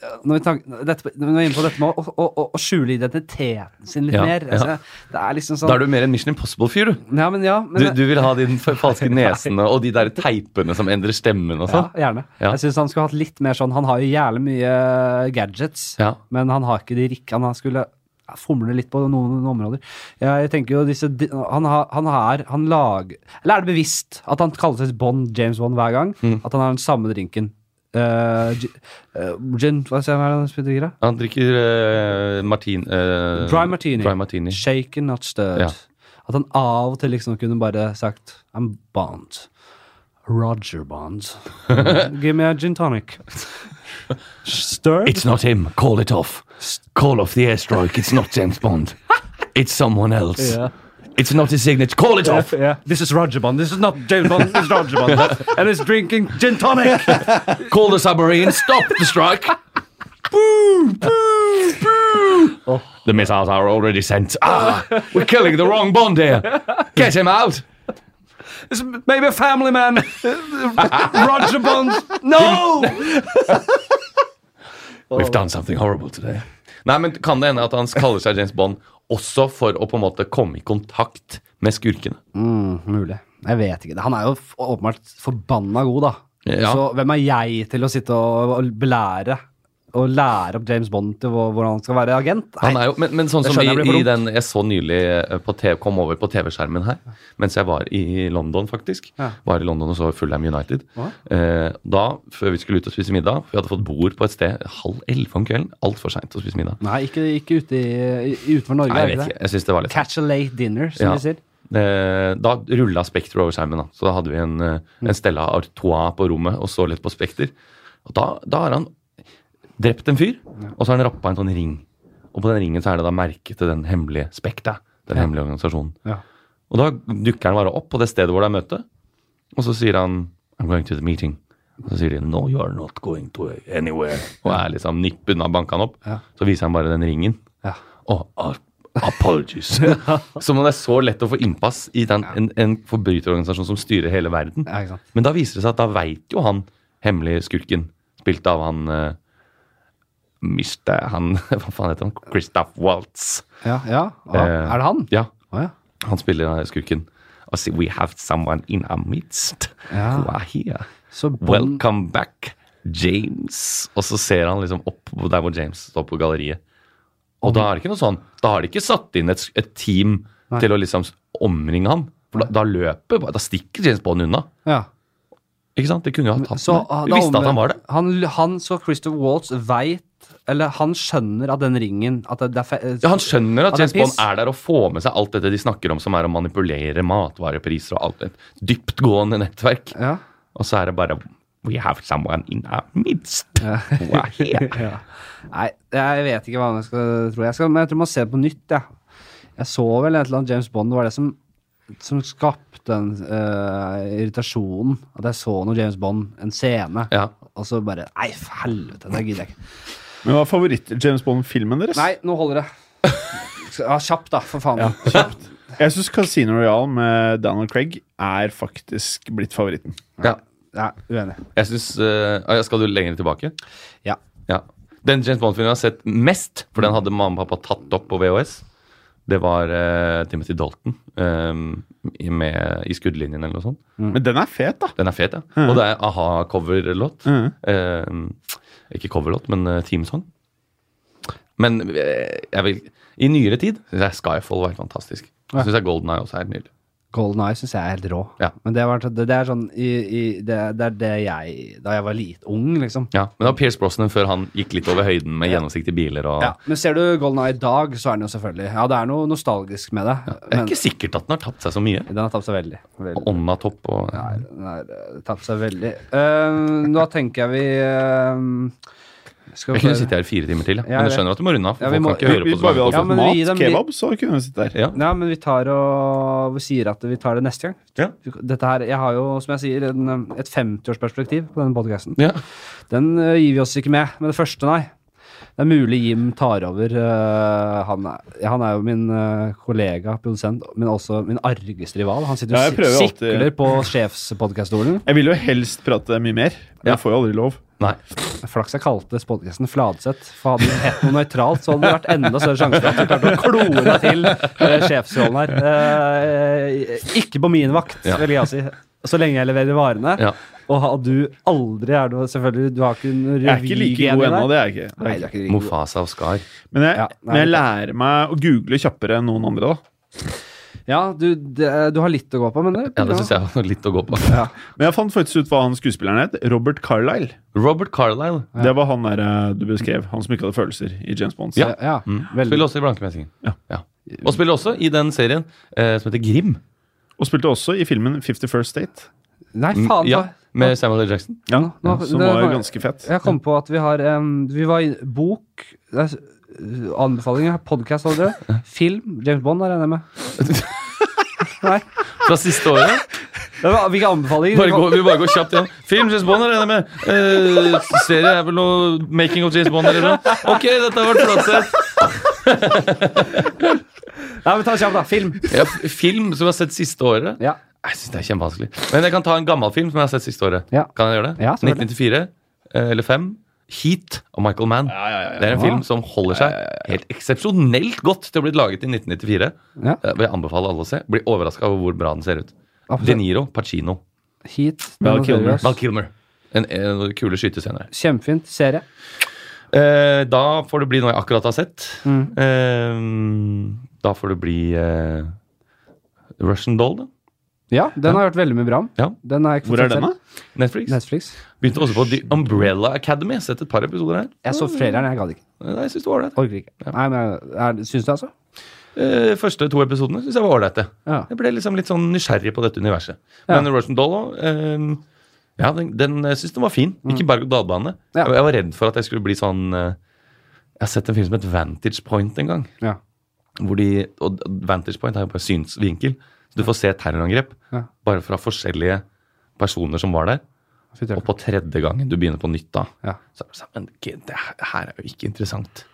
ja, når, vi tank, dette, når vi er inne på dette med å, å, å, å skjule identiteten sin litt Ja, mer ja. altså, Det er liksom sånn Da er du mer en Mission Impossible-fyr, du. Ja, men ja. Men, du. Du vil ha de f- falske nesene og de der teipene som endrer stemmen og ja sånn. gjerne. Ja. Jeg syns han skulle hatt litt mer sånn Han har jo jævlig mye eh, gadgets, Ja. men han har ikke de rikke Han har- skulle ja, fomle litt på noen områder. Jeg tenker jo disse di- Han, har, han er Han lager Eller er det bevisst at han kaller seg Bond, James Bond, hver gang? Mm. At han har den samme drinken? Eh, gi- eh, gin Hva sier jeg, hva er det han drikker, da? Han drikker eh, martin, eh, Dry martini. Dry martini. Shaken, not stirred. Ja. At han av og til liksom kunne bare sagt I'm Bond. Roger Bond. Give me a gin tonic. Stirred? It's not him. Call it off. Call off the airstrike. It's not James Bond. It's someone else. Yeah. It's not his signature. Call it off. Yeah. This is Roger Bond. This is not James Bond. This is Roger Bond. And he's drinking gin tonic. Call the submarine. Stop the strike. Oh, The missiles are already sent. Ah, we're killing the wrong Bond here. Get him out. This is maybe a family man. Roger Bond. No! We've done something horrible today. Nei, men Kan det hende at han kaller seg James Bond også for å på en måte komme i kontakt med skurkene? Mm, mulig. Jeg vet ikke. Han er jo f- åpenbart forbanna god, da. Ja. Så hvem er jeg til å sitte og, og belære og lære opp James Bond til hvor- hvordan han skal være agent? Han er jo, men, men sånn Det som i, skjønner jeg blir for i dumt. den jeg så nylig eh, på TV, kom over på TV-skjermen her, mens jeg var i London, faktisk. Ja. Var i London og så Fulham United. Hva? Eh, da, før vi skulle ut og spise middag, for vi hadde fått bord på et sted halv elleve om kvelden. Altfor seint å spise middag. Nei, ikke, ikke ute i, i- utenfor Norge. Nei, er jeg det vet ikke det? ikke. Jeg syns det var litt Catch a late dinner, som Ja. de sier. eh, Da rulla Spekter over skjermen, da. Så da hadde vi en, eh, en Stella Artois på rommet og så litt på Spekter. Og da, da har han drept en fyr, og så har han rappa en sånn ring. Og på den ringen så er det da merket til den hemmelige Spekta. Den hemmelige organisasjonen. Ja. Og da dukker han bare opp på det stedet hvor det er møte, og så sier han I'm going to the meeting. Og så sier de No, you are not going to anywhere. Og er liksom nipp unna banka han opp. Så viser han bare den ringen. Ja. Og ah, apologies. Som om det er så lett å få innpass i den, en, en forbryterorganisasjon som styrer hele verden. Ja, ikke sant. Men da viser det seg at da veit jo han hemmelige skurken, spilt av han uh, Mister han Hva faen heter han? Christoph Waltz. Ja, ja. Ah, Eh, er det han? Ja. Å, ja. Han spiller da skurken. Og sier We have someone in our midst. Ja. Who are here? Så Bond- Welcome back, James. Og så ser han liksom opp på der hvor James står på galleriet. Og da er det ikke noe sånn Da har de ikke satt inn et, et team til å liksom omringe ham. For da, da løper bare- Da stikker James Bond unna. ja. Ikke sant? De kunne jo ha tatt Så, ah, ham. Vi da visste at han omvendt- var det. Han, han så Christopher Waltz veit Eller han skjønner at den ringen At det, det er fe eh, Ja, Han skjønner at det er James Bond piss. er der og får med seg alt dette de snakker om, som er å manipulere matvarepriser og alt et dyptgående nettverk. Ja. Og så er det bare We have someone in our midst. Who are here. Nei, jeg vet ikke hva jeg skal tro. Jeg skal, men jeg tror man ser det på nytt. Jeg, jeg så vel et eller annet James Bond. Det var det som, som skapte den eh, irritasjonen. At jeg så noe James Bond, en scene, Ja. og så bare Nei, for helvete, det gidder jeg ikke. Men hva er favoritt-James Bond-filmen deres? Nei, nå holder det. Skal- Ja, kjapt, da, for faen. Jeg syns Casino Royale med Daniel Craig er faktisk blitt favoritten. ja. Ja, uenig. Jeg synes, eh, ah, ja, Skal du lenger tilbake? Ja. Ja. Den James Bond-filmen jeg har sett mest, for den hadde mamma og pappa tatt opp på VHS, det var eh, Timothy Dalton eh, i- med, i skuddlinjen eller noe sånt. Men den er fet, da. Den er fet, ja. Mm. Og det er a-ha-coverlåt. Eh, ikke coverlåt, men eh, teamsong. Men eh, jeg vil I nyere tid syns jeg Skyfall var helt fantastisk. Jeg syns Golden Eye også er helt nydelig. Golden Eye syns jeg er helt rå. Ja. Men det, var, det, det er sånn i, i, det, det er det jeg Da jeg var litt ung, liksom. Ja, Men det var Pierce Brosnan før han gikk litt over høyden med gjennomsiktige biler og Ja, men ser du Golden Eye i dag, så er den jo selvfølgelig Ja, det er noe nostalgisk med det. Det er men ikke sikkert at den har tapt seg så mye. den har tapt seg veldig. Og Ånda topp og Den har eh, tapt seg veldig. Eh, da tenker jeg vi eh, Skal Jeg kunne sittet her i fire timer til, ja. Ja, men jeg jeg skjønner at du må runde av. Ja, For vi må- folk kan ikke høre Hvis på vi bare så hadde Ja, mange. fått men vi gir mat, dem litt- kebab, så kunne vi sittet der. Ja. Ja, men vi tar og vi sier at vi tar det neste gang. Ja. Dette her, Jeg har jo, som jeg sier, en, eh, et 50-årsperspektiv på denne podkasten. Ja. Den eh, gir vi oss ikke med med det første, nei. Det er mulig Jim tar over. eh, han, er, ja, han er jo min eh, kollega, produsent, men også min argeste rival. Han sitter Ja, jeg og prøver si- alltid- sikler på sjefspodkaststolen. Jeg vil jo helst prate mye mer, men jeg får jo aldri lov. Nei. Flaks jeg kalte podkasten Fladseth, for hadde den hett noe nøytralt, så hadde det vært enda større sjanse for at du klarte å klore deg til eh, sjefsrollen her. Eh, ikke på min vakt, Ja. vil jeg si. Så lenge jeg leverer varene. Ja. Og har du aldri er noe Selvfølgelig, du har ikke en Jeg er ikke like god ennå, det er jeg ikke. Det er Nei, jeg du er ikke. ikke like god. Mofasa og Scar. Men jeg, Ja, nei, men jeg det lærer meg å google kjappere enn noen andre, da. Ja, du, det, du har litt å gå på, men det, Ja, det syns jeg var litt å gå på. Men jeg fant faktisk ut hva han skuespilleren het. Robert Carlyle. Robert Carlisle Det var han der eh, du beskrev. Han som ikke hadde følelser i James Bond. Ja. Ja, veldig. Mm. spiller også i Blankemessingen. Ja. Ja. Og spiller også i den serien eh, som heter Grim. Og spilte også i filmen 51st State, Nei, faen. ja, hva- med Samuel L. Jackson. Mm. ja, nå- som det- var ganske fett. Jeg kom på at vi har em, Vi var i bok det er, s- Anbefalinger, podkast allerede. Film. James Bond regner jeg med. Nei. Fra siste året. Det var, hvilke anbefalinger? Bare gå, vi bare går kjapt igjen. Film James Bond er det med. Eh, serie er vel noe Making of James Bond eller noe. Ok, dette har vært Flatseth. Nei, men ta kjapt, da. Film. Ja, f- film som jeg har sett siste året. Ja. Jeg synes det er kjempevanskelig. Men jeg kan ta en gammel film som jeg har sett siste året. Ja. Kan jeg gjøre det? Ja, selvfølgelig. 1994 eh, eller 5. Heat av Michael Mann. Det er en film som holder seg helt eksepsjonelt godt til å bli laget i 1994. ja. Eh, vil jeg anbefale alle å se. Blir overraska over hvor bra den ser ut. Absolutt. De Niro, Pacino, Heat. Val Kilmer. Val Kilmer. En, en, kule skytescener. Kjempefint. Serie. Eh, da får det bli noe jeg akkurat har sett. Mm. Eh, da får det bli eh, Russian Doll, da. Ja, den har jeg hørt veldig mye bra om. Ja. Den har jeg ikke fått Hvor er sett den, selv. da? Netflix. Netflix. Begynte også på The Umbrella Academy. Jeg har Sett et par episoder her. Jeg så traileren, jeg gadd ikke. Eh, Jeg synes det var ålreit. Orker ikke. Nei, men jeg- er- Syns du, altså? eh, første to episodene syns jeg var ålreite. Ja. Jeg ble liksom litt sånn nysgjerrig på dette universet. Men Russian Dollar eh, ja, den, den jeg syns den var fin. Ikke berg-og-dal-bane. Mm. Ja. Jeg, jeg var redd for at jeg skulle bli sånn eh, Jeg har sett en film som het Vantage Point en gang. Ja. Hvor de, og Vantage Point er jo bare synsvinkel. Så du får se terrorangrep Ja. bare fra forskjellige personer som var der. Fy Og tøft. på tredje gangen du begynner på nytt da, Ja. så er det sånn Men gud, det her- det her er jo ikke interessant.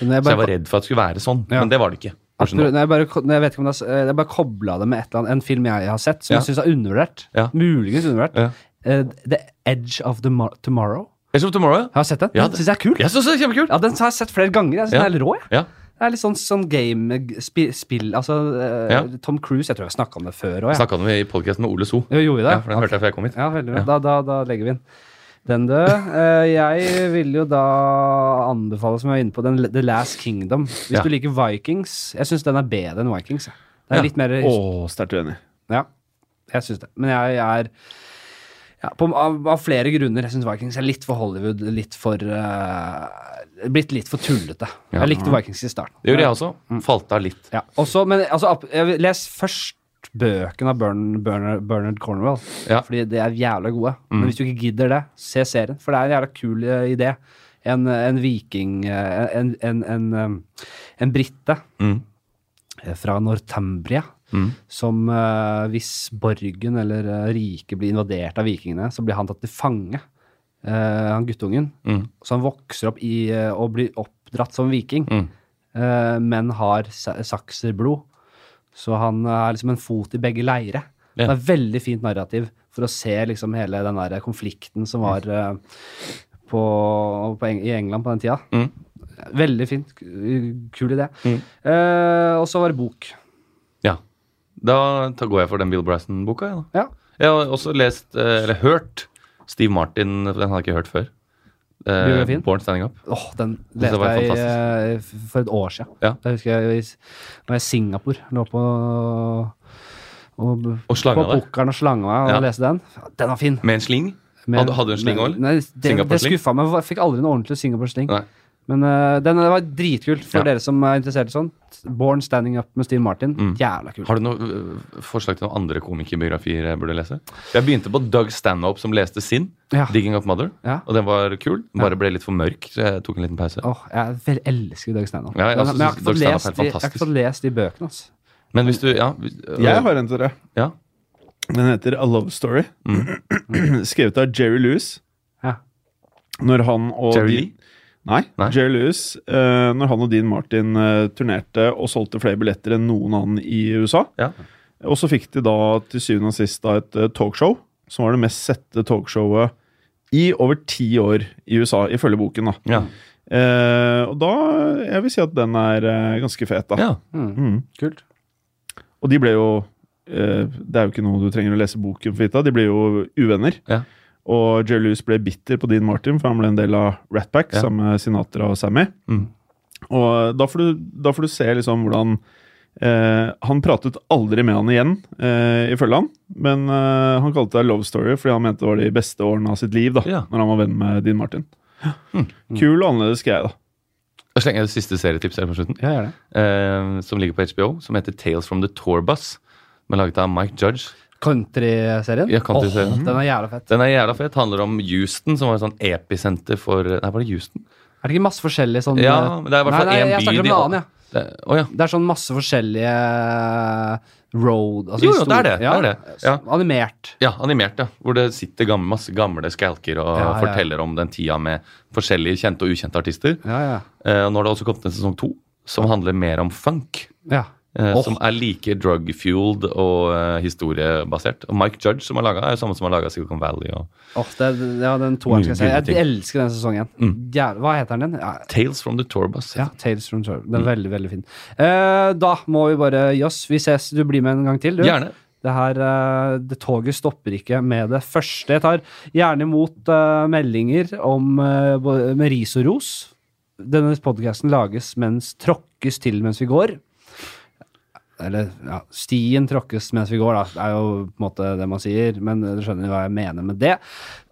Men jeg Så jeg var bare, redd for at det skulle være sånn, Ja. men det var det ikke. jeg, tror- nei, jeg, bare, ko- nei, jeg vet ikke om det er, s- eh, jeg bare kobla det med et eller annet, en film jeg har sett som Ja. jeg syns er undervurdert. Ja. Muligens undervurdert. Ja. Eh, The Edge of the Mar- Tomorrow. Age of Tomorrow, Har jeg sett den? Ja, den det- syns jeg er kul. Jeg syns det er kjempekult! Ja, Den har jeg sett flere ganger. Jeg synes Den Ja. er helt rå. jeg. Ja. Det er litt sånn, sånn game spi- spill Altså eh, Ja. Tom Cruise, jeg tror jeg snakka om det før òg. Jeg snakka om det i podkasten med Ole So. Jo, gjorde vi det? Ja, for den hørte jeg før jeg kom hit. Ja, veldig bra. Da, da, da legger vi inn. Den død. Eh, jeg vil jo da anbefale, som jeg var inne på, den, The Last Kingdom. Hvis Ja. du liker Vikings Jeg syns den er bedre enn Vikings. jeg. Det er Ja. litt mer Å, sterkt uenig. Ja, jeg syns det. Men jeg er ja, på, av, av flere grunner. Jeg syns Vikings er litt for Hollywood, litt for eh, Blitt litt for tullete. Jeg likte Vikings i starten. Det gjorde jeg også. Falt av litt. Ja, også, men altså, ap- jeg vil- les først bøkene av Bern, Bernard, Bernard Cornwell, Ja. fordi de er jævla gode. Men hvis du ikke gidder det, se serien, for det er en jævla kul eh, idé. En, en viking eh, En, en, en, eh, en brite Mm. eh, fra Northumbria som eh, hvis borgen eller eh, riket blir invadert av vikingene, så blir han tatt til fange. eh, han guttungen. Så han vokser opp i, eh, og blir oppdratt som viking, eh, men har sa- sakserblod. Så han er liksom en fot i begge leire. Ja. Det er veldig fint narrativ for å se liksom hele den der konflikten som var eh, på, på, Eng- i England på den tida. Mm. Veldig fint. k- Kul idé. Eh, og så var det bok. Ja. Da ta- går jeg for den Bill Bryson-boka, jeg, da. Ja. Jeg har også lest, eh, eller hørt, Steve Martin. Den hadde jeg ikke hørt før. Eh, Biografien? Born Standing Up. Åh, den Det leste var jeg eh, fantastisk. f- for et år siden. Ja. Da husker jeg i s- var jeg i Singapore. Lå på og, Og slanga på deg. bukkeren og slanga meg og Ja. leste den. Den var fin. Med en sling. Men- hadde, hadde du en sling òg, Nei, det, det Singapore-sling? skuffa meg. Jeg fikk aldri noe ordentlig Singapore-sling. Nei. Men eh, den var dritkult for Ja. dere som er interessert i sånt. Born Standing Up med Steve Martin. Jævla kult. Mm. Har du noen øh, forslag til noen andre komikerbiografier jeg burde lese? Jeg begynte på Doug Stanhope, som leste sin. Ja. 'Digging Up Mother'. Ja. Og den var kul. Den bare ble litt for mørk, så jeg tok en liten pause. Åh, jeg vel- elsker Dag Steinar. Ja, jeg Men- også men jeg har synes ikke fått Dag Steinar er lest helt de- jeg har fantastisk. ikke fått lest de bøkene. Altså. Men hvis du Ja. hvis- øh, Jeg har en til dere. ja. Den heter A Love Story. Skrevet av Jerry Lewis. Ja. Når han og Jerry Dean- Lee? Nei, Nei. Jerry Lewis. eh, når han og Dean Martin eh, turnerte og solgte flere billetter enn noen annen i USA. Ja. Og så fikk de da til syvende og sist da et eh, talkshow, som var det mest sette talkshowet i over ti år i USA, ifølge boken. da. Ja. Eh, og da Jeg vil si at den er eh, ganske fet, da. ja. Mm. Mm. Kult. Og de ble jo eh, Det er jo ikke noe du trenger å lese boken for vite av. De ble jo uvenner. Ja. Og Jerry Lewis ble bitter på Dean Martin, for han ble en del av Rat Pack Ja. sammen med Sinatra og Sammy. Mm. Og da får, du, da får du se liksom hvordan eh, Han pratet aldri med han igjen, eh, ifølge han. Men eh, han kalte det Love Story fordi han mente det var de beste årene av sitt liv. da, Ja. Hm. Når han var venn med Dean Martin. Kul og annerledes greie, da. Og slenger jeg et siste serietips her på slutten, Ja, gjør det. eh, som ligger på HBO, som heter 'Tales from the Tour Bus'. Den er laget av Mike Judge. Countryserien? Ja, countryserien. Åh, Mm. den er jævla fett. Den er jævla fet. Handler om Houston, som var et sånn episenter for Nei, var det Houston? Er det ikke masse forskjellige sånne Ja, men det er i hvert fall Nei, nei, en jeg by snakker om de- en annen, ja. Det- Å ja. Det er sånn masse forskjellige eh, road altså Jo, jo, historie- det er det, det er det, ja. Animert. Ja, animert, ja. Hvor det sitter gamle, masse gamle skalker og Ja, ja. forteller om den tida med forskjellige kjente og ukjente artister. Ja, ja. Eh, og nå har det også kommet en sesong to som handler mer om funk. ja. Eh, Åh. Som er like drug-fueled og eh, historiebasert. Og Mike Judge, som har laget, er jo samme som har laga Silicon Valley og Åh, det, ja, den toeren skal jeg Mye si. kule Jeg elsker den sesongen. Mm. Jævla, hva heter den? Ja, Tales from the Tourbus. Ja, Tales from Tour. Den er Mm. veldig, veldig fin. Eh, da må vi bare gi oss. Vi ses. Du blir med en gang til, du. Gjerne. Det her, eh, det toget stopper ikke med det første. Jeg tar gjerne imot eh, meldinger om, eh, både- med ris og ros. Denne podkasten lages mens tråkkes til mens vi går. Eller ja, stien tråkkes mens vi går, da. Det er jo på en måte det man sier, men du skjønner hva jeg mener med det.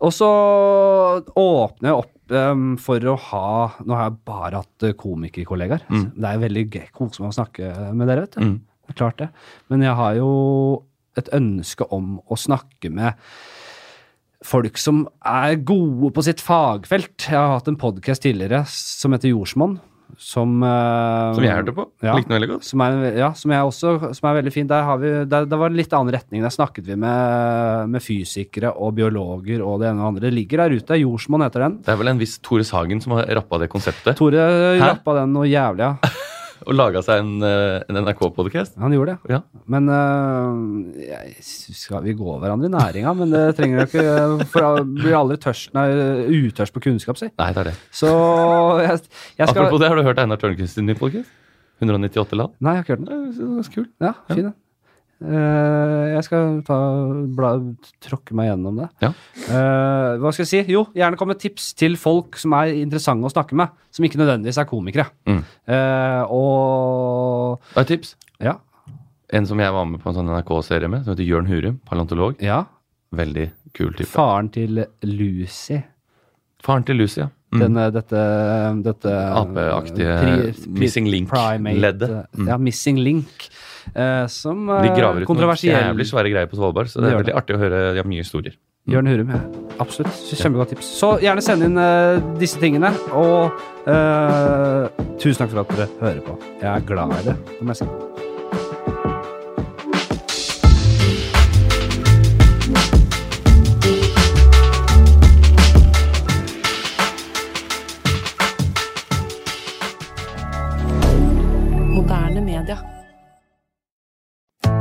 Og så åpner jeg opp ehm, for å ha Nå har jeg bare hatt eh, komikerkollegaer. Mm. Altså, Det er veldig gøy, koselig å snakke med dere, vet du. Det er klart det. Men jeg har jo et ønske om å snakke med folk som er gode på sitt fagfelt. Jeg har hatt en podkast tidligere som heter Jordsmonn. Som, eh, Som jeg hørte på. Likte den veldig godt. Som er, ja, som jeg også, som er veldig fin. Der, har vi, der, der var det litt annen retning. Der snakket vi med, med fysikere og biologer og det ene og det andre. Det ligger der ute. Jordsmonn heter den. Det er vel en viss Tore Sagen som har rappa det konseptet Tore rappa den noe jævlig, ja. og laga seg en, eh, en NRK-podkast. Han gjorde det. Ja. Men øh, jeg, skal vi gå hverandre i næringa? Men det trenger du ikke. For jeg blir aldri tørst, nei, utørst på kunnskap, si. Nei, det er det. Så jeg, jeg skal Apropos det, har du hørt Einar Tørnquist sin nye podkast? 198 land? Nei, jeg har ikke hørt den. Det er ganske kult. Ja, fin den. Eh, jeg skal ta, bla, tråkke meg gjennom det. Ja. Eh, hva skal jeg si? Jo, gjerne kom med tips til folk som er interessante å snakke med. Som ikke nødvendigvis er komikere. Mm. Eh, og Og et tips. ja, En som jeg var med på en sånn NRK-serie med, som heter Jørn Hurum. Paleontolog. ja. Veldig kul type. Faren til Lucy. Faren til Lucy, ja. Mm. Denne, dette, dette Apeaktige pri- pri- Missing Link-leddet. primate- Mm. Ja, Missing Link. eh, som De graver uh, ut noen kontroversiell jævlig svære greier på Svalbard, så Det det er gjør veldig artig å høre. De har mye historier. Jørn Hurum, ja. Absolutt. Kjempegodt tips. Så gjerne send inn eh, disse tingene. Og eh, tusen takk for at dere hører på. Jeg er glad i det, det må jeg si. Moderne media.